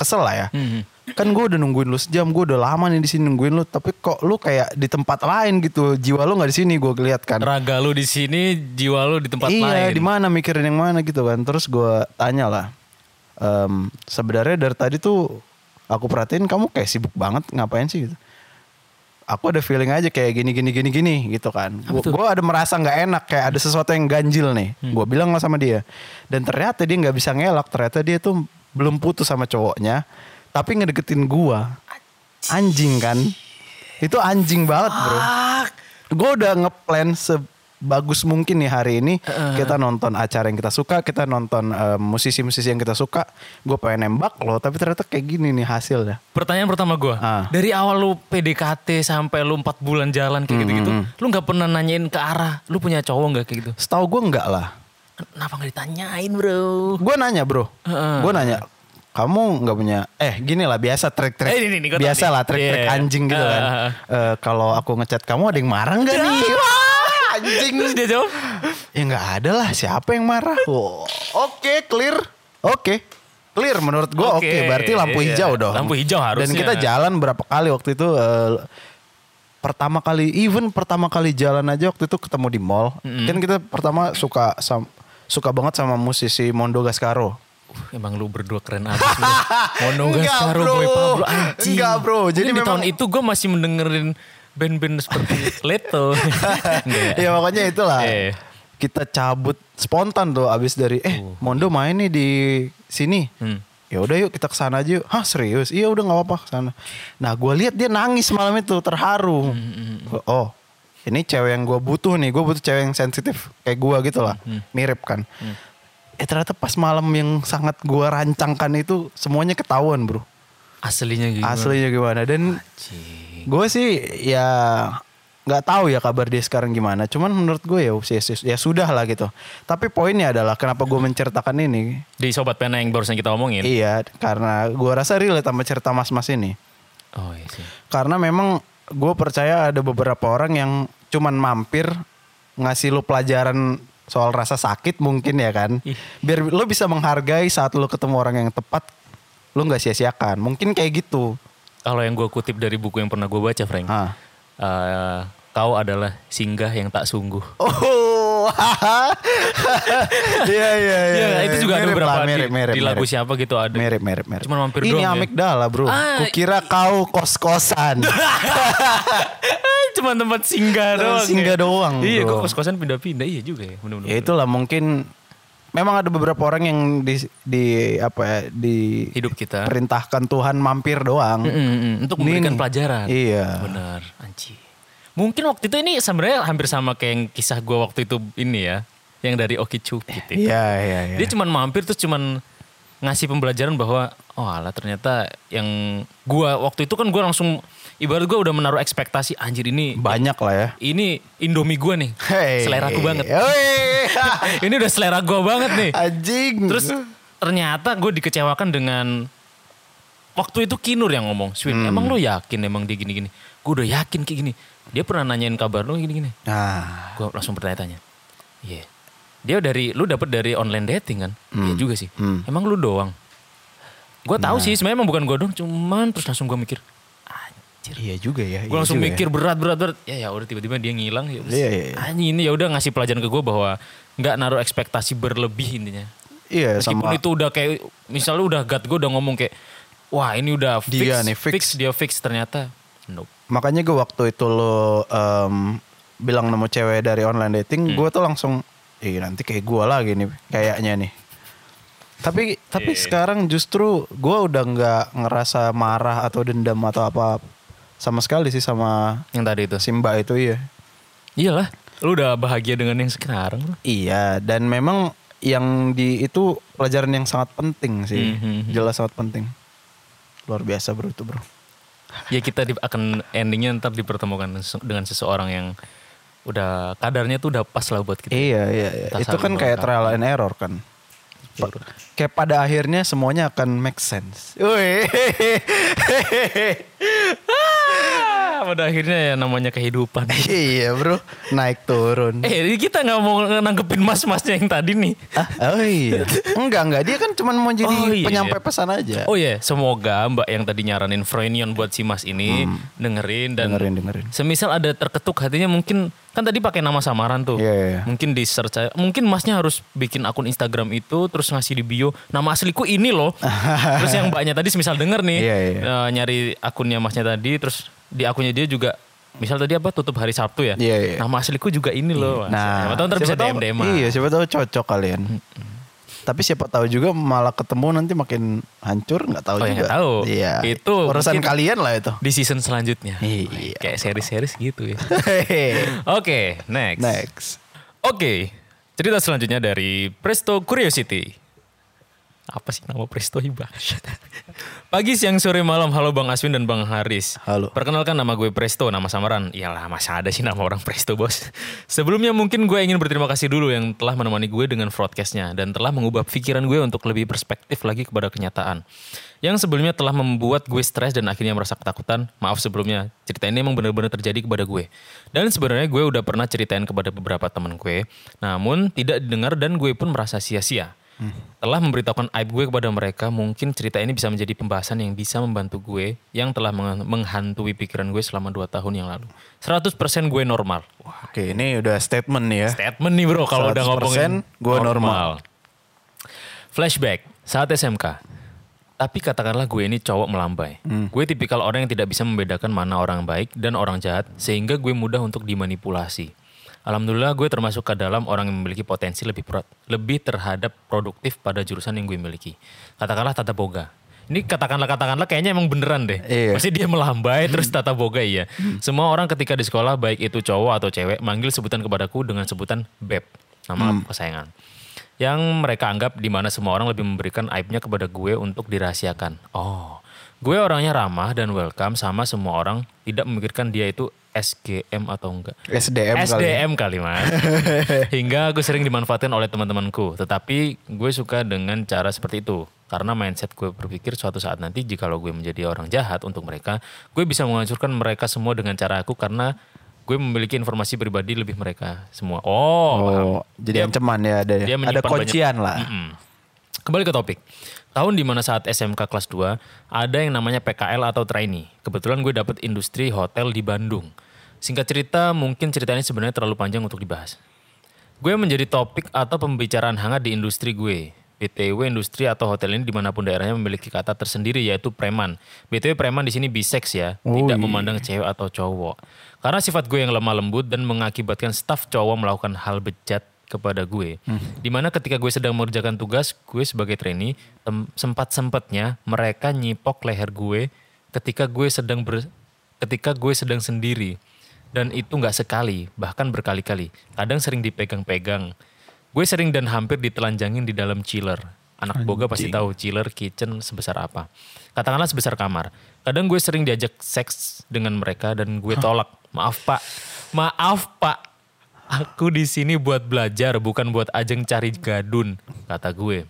Speaker 1: kesel lah ya.
Speaker 3: Mhm.
Speaker 1: Kan gue udah nungguin lu sejam, gue udah lama nih di sini nungguin lu, tapi kok lu kayak di tempat lain gitu. Jiwa lu nggak di sini gue lihat kan.
Speaker 3: Raga lu di sini, jiwa lu di tempat
Speaker 1: iya,
Speaker 3: lain.
Speaker 1: di mana mikirin yang mana gitu kan. Terus gue tanya lah. "Em, sebenarnya dari tadi tuh aku perhatiin kamu kayak sibuk banget ngapain sih gitu. Aku ada feeling aja kayak gini gini gini gini gitu kan. Gue ada merasa nggak enak kayak ada sesuatu yang ganjil nih. Gue bilang lah sama dia. Dan ternyata dia nggak bisa ngelak. Ternyata dia tuh belum putus sama cowoknya. Tapi ngedeketin gua. Anjing kan. Itu anjing banget bro gue udah ngeplan sebagus mungkin nih hari ini kita nonton acara yang kita suka kita nonton eh, musisi-musisi yang kita suka gue pengen nembak lo tapi ternyata kayak gini nih hasilnya
Speaker 3: Pertanyaan pertama gue,
Speaker 1: Ah.
Speaker 3: dari awal lu PDKT sampai lu 4
Speaker 1: Hmm,
Speaker 3: bulan jalan kayak gitu-gitu, lu nggak pernah nanyain ke arah, lu punya cowok nggak kayak gitu?
Speaker 1: setahu gue enggak lah
Speaker 3: kenapa nggak ditanyain bro?
Speaker 1: Gue nanya bro,
Speaker 3: Heeh.
Speaker 1: gue nanya kamu nggak punya eh gini lah biasa trik-trik
Speaker 3: Eh, ini, ini, gua tahu
Speaker 1: biasa
Speaker 3: nih.
Speaker 1: lah trik-trik
Speaker 3: Iya.
Speaker 1: anjing gitu kan.
Speaker 3: Heeh.
Speaker 1: Eh, Kalau aku ngechat kamu ada yang marah nggak nih? Wah, anjing.
Speaker 3: Terus dia jawab,
Speaker 1: (laughs) Ya nggak ada lah siapa yang marah. Wow. Oke clear, oke clear menurut gue oke.
Speaker 3: Oke,
Speaker 1: Berarti lampu
Speaker 3: iya.
Speaker 1: hijau dong.
Speaker 3: Lampu hijau
Speaker 1: Dan
Speaker 3: harusnya.
Speaker 1: kita jalan berapa kali waktu itu. eh, pertama kali even pertama kali jalan aja waktu itu ketemu di mall kan kita pertama suka sam- suka banget sama musisi Mondo Gascaro
Speaker 3: (laughs) "Uh, emang lu berdua keren abis
Speaker 1: (laughs)
Speaker 3: lu. Mono
Speaker 1: Enggak,
Speaker 3: Gascaro,
Speaker 1: bro.
Speaker 3: Boy Pablo, anjing.
Speaker 1: Enggak, bro.
Speaker 3: Mungkin
Speaker 1: Jadi
Speaker 3: di
Speaker 1: memang-
Speaker 3: tahun itu gue masih mendengerin band-band
Speaker 1: (laughs)
Speaker 3: seperti Leto. Enggak
Speaker 1: ya
Speaker 3: ya?
Speaker 1: makanya itulah
Speaker 3: Iya.
Speaker 1: kita cabut spontan tuh abis dari eh Mondo main nih di sini
Speaker 3: Hmm.
Speaker 1: ya udah yuk kita kesana aja yuk hah serius iya udah nggak apa-apa kesana nah gue lihat dia nangis malam itu terharu Gua, oh ini cewek yang gue butuh nih gue butuh cewek yang sensitif kayak gue gitu lah mirip kan eh ternyata pas malam yang sangat gue rancangkan itu semuanya ketahuan bro
Speaker 3: Aslinya gitu.
Speaker 1: aslinya gimana dan gue sih ya nggak tahu ya kabar dia sekarang gimana cuman menurut gue ya ya, ya sudah lah gitu tapi poinnya adalah kenapa gue menceritakan ini
Speaker 3: Di Sobat Pena yang barusan kita omongin.
Speaker 1: iya karena gue rasa relate sama cerita mas-mas ini
Speaker 3: Oh iya sih.
Speaker 1: karena memang gue percaya ada beberapa orang yang cuman mampir ngasih lu pelajaran soal rasa sakit mungkin ya kan
Speaker 3: Ih.
Speaker 1: biar lu bisa menghargai saat lu ketemu orang yang tepat lu nggak sia-siakan mungkin kayak gitu
Speaker 3: Kalau yang gue kutip dari buku yang pernah gue baca, Frank.
Speaker 1: Ah.
Speaker 3: Eh, kau adalah singgah yang tak sungguh.
Speaker 1: Oh, (laughs) iya iya iya.
Speaker 3: Iya, itu juga ada
Speaker 1: Mirip
Speaker 3: beberapa
Speaker 1: lah,
Speaker 3: di-
Speaker 1: mirip, mirip,
Speaker 3: di lagu
Speaker 1: mirip.
Speaker 3: siapa gitu ada.
Speaker 1: Mirip mirip mirip.
Speaker 3: Cuman mampir
Speaker 1: Ini
Speaker 3: doang ya.
Speaker 1: amigdala bro.
Speaker 3: Ah,
Speaker 1: Kukira kau kos kosan.
Speaker 3: (laughs) Cuma Eh, tempat singgah doang. ya.
Speaker 1: Eh, Singgah doang,
Speaker 3: Iya,
Speaker 1: bro.
Speaker 3: kok kos-kosan pindah-pindah. Iya juga ya. Bener-bener.
Speaker 1: ya itulah mungkin. Memang ada beberapa orang yang di di apa ya di
Speaker 3: Hidup kita.
Speaker 1: perintahkan Tuhan mampir doang.
Speaker 3: Mm, mm, mm. Untuk memberikan
Speaker 1: Ini.
Speaker 3: pelajaran.
Speaker 1: Iya.
Speaker 3: Benar. Anji. Mungkin waktu itu ini sebenarnya hampir sama kayak yang kisah gue waktu itu ini ya. Yang dari Oki gitu.
Speaker 1: Iya iya iya.
Speaker 3: Dia cuman mampir terus cuman ngasih pembelajaran bahwa oh alah ternyata yang gua waktu itu kan gua langsung ibarat gua udah menaruh ekspektasi anjir ini
Speaker 1: Banyak lah ya.
Speaker 3: ini Indomie gua nih.
Speaker 1: Hey. Iya.
Speaker 3: Selera aku banget.
Speaker 1: Hey.
Speaker 3: ini udah selera gua banget nih.
Speaker 1: (laughs) Anjing.
Speaker 3: Terus ternyata gue dikecewakan dengan waktu itu Kinur yang ngomong, Swin,
Speaker 1: Hmm.
Speaker 3: emang lu yakin emang dia gini-gini? Gue udah yakin kayak gini. Dia pernah nanyain kabar lu gini-gini.
Speaker 1: nah,
Speaker 3: Gue langsung bertanya-tanya. Iya. Dia dari lu dapat dari online dating kan?
Speaker 1: Hmm.
Speaker 3: Iya juga sih. Emang lu doang. Gue
Speaker 1: Nah.
Speaker 3: tahu sih sebenarnya emang bukan gue doang, cuman terus langsung gue mikir, anjir.
Speaker 1: iya juga ya.
Speaker 3: Gue
Speaker 1: iya
Speaker 3: langsung
Speaker 1: juga ya.
Speaker 3: mikir berat berat berat. Ya ya udah tiba-tiba dia ngilang ya.
Speaker 1: Iya, iya, iya.
Speaker 3: Anjing ini ya udah ngasih pelajaran ke gue bahwa nggak naruh ekspektasi berlebih intinya.
Speaker 1: Iya
Speaker 3: Meskipun
Speaker 1: sama.
Speaker 3: itu udah kayak misalnya udah gut gue udah ngomong kayak wah ini udah fix,
Speaker 1: Dia nih, fix.
Speaker 3: dia fix ternyata nope.
Speaker 1: Makanya gue waktu itu lo em, bilang nemu cewek dari online dating, gue tuh langsung, ih nanti kayak gue lagi nih, kayaknya nih. Tapi tapi sekarang justru gue udah nggak ngerasa marah atau dendam atau apa sama sekali sih sama
Speaker 3: Yang tadi itu.
Speaker 1: Simba itu iya.
Speaker 3: Iyalah, lu udah bahagia dengan yang sekarang bro.
Speaker 1: Iya dan memang yang di itu pelajaran yang sangat penting sih, jelas sangat penting. Luar biasa bro itu bro.
Speaker 3: Ya kita di- akan endingnya ntar dipertemukan se- dengan seseorang yang udah kadarnya tuh udah pas lah buat kita.
Speaker 1: Iya iya, iya.
Speaker 3: Gitu.
Speaker 1: itu kan
Speaker 3: Kita saling
Speaker 1: kayak
Speaker 3: melengkapi.
Speaker 1: trial and error kan. Pa- kayak pada akhirnya semuanya akan make sense. Wih.
Speaker 3: Ah, (laughs) pada akhirnya ya namanya kehidupan.
Speaker 1: (laughs)
Speaker 3: (laughs)
Speaker 1: iya bro, naik turun.
Speaker 3: eh ini kita nggak mau nanggepin mas-masnya yang tadi nih.
Speaker 1: Ah, oh iya. Enggak enggak, dia kan cuma mau jadi
Speaker 3: Oh, iya.
Speaker 1: penyampai pesan aja.
Speaker 3: Oh iya, semoga Mbak yang tadi nyaranin Froinion buat si Mas ini Hmm. dengerin dan
Speaker 1: Dengerin dengerin.
Speaker 3: Semisal ada terketuk hatinya mungkin kan tadi pakai nama samaran tuh.
Speaker 1: Iya, iya, iya.
Speaker 3: Mungkin di search aja. mungkin Masnya harus bikin akun Instagram itu terus ngasih di bio nama asliku ini
Speaker 1: (laughs)
Speaker 3: loh. terus yang mbaknya tadi semisal denger nih
Speaker 1: Iya, iya.
Speaker 3: eh, nyari akunnya Masnya tadi terus di akunnya dia juga misal tadi apa tutup hari Sabtu ya.
Speaker 1: Iya, iya.
Speaker 3: Nama asliku juga ini loh. Mas. siapa tahu
Speaker 1: Nah, siapa
Speaker 3: ntar bisa
Speaker 1: tahu-
Speaker 3: DM DM.
Speaker 1: Iya, siapa tahu cocok kalian. Tapi siapa tahu juga malah ketemu nanti makin hancur nggak tahu
Speaker 3: Oh, ya,
Speaker 1: juga.
Speaker 3: nggak tahu.
Speaker 1: Iya.
Speaker 3: Itu
Speaker 1: urusan
Speaker 3: mungkin-
Speaker 1: kalian lah
Speaker 3: (laughs)
Speaker 1: itu.
Speaker 3: Di season selanjutnya.
Speaker 1: Iya.
Speaker 3: Kayak series-series gitu ya.
Speaker 1: (laughs)
Speaker 3: Oke, next.
Speaker 1: Next.
Speaker 3: Oke, cerita selanjutnya dari Presto Curiosity. Apa sih nama Prestoi bangsat? (laughs) Pagi, siang, sore, malam. Halo Bang Aswin dan Bang Haris.
Speaker 1: Halo.
Speaker 3: Perkenalkan nama gue Presto, nama samaran. Iyalah, masa ada sih nama orang Presto, Bos. (laughs) Sebelumnya mungkin gue ingin berterima kasih dulu yang telah menemani gue dengan broadcastnya dan telah mengubah pikiran gue untuk lebih perspektif lagi kepada kenyataan. Yang sebelumnya telah membuat gue stres dan akhirnya merasa ketakutan. Maaf sebelumnya, cerita ini emang benar-benar terjadi kepada gue. Dan sebenarnya gue udah pernah ceritain kepada beberapa teman gue, namun tidak didengar dan gue pun merasa sia-sia. Telah memberitahukan aib gue kepada mereka, mungkin cerita ini bisa menjadi pembahasan yang bisa membantu gue yang telah meng- menghantui pikiran gue selama 2 tahun yang lalu. 100% gue normal. Wah,
Speaker 1: Oke, ini udah statement nih ya.
Speaker 3: statement nih bro kalau udah
Speaker 1: 100%
Speaker 3: ngomongin
Speaker 1: gue
Speaker 3: Flashback saat SMK. Tapi katakanlah gue ini cowok melambai. Gue tipikal orang yang tidak bisa membedakan mana orang baik dan orang jahat sehingga gue mudah untuk dimanipulasi. Alhamdulillah gue termasuk ke dalam orang yang memiliki potensi lebih pro- lebih terhadap produktif pada jurusan yang gue miliki. Katakanlah tata boga. Ini katakanlah katakanlah kayaknya emang beneran deh.
Speaker 1: Iya.
Speaker 3: Pasti dia melambai terus tata boga iya. Semua orang ketika di sekolah baik itu cowok atau cewek manggil sebutan kepadaku dengan sebutan beb. Nama kesayangan. Yang mereka anggap di mana semua orang lebih memberikan aibnya kepada gue untuk dirahasiakan. Oh, gue orangnya ramah dan welcome sama semua orang, tidak memikirkan dia itu SGM atau enggak.
Speaker 1: SDM, kali. ya.
Speaker 3: SDM kali mas. Hingga aku sering dimanfaatkan oleh teman-temanku. Tetapi gue suka dengan cara seperti itu. Karena mindset gue berpikir suatu saat nanti jikalau gue menjadi orang jahat untuk mereka, gue bisa menghancurkan mereka semua dengan cara aku karena gue memiliki informasi pribadi lebih mereka semua. Oh, paham.
Speaker 1: Oh, jadi ancaman ya ada.
Speaker 3: dia
Speaker 1: ada
Speaker 3: menyimpan
Speaker 1: kuncian lah.
Speaker 3: Mm-mm. Kembali ke topik. Tahun di mana saat SMK kelas 2 ada yang namanya PKL atau trainee. Kebetulan gue dapet industri hotel di Bandung. Singkat cerita, mungkin ceritanya sebenarnya terlalu panjang untuk dibahas. Gue menjadi topik atau pembicaraan hangat di industri gue. BTW industri atau hotel ini dimanapun daerahnya memiliki kata tersendiri yaitu preman. BTW preman di sini biseks ya, tidak memandang cewek atau cowok. Karena sifat gue yang lemah lembut dan mengakibatkan staf cowok melakukan hal bejat kepada gue. Dimana ketika gue sedang mengerjakan tugas, gue sebagai trainee tem- sempat-sempatnya mereka nyipok leher gue ketika gue sedang ber- ketika gue sedang sendiri dan itu nggak sekali bahkan berkali-kali kadang sering dipegang-pegang gue sering dan hampir ditelanjangin di dalam chiller anak boga pasti tahu chiller kitchen sebesar apa katakanlah sebesar kamar kadang gue sering diajak seks dengan mereka dan gue tolak maaf pak maaf pak aku di sini buat belajar bukan buat ajeng cari gadun kata gue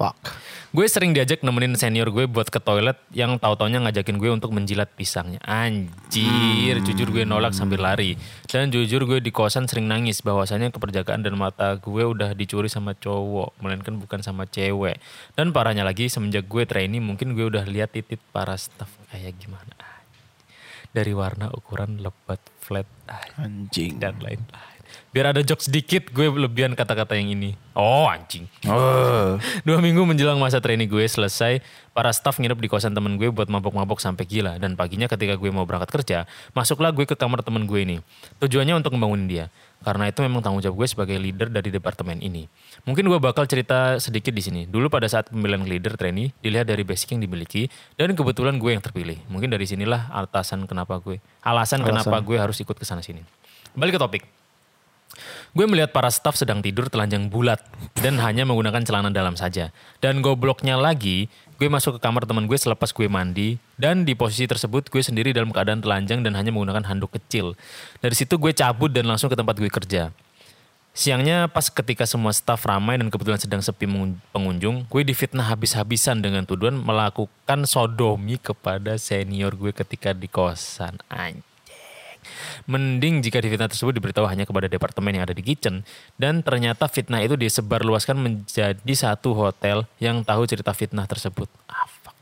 Speaker 1: Fuck.
Speaker 3: Gue sering diajak nemenin senior gue buat ke toilet yang tahu-taunya ngajakin gue untuk menjilat pisangnya. Anjir, jujur gue nolak sambil lari. Dan jujur gue di kosan sering nangis bahwasanya keperjakaan dan mata gue udah dicuri sama cowok, melainkan bukan sama cewek. Dan parahnya lagi semenjak gue trainee mungkin gue udah lihat titik para staff kayak gimana. Dari warna ukuran lebat flat
Speaker 1: Anjing.
Speaker 3: dan lain-lain. Biar ada jokes sedikit gue lebihan kata-kata yang ini. Oh anjing.
Speaker 1: Oh.
Speaker 3: Dua minggu menjelang masa training gue selesai, para staff nginep di kosan temen gue buat mabok-mabok sampai gila. Dan paginya ketika gue mau berangkat kerja, masuklah gue ke kamar temen gue ini. Tujuannya untuk membangun dia. Karena itu memang tanggung jawab gue sebagai leader dari departemen ini. Mungkin gue bakal cerita sedikit di sini. Dulu pada saat pemilihan leader trainee, dilihat dari basic yang dimiliki, dan kebetulan gue yang terpilih. Mungkin dari sinilah alasan kenapa gue, alasan, kenapa gue harus ikut ke sana sini. Balik ke topik. Gue melihat para staf sedang tidur telanjang bulat dan hanya menggunakan celana dalam saja. Dan gobloknya lagi, gue masuk ke kamar teman gue selepas gue mandi dan di posisi tersebut gue sendiri dalam keadaan telanjang dan hanya menggunakan handuk kecil. Dari situ gue cabut dan langsung ke tempat gue kerja. Siangnya pas ketika semua staf ramai dan kebetulan sedang sepi mengun- pengunjung, gue difitnah habis-habisan dengan tuduhan melakukan sodomi kepada senior gue ketika di kosan. Anjing. Mending jika di fitnah tersebut diberitahu hanya kepada departemen yang ada di kitchen dan ternyata fitnah itu disebarluaskan menjadi satu hotel yang tahu cerita fitnah tersebut. Ah, fuck.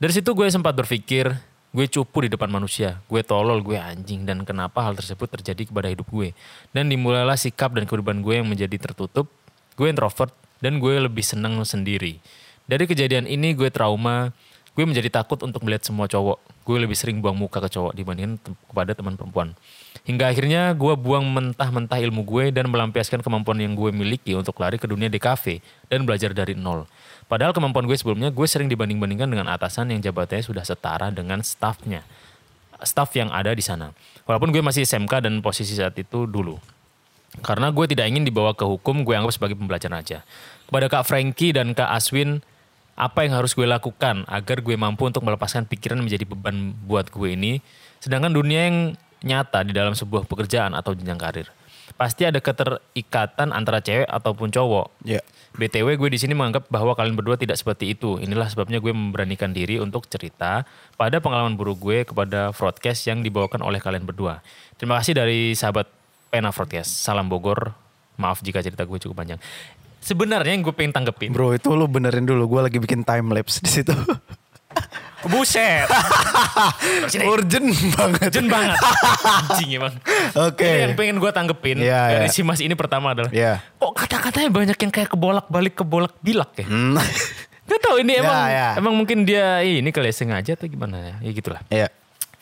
Speaker 3: Dari situ gue sempat berpikir, gue cupu di depan manusia, gue tolol, gue anjing, dan kenapa hal tersebut terjadi kepada hidup gue. Dan dimulailah sikap dan kehidupan gue yang menjadi tertutup, gue introvert, dan gue lebih senang sendiri. Dari kejadian ini gue trauma, gue menjadi takut untuk melihat semua cowok. Gue lebih sering buang muka ke cowok dibandingkan tem- kepada teman perempuan. Hingga akhirnya gue buang mentah-mentah ilmu gue dan melampiaskan kemampuan yang gue miliki untuk lari ke dunia DKV dan belajar dari nol. Padahal kemampuan gue sebelumnya gue sering dibanding-bandingkan dengan atasan yang jabatannya sudah setara dengan stafnya. Staf yang ada di sana. Walaupun gue masih SMK dan posisi saat itu dulu. Karena gue tidak ingin dibawa ke hukum, gue anggap sebagai pembelajaran aja. Kepada Kak Frankie dan Kak Aswin, apa yang harus gue lakukan agar gue mampu untuk melepaskan pikiran menjadi beban buat gue ini. Sedangkan dunia yang nyata di dalam sebuah pekerjaan atau jenjang karir. Pasti ada keterikatan antara cewek ataupun cowok.
Speaker 1: Iya.
Speaker 3: BTW gue di sini menganggap bahwa kalian berdua tidak seperti itu. Inilah sebabnya gue memberanikan diri untuk cerita pada pengalaman buruk gue kepada broadcast yang dibawakan oleh kalian berdua. Terima kasih dari sahabat Pena Broadcast. Salam Bogor. Maaf jika cerita gue cukup panjang. Sebenarnya yang gue pengen tanggepin.
Speaker 1: Bro itu lu benerin dulu. Gue lagi bikin time lapse di
Speaker 3: (laughs)
Speaker 1: situ.
Speaker 3: Buset. Sini.
Speaker 1: Urgent banget.
Speaker 3: Jen banget. Anjing emang.
Speaker 1: Oke.
Speaker 3: Ini yang pengen gue tanggepin
Speaker 1: Iya,
Speaker 3: dari
Speaker 1: iya.
Speaker 3: si mas ini pertama adalah.
Speaker 1: Iya.
Speaker 3: Kok kata-katanya banyak yang kayak kebolak-balik kebolak-bilak ya?
Speaker 1: (laughs) Hmm.
Speaker 3: Gak tau ini
Speaker 1: Ya,
Speaker 3: emang
Speaker 1: ya.
Speaker 3: emang mungkin dia ih, ini kali ya sengaja atau gimana ya? Ya gitulah.
Speaker 1: Iya.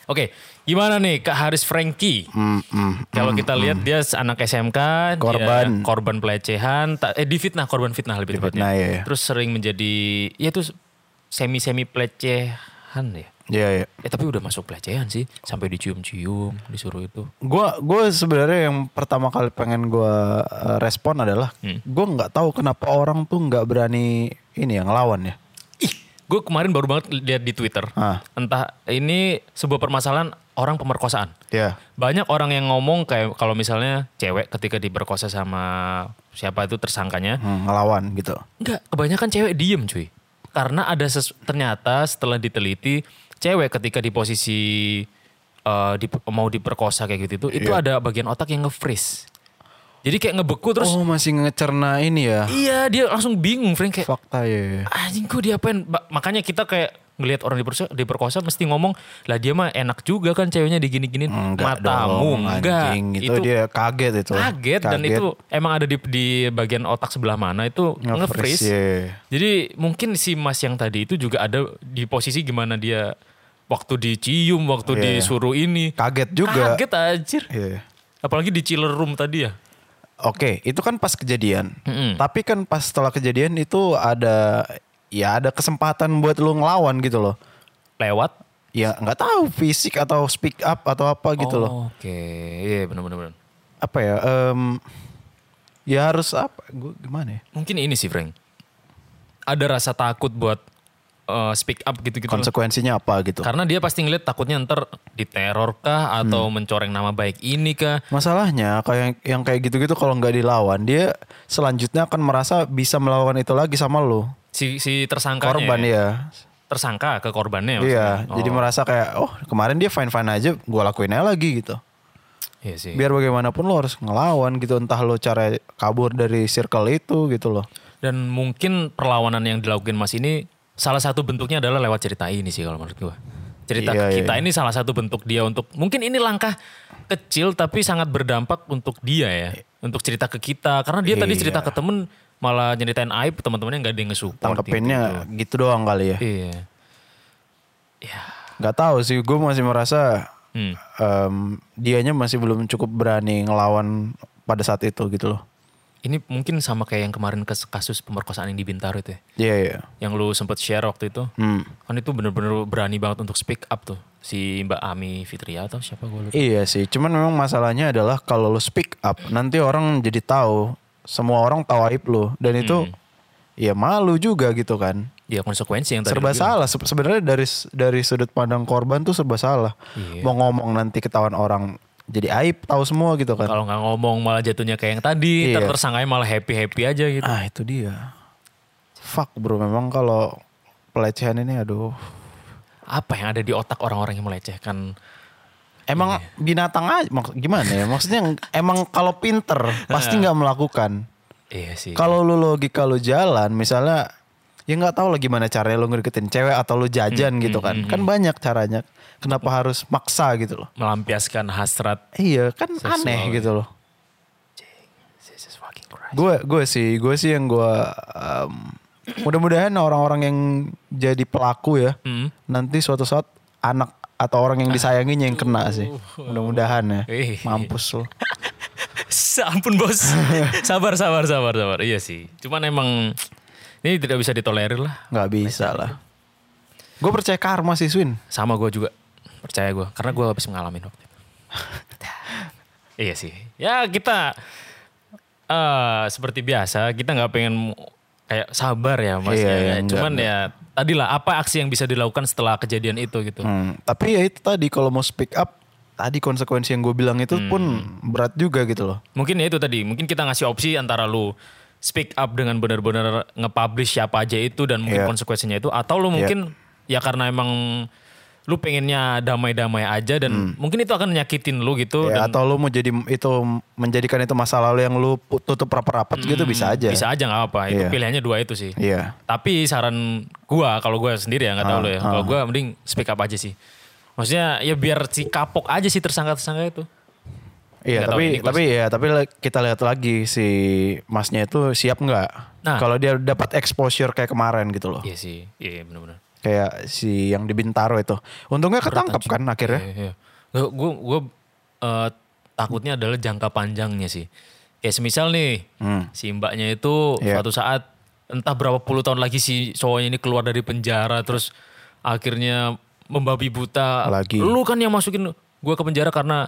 Speaker 3: Oke, gimana nih Kak Haris Frankie?
Speaker 1: Hmm, hmm.
Speaker 3: Kalau kita lihat dia anak SMK, dia
Speaker 1: Korban.
Speaker 3: korban pelecehan, ta- eh difitnah, korban fitnah lebih tepatnya.
Speaker 1: Difitnah, iya, iya.
Speaker 3: Terus sering menjadi ya itu semi-semi pelecehan ya.
Speaker 1: Iya, iya.
Speaker 3: Eh tapi udah masuk pelecehan sih, sampai dicium-cium, disuruh itu.
Speaker 1: gue gue sebenarnya yang pertama kali pengen gue respon adalah
Speaker 3: Hmm.
Speaker 1: gue nggak tahu kenapa orang tuh nggak berani ini ya ngelawan ya
Speaker 3: Ih, gue kemarin baru banget lihat di Twitter.
Speaker 1: Ah.
Speaker 3: Entah ini sebuah permasalahan orang pemerkosaan.
Speaker 1: ya
Speaker 3: Banyak orang yang ngomong kayak kalau misalnya cewek ketika diperkosa sama siapa itu tersangkanya,
Speaker 1: hmm, ngelawan gitu
Speaker 3: enggak, kebanyakan cewek diem cuy. Karena ada sesu- ternyata setelah diteliti, cewek ketika di posisi eh, di- mau diperkosa kayak gitu itu, itu
Speaker 1: Iya.
Speaker 3: ada bagian otak yang nge-freeze. Jadi kayak ngebeku terus
Speaker 1: oh masih ngecerna ini ya
Speaker 3: iya dia langsung bingung Frank kayak
Speaker 1: fakta ya
Speaker 3: anjing kok diapain Ba- makanya kita kayak ngelihat orang diperkosa, diperkosa mesti ngomong lah dia mah enak juga kan ceweknya digini-gini matamu enggak
Speaker 1: anjing
Speaker 3: itu,
Speaker 1: itu, dia kaget itu
Speaker 3: kaget, dan itu emang ada di, di bagian otak sebelah mana itu
Speaker 1: nge-freeze
Speaker 3: nge-freeze
Speaker 1: ya.
Speaker 3: jadi mungkin si mas yang tadi itu juga ada di posisi gimana dia waktu dicium waktu
Speaker 1: Iya.
Speaker 3: disuruh ini
Speaker 1: kaget juga
Speaker 3: kaget anjir
Speaker 1: Iya.
Speaker 3: apalagi di chiller room tadi ya
Speaker 1: Oke, itu kan pas kejadian.
Speaker 3: Mm-mm.
Speaker 1: Tapi kan pas setelah kejadian itu ada ya ada kesempatan buat lu ngelawan gitu loh.
Speaker 3: lewat
Speaker 1: ya nggak tahu fisik atau speak up atau apa gitu loh
Speaker 3: Oh, oke iya benar-benar
Speaker 1: apa ya em, ya harus apa gue gimana ya
Speaker 3: mungkin ini sih Frank ada rasa takut buat eh, speak up gitu-gitu
Speaker 1: konsekuensinya apa gitu
Speaker 3: karena dia pasti ngeliat takutnya ntar diteror kah atau
Speaker 1: Hmm.
Speaker 3: mencoreng nama baik ini kah
Speaker 1: masalahnya kayak yang kayak gitu-gitu kalau nggak dilawan dia selanjutnya akan merasa bisa melawan itu lagi sama lo
Speaker 3: si si tersangka
Speaker 1: korban ya
Speaker 3: tersangka ke korbannya maksudnya.
Speaker 1: iya jadi merasa kayak oh kemarin dia fine fine aja gue lakuin aja lagi gitu
Speaker 3: iya sih
Speaker 1: biar bagaimanapun lo harus ngelawan gitu entah lo cara kabur dari circle itu gitu loh
Speaker 3: dan mungkin perlawanan yang dilakukan Mas ini salah satu bentuknya adalah lewat cerita ini sih kalau menurut gua cerita
Speaker 1: Iya,
Speaker 3: kita
Speaker 1: iya.
Speaker 3: ini salah satu bentuk dia untuk mungkin ini langkah kecil tapi sangat berdampak untuk dia ya untuk cerita ke kita karena dia
Speaker 1: Iya.
Speaker 3: tadi cerita ke temen malah nyeritain aib teman-temannya nggak ada yang ngesupport
Speaker 1: tangkepinnya gitu doang kali ya
Speaker 3: gitu. iya
Speaker 1: nggak tahu sih gue masih merasa
Speaker 3: Hmm.
Speaker 1: em, dianya masih belum cukup berani ngelawan pada saat itu gitu loh
Speaker 3: Ini mungkin sama kayak yang kemarin kes- kasus pemerkosaan yang di Bintaro itu ya.
Speaker 1: iya iya
Speaker 3: Yang lu sempet share waktu itu.
Speaker 1: Hmm.
Speaker 3: Kan itu bener-bener berani banget untuk speak up tuh. Si Mbak Ami Fitria atau siapa gue lupa.
Speaker 1: iya sih cuman memang masalahnya adalah kalau lo speak up nanti orang jadi tahu semua orang tahu aib lo dan itu
Speaker 3: Hmm.
Speaker 1: ya malu juga gitu kan
Speaker 3: Ya konsekuensi yang tadi.
Speaker 1: serba
Speaker 3: lu bilang.
Speaker 1: salah Se- sebenarnya dari dari sudut pandang korban tuh serba salah
Speaker 3: Iya.
Speaker 1: mau ngomong nanti ketahuan orang jadi aib tahu semua gitu kan
Speaker 3: Kalau nggak ngomong malah jatuhnya kayak yang tadi.
Speaker 1: Iya.
Speaker 3: Ntar tersangkanya malah happy-happy aja gitu.
Speaker 1: Ah itu dia. Fuck bro memang kalau pelecehan ini aduh.
Speaker 3: Apa yang ada di otak orang-orang yang melecehkan.
Speaker 1: Emang
Speaker 3: Iya.
Speaker 1: binatang aja mak- gimana ya maksudnya yang- emang kalau pinter pasti nggak melakukan.
Speaker 3: Iya sih.
Speaker 1: Kalau lu logika lu jalan misalnya ya nggak tahu lah gimana caranya lu ngedeketin cewek atau lu
Speaker 3: Hmm,
Speaker 1: jajan gitu kan. Kan banyak caranya. Kenapa harus maksa gitu loh.
Speaker 3: Melampiaskan hasrat.
Speaker 1: Iya kan aneh gitu loh.
Speaker 3: This is fucking (laughs) Christ.
Speaker 1: Gue gue sih gue sih yang gue em, mudah-mudahan orang-orang yang jadi pelaku ya
Speaker 3: Hmm. Ah.
Speaker 1: nanti suatu saat anak atau orang yang disayanginya yang kena sih. Mudah-mudahan ya.
Speaker 3: Uh, Wih.
Speaker 1: Mampus lo.
Speaker 3: Ampun
Speaker 1: (laughs)
Speaker 3: bos. sabar, sabar, sabar, sabar. Iya sih. Cuman emang ini tidak bisa ditolerir lah.
Speaker 1: Gak bisa lah. Gue percaya karma sih Swin.
Speaker 3: Sama gue juga percaya gue, karena gue habis ngalamin waktu
Speaker 1: (laughs)
Speaker 3: itu. iya sih. Ya kita eh seperti biasa kita nggak pengen kayak sabar ya mas.
Speaker 1: Iya,
Speaker 3: ya.
Speaker 1: iya, enggak,
Speaker 3: Cuman ya tadi lah apa aksi yang bisa dilakukan setelah kejadian itu gitu.
Speaker 1: Hmm, tapi ya itu tadi kalau mau speak up, tadi konsekuensi yang gue bilang itu pun
Speaker 3: Hmm.
Speaker 1: berat juga gitu loh.
Speaker 3: Mungkin ya itu tadi, mungkin kita ngasih opsi antara lu speak up dengan benar-benar nge-publish siapa aja itu dan
Speaker 1: Iya.
Speaker 3: mungkin konsekuensinya itu atau lu mungkin ya karena emang lu pengennya damai-damai aja
Speaker 1: Hmm.
Speaker 3: dan mungkin itu akan nyakitin lu gitu
Speaker 1: Ya,
Speaker 3: dan
Speaker 1: atau lu mau jadi itu menjadikan itu masa lalu yang lu pu- tutup rapat-rapat gitu bisa aja.
Speaker 3: Hmm, bisa aja nggak apa. Itu
Speaker 1: Iya.
Speaker 3: pilihannya dua itu sih.
Speaker 1: Iya. Ah,
Speaker 3: Tapi saran gua kalau gua sendiri ya nggak tahu lo ya. Kalau gua mending speak up aja sih. Maksudnya ya biar si kapok aja sih tersangka-tersangka itu.
Speaker 1: Iya,
Speaker 3: Nggak tahu ini
Speaker 1: tapi
Speaker 3: gua
Speaker 1: tapi ya tapi le- kita lihat lagi si masnya itu siap nggak?
Speaker 3: Nah.
Speaker 1: Kalau dia dapat exposure kayak kemarin gitu loh.
Speaker 3: Iya sih. Iya benar-benar.
Speaker 1: Kayak si yang di Bintaro itu. Untungnya ketangkep kan akhirnya.
Speaker 3: Iya, iya. Gue gue eh, takutnya adalah jangka panjangnya sih. Kayak semisal nih si mbaknya itu
Speaker 1: Hmm. Iya.
Speaker 3: suatu saat entah berapa puluh tahun lagi si cowoknya ini keluar dari penjara terus akhirnya membabi buta.
Speaker 1: Lagi.
Speaker 3: Lu kan yang masukin gue ke penjara karena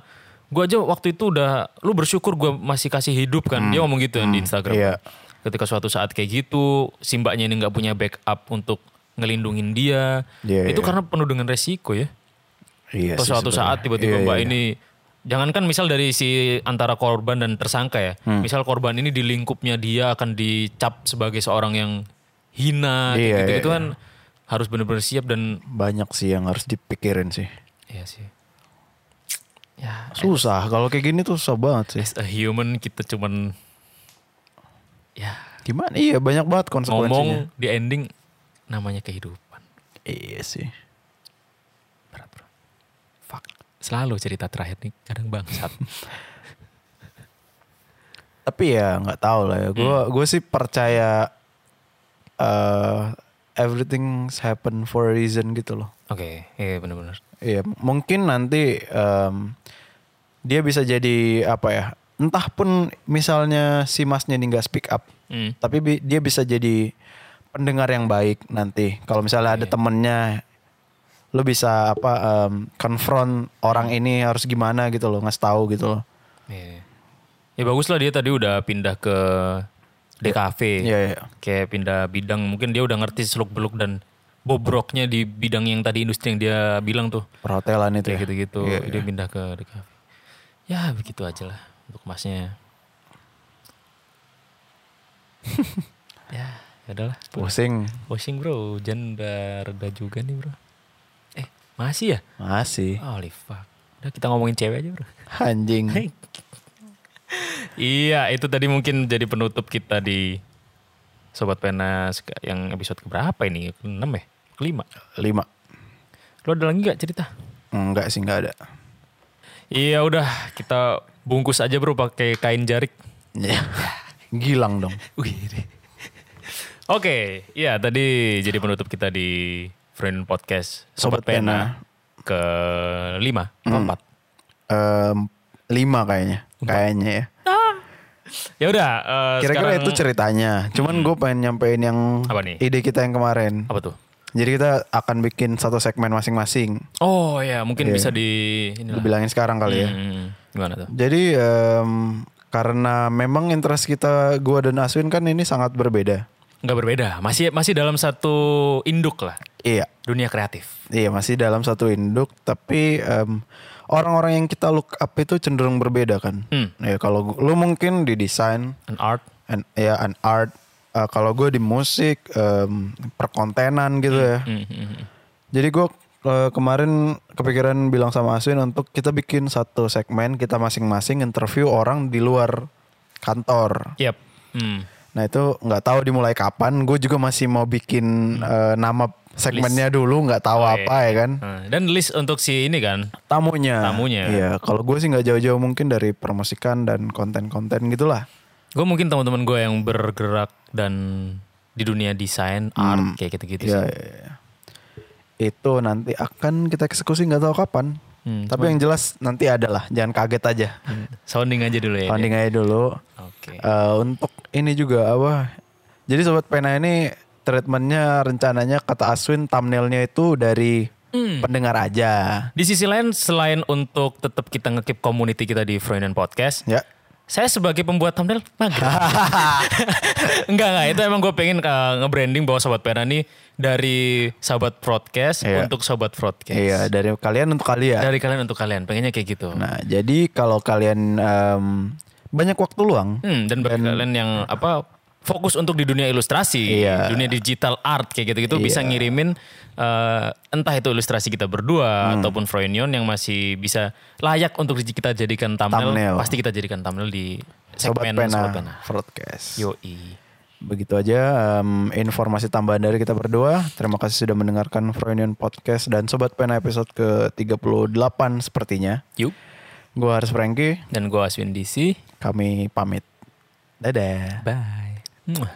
Speaker 3: gue aja waktu itu udah lu bersyukur gue masih kasih hidup kan. Dia ngomong gitu kan di Instagram.
Speaker 1: Hmm. Iya.
Speaker 3: Ketika suatu saat kayak gitu, si mbaknya ini nggak punya backup untuk ngelindungin dia.
Speaker 1: Iya,
Speaker 3: itu
Speaker 1: iya.
Speaker 3: karena penuh dengan resiko ya.
Speaker 1: Iya.
Speaker 3: Atau
Speaker 1: sih
Speaker 3: suatu
Speaker 1: sebenarnya.
Speaker 3: saat tiba-tiba
Speaker 1: Iya,
Speaker 3: mbak
Speaker 1: iya.
Speaker 3: ini jangankan misal dari si antara korban dan tersangka ya.
Speaker 1: Hmm.
Speaker 3: Misal korban ini di lingkupnya dia akan dicap sebagai seorang yang hina
Speaker 1: Iya,
Speaker 3: gitu,
Speaker 1: iya,
Speaker 3: gitu kan harus benar-benar siap dan
Speaker 1: banyak sih yang harus dipikirin sih.
Speaker 3: ya sih. Ya,
Speaker 1: Susah kalau kayak gini tuh susah banget sih.
Speaker 3: as a human kita cuman ya
Speaker 1: Gimana? Iya, banyak banget konsekuensinya.
Speaker 3: ngomong di ending namanya kehidupan.
Speaker 1: Iya sih.
Speaker 3: Berat, bro. Fuck. Selalu cerita terakhir nih kadang
Speaker 1: (laughs)
Speaker 3: bangsat.
Speaker 1: Tapi ya nggak tahu lah ya. Gue
Speaker 3: Hmm.
Speaker 1: gue sih percaya eh everything happen for a reason gitu loh.
Speaker 3: Oke, iya benar-benar.
Speaker 1: Iya, mungkin nanti em, dia bisa jadi apa ya? Entah pun misalnya si masnya ini nggak speak up,
Speaker 3: Hmm.
Speaker 1: tapi bi- dia bisa jadi pendengar yang baik nanti. Kalau misalnya
Speaker 3: Iya.
Speaker 1: ada temennya, lo bisa apa? em, confront orang ini harus gimana gitu loh, ngasih tahu gitu loh.
Speaker 3: Iya. Ya bagus lah dia tadi udah pindah ke DKV.
Speaker 1: Iya, iya.
Speaker 3: Kayak pindah bidang. Mungkin dia udah ngerti seluk-beluk dan bobroknya di bidang yang tadi industri yang dia bilang tuh.
Speaker 1: Perhotelan itu.
Speaker 3: Kayak
Speaker 1: ya.
Speaker 3: gitu-gitu.
Speaker 1: Iya,
Speaker 3: Dia pindah ke DKV. Ya begitu aja lah untuk
Speaker 1: (laughs)
Speaker 3: masnya. ya ya udahlah.
Speaker 1: Pusing.
Speaker 3: Washing bro, hujan udah reda juga nih bro. Eh masih ya?
Speaker 1: Masih.
Speaker 3: Holy fuck. Udah kita ngomongin cewek aja bro.
Speaker 1: Anjing.
Speaker 3: Iya, itu tadi mungkin jadi penutup kita di Sobat Pena sek- yang episode keberapa ini? Enam ya? Kelima.
Speaker 1: Lima.
Speaker 3: Lo ada lagi gak cerita?
Speaker 1: Enggak sih, enggak ada.
Speaker 3: Iya udah, kita bungkus aja bro pakai kain jarik.
Speaker 1: Iya. Gilang
Speaker 3: (laughs)
Speaker 1: dong.
Speaker 3: Oke, iya tadi jadi penutup kita di Friend Podcast Sobat,
Speaker 1: Sobat Pena. Hmm.
Speaker 3: Pena ke lima, ke empat.
Speaker 1: Em, lima kayaknya. Kayaknya ya.
Speaker 3: Ya udah, eh,
Speaker 1: Kira-kira
Speaker 3: Nah, sekarang- Hmm.
Speaker 1: itu ceritanya. Cuman gue pengen nyampein yang
Speaker 3: Apa nih?
Speaker 1: ide kita yang kemarin.
Speaker 3: apa tuh?
Speaker 1: Jadi kita akan bikin satu segmen masing-masing.
Speaker 3: Oh ya, mungkin
Speaker 1: Iya.
Speaker 3: bisa di inilah.
Speaker 1: Dibilangin sekarang kali ya.
Speaker 3: Iya. Hmm, gimana tuh?
Speaker 1: Jadi em, karena memang interest kita gua dan Aswin kan ini sangat berbeda.
Speaker 3: Nggak berbeda, masih masih dalam satu induk lah.
Speaker 1: Iya.
Speaker 3: dunia kreatif.
Speaker 1: Iya masih dalam satu induk tapi em, orang-orang yang kita look up itu cenderung berbeda kan.
Speaker 3: Hmm.
Speaker 1: Ya kalau gu- lu mungkin di desain,
Speaker 3: An art.
Speaker 1: an, ya an art. Eh, kalau gue di musik, em, perkontenan gitu ya. Jadi gue eh, kemarin kepikiran bilang sama Aswin untuk kita bikin satu segmen kita masing-masing interview orang di luar kantor.
Speaker 3: Yep. Hmm.
Speaker 1: Nah itu nggak tahu dimulai kapan. Gue juga masih mau bikin eh, nama segmennya dulu, nggak tahu apa ya kan.
Speaker 3: Nah, Dan list untuk si ini kan.
Speaker 1: Tamunya.
Speaker 3: Tamunya.
Speaker 1: Iya. Kalau gue sih nggak jauh-jauh mungkin dari promosikan dan konten-konten gitulah.
Speaker 3: Gue mungkin teman-teman gue yang bergerak dan di dunia desain, art kayak gitu-gitu
Speaker 1: Iya.
Speaker 3: sih.
Speaker 1: iya, iya. Itu nanti akan kita eksekusi nggak tahu kapan.
Speaker 3: Hmm,
Speaker 1: Tapi yang jelas nanti ada lah. Jangan kaget aja.
Speaker 3: Sounding aja dulu ya.
Speaker 1: Sounding aja dulu.
Speaker 3: Oke.
Speaker 1: Eh, untuk ini juga apa? Jadi sobat pena ini treatmentnya rencananya kata Aswin thumbnailnya itu dari
Speaker 3: Hmm.
Speaker 1: pendengar aja.
Speaker 3: Di sisi lain selain untuk tetap kita ngekip community kita di Freudian Podcast,
Speaker 1: Ya.
Speaker 3: Saya sebagai pembuat thumbnail
Speaker 1: (laughs)
Speaker 3: mager. (laughs) enggak enggak itu emang gue pengen uh, nge-branding bahwa Sobat Pena ini dari Sobat Broadcast
Speaker 1: Iya.
Speaker 3: untuk Sobat Broadcast.
Speaker 1: Iya dari kalian untuk kalian.
Speaker 3: Dari kalian untuk kalian, pengennya kayak gitu.
Speaker 1: Nah jadi kalau kalian em, banyak waktu luang,
Speaker 3: Hmm, dan bagi kalian yang apa fokus untuk di dunia ilustrasi,
Speaker 1: ya. Iya.
Speaker 3: dunia digital art kayak gitu-gitu bisa ngirimin eh, entah itu ilustrasi kita
Speaker 1: Hmm.
Speaker 3: berdua ataupun Froynion yang masih bisa layak untuk di- kita jadikan thumbnail,
Speaker 1: Thumbnail.
Speaker 3: pasti kita jadikan thumbnail di
Speaker 1: sobat
Speaker 3: segmen
Speaker 1: pena,
Speaker 3: Sobat Pena.
Speaker 1: broadcast.
Speaker 3: Yoi.
Speaker 1: Begitu aja em, informasi tambahan dari kita berdua. Terima kasih sudah mendengarkan Froynion Podcast dan Sobat Pena episode ke-38 sepertinya.
Speaker 3: Yup.
Speaker 1: Gua harus Frankie,
Speaker 3: Dan gue Aswin DC.
Speaker 1: kami pamit. Dadah.
Speaker 3: Bye. Muah.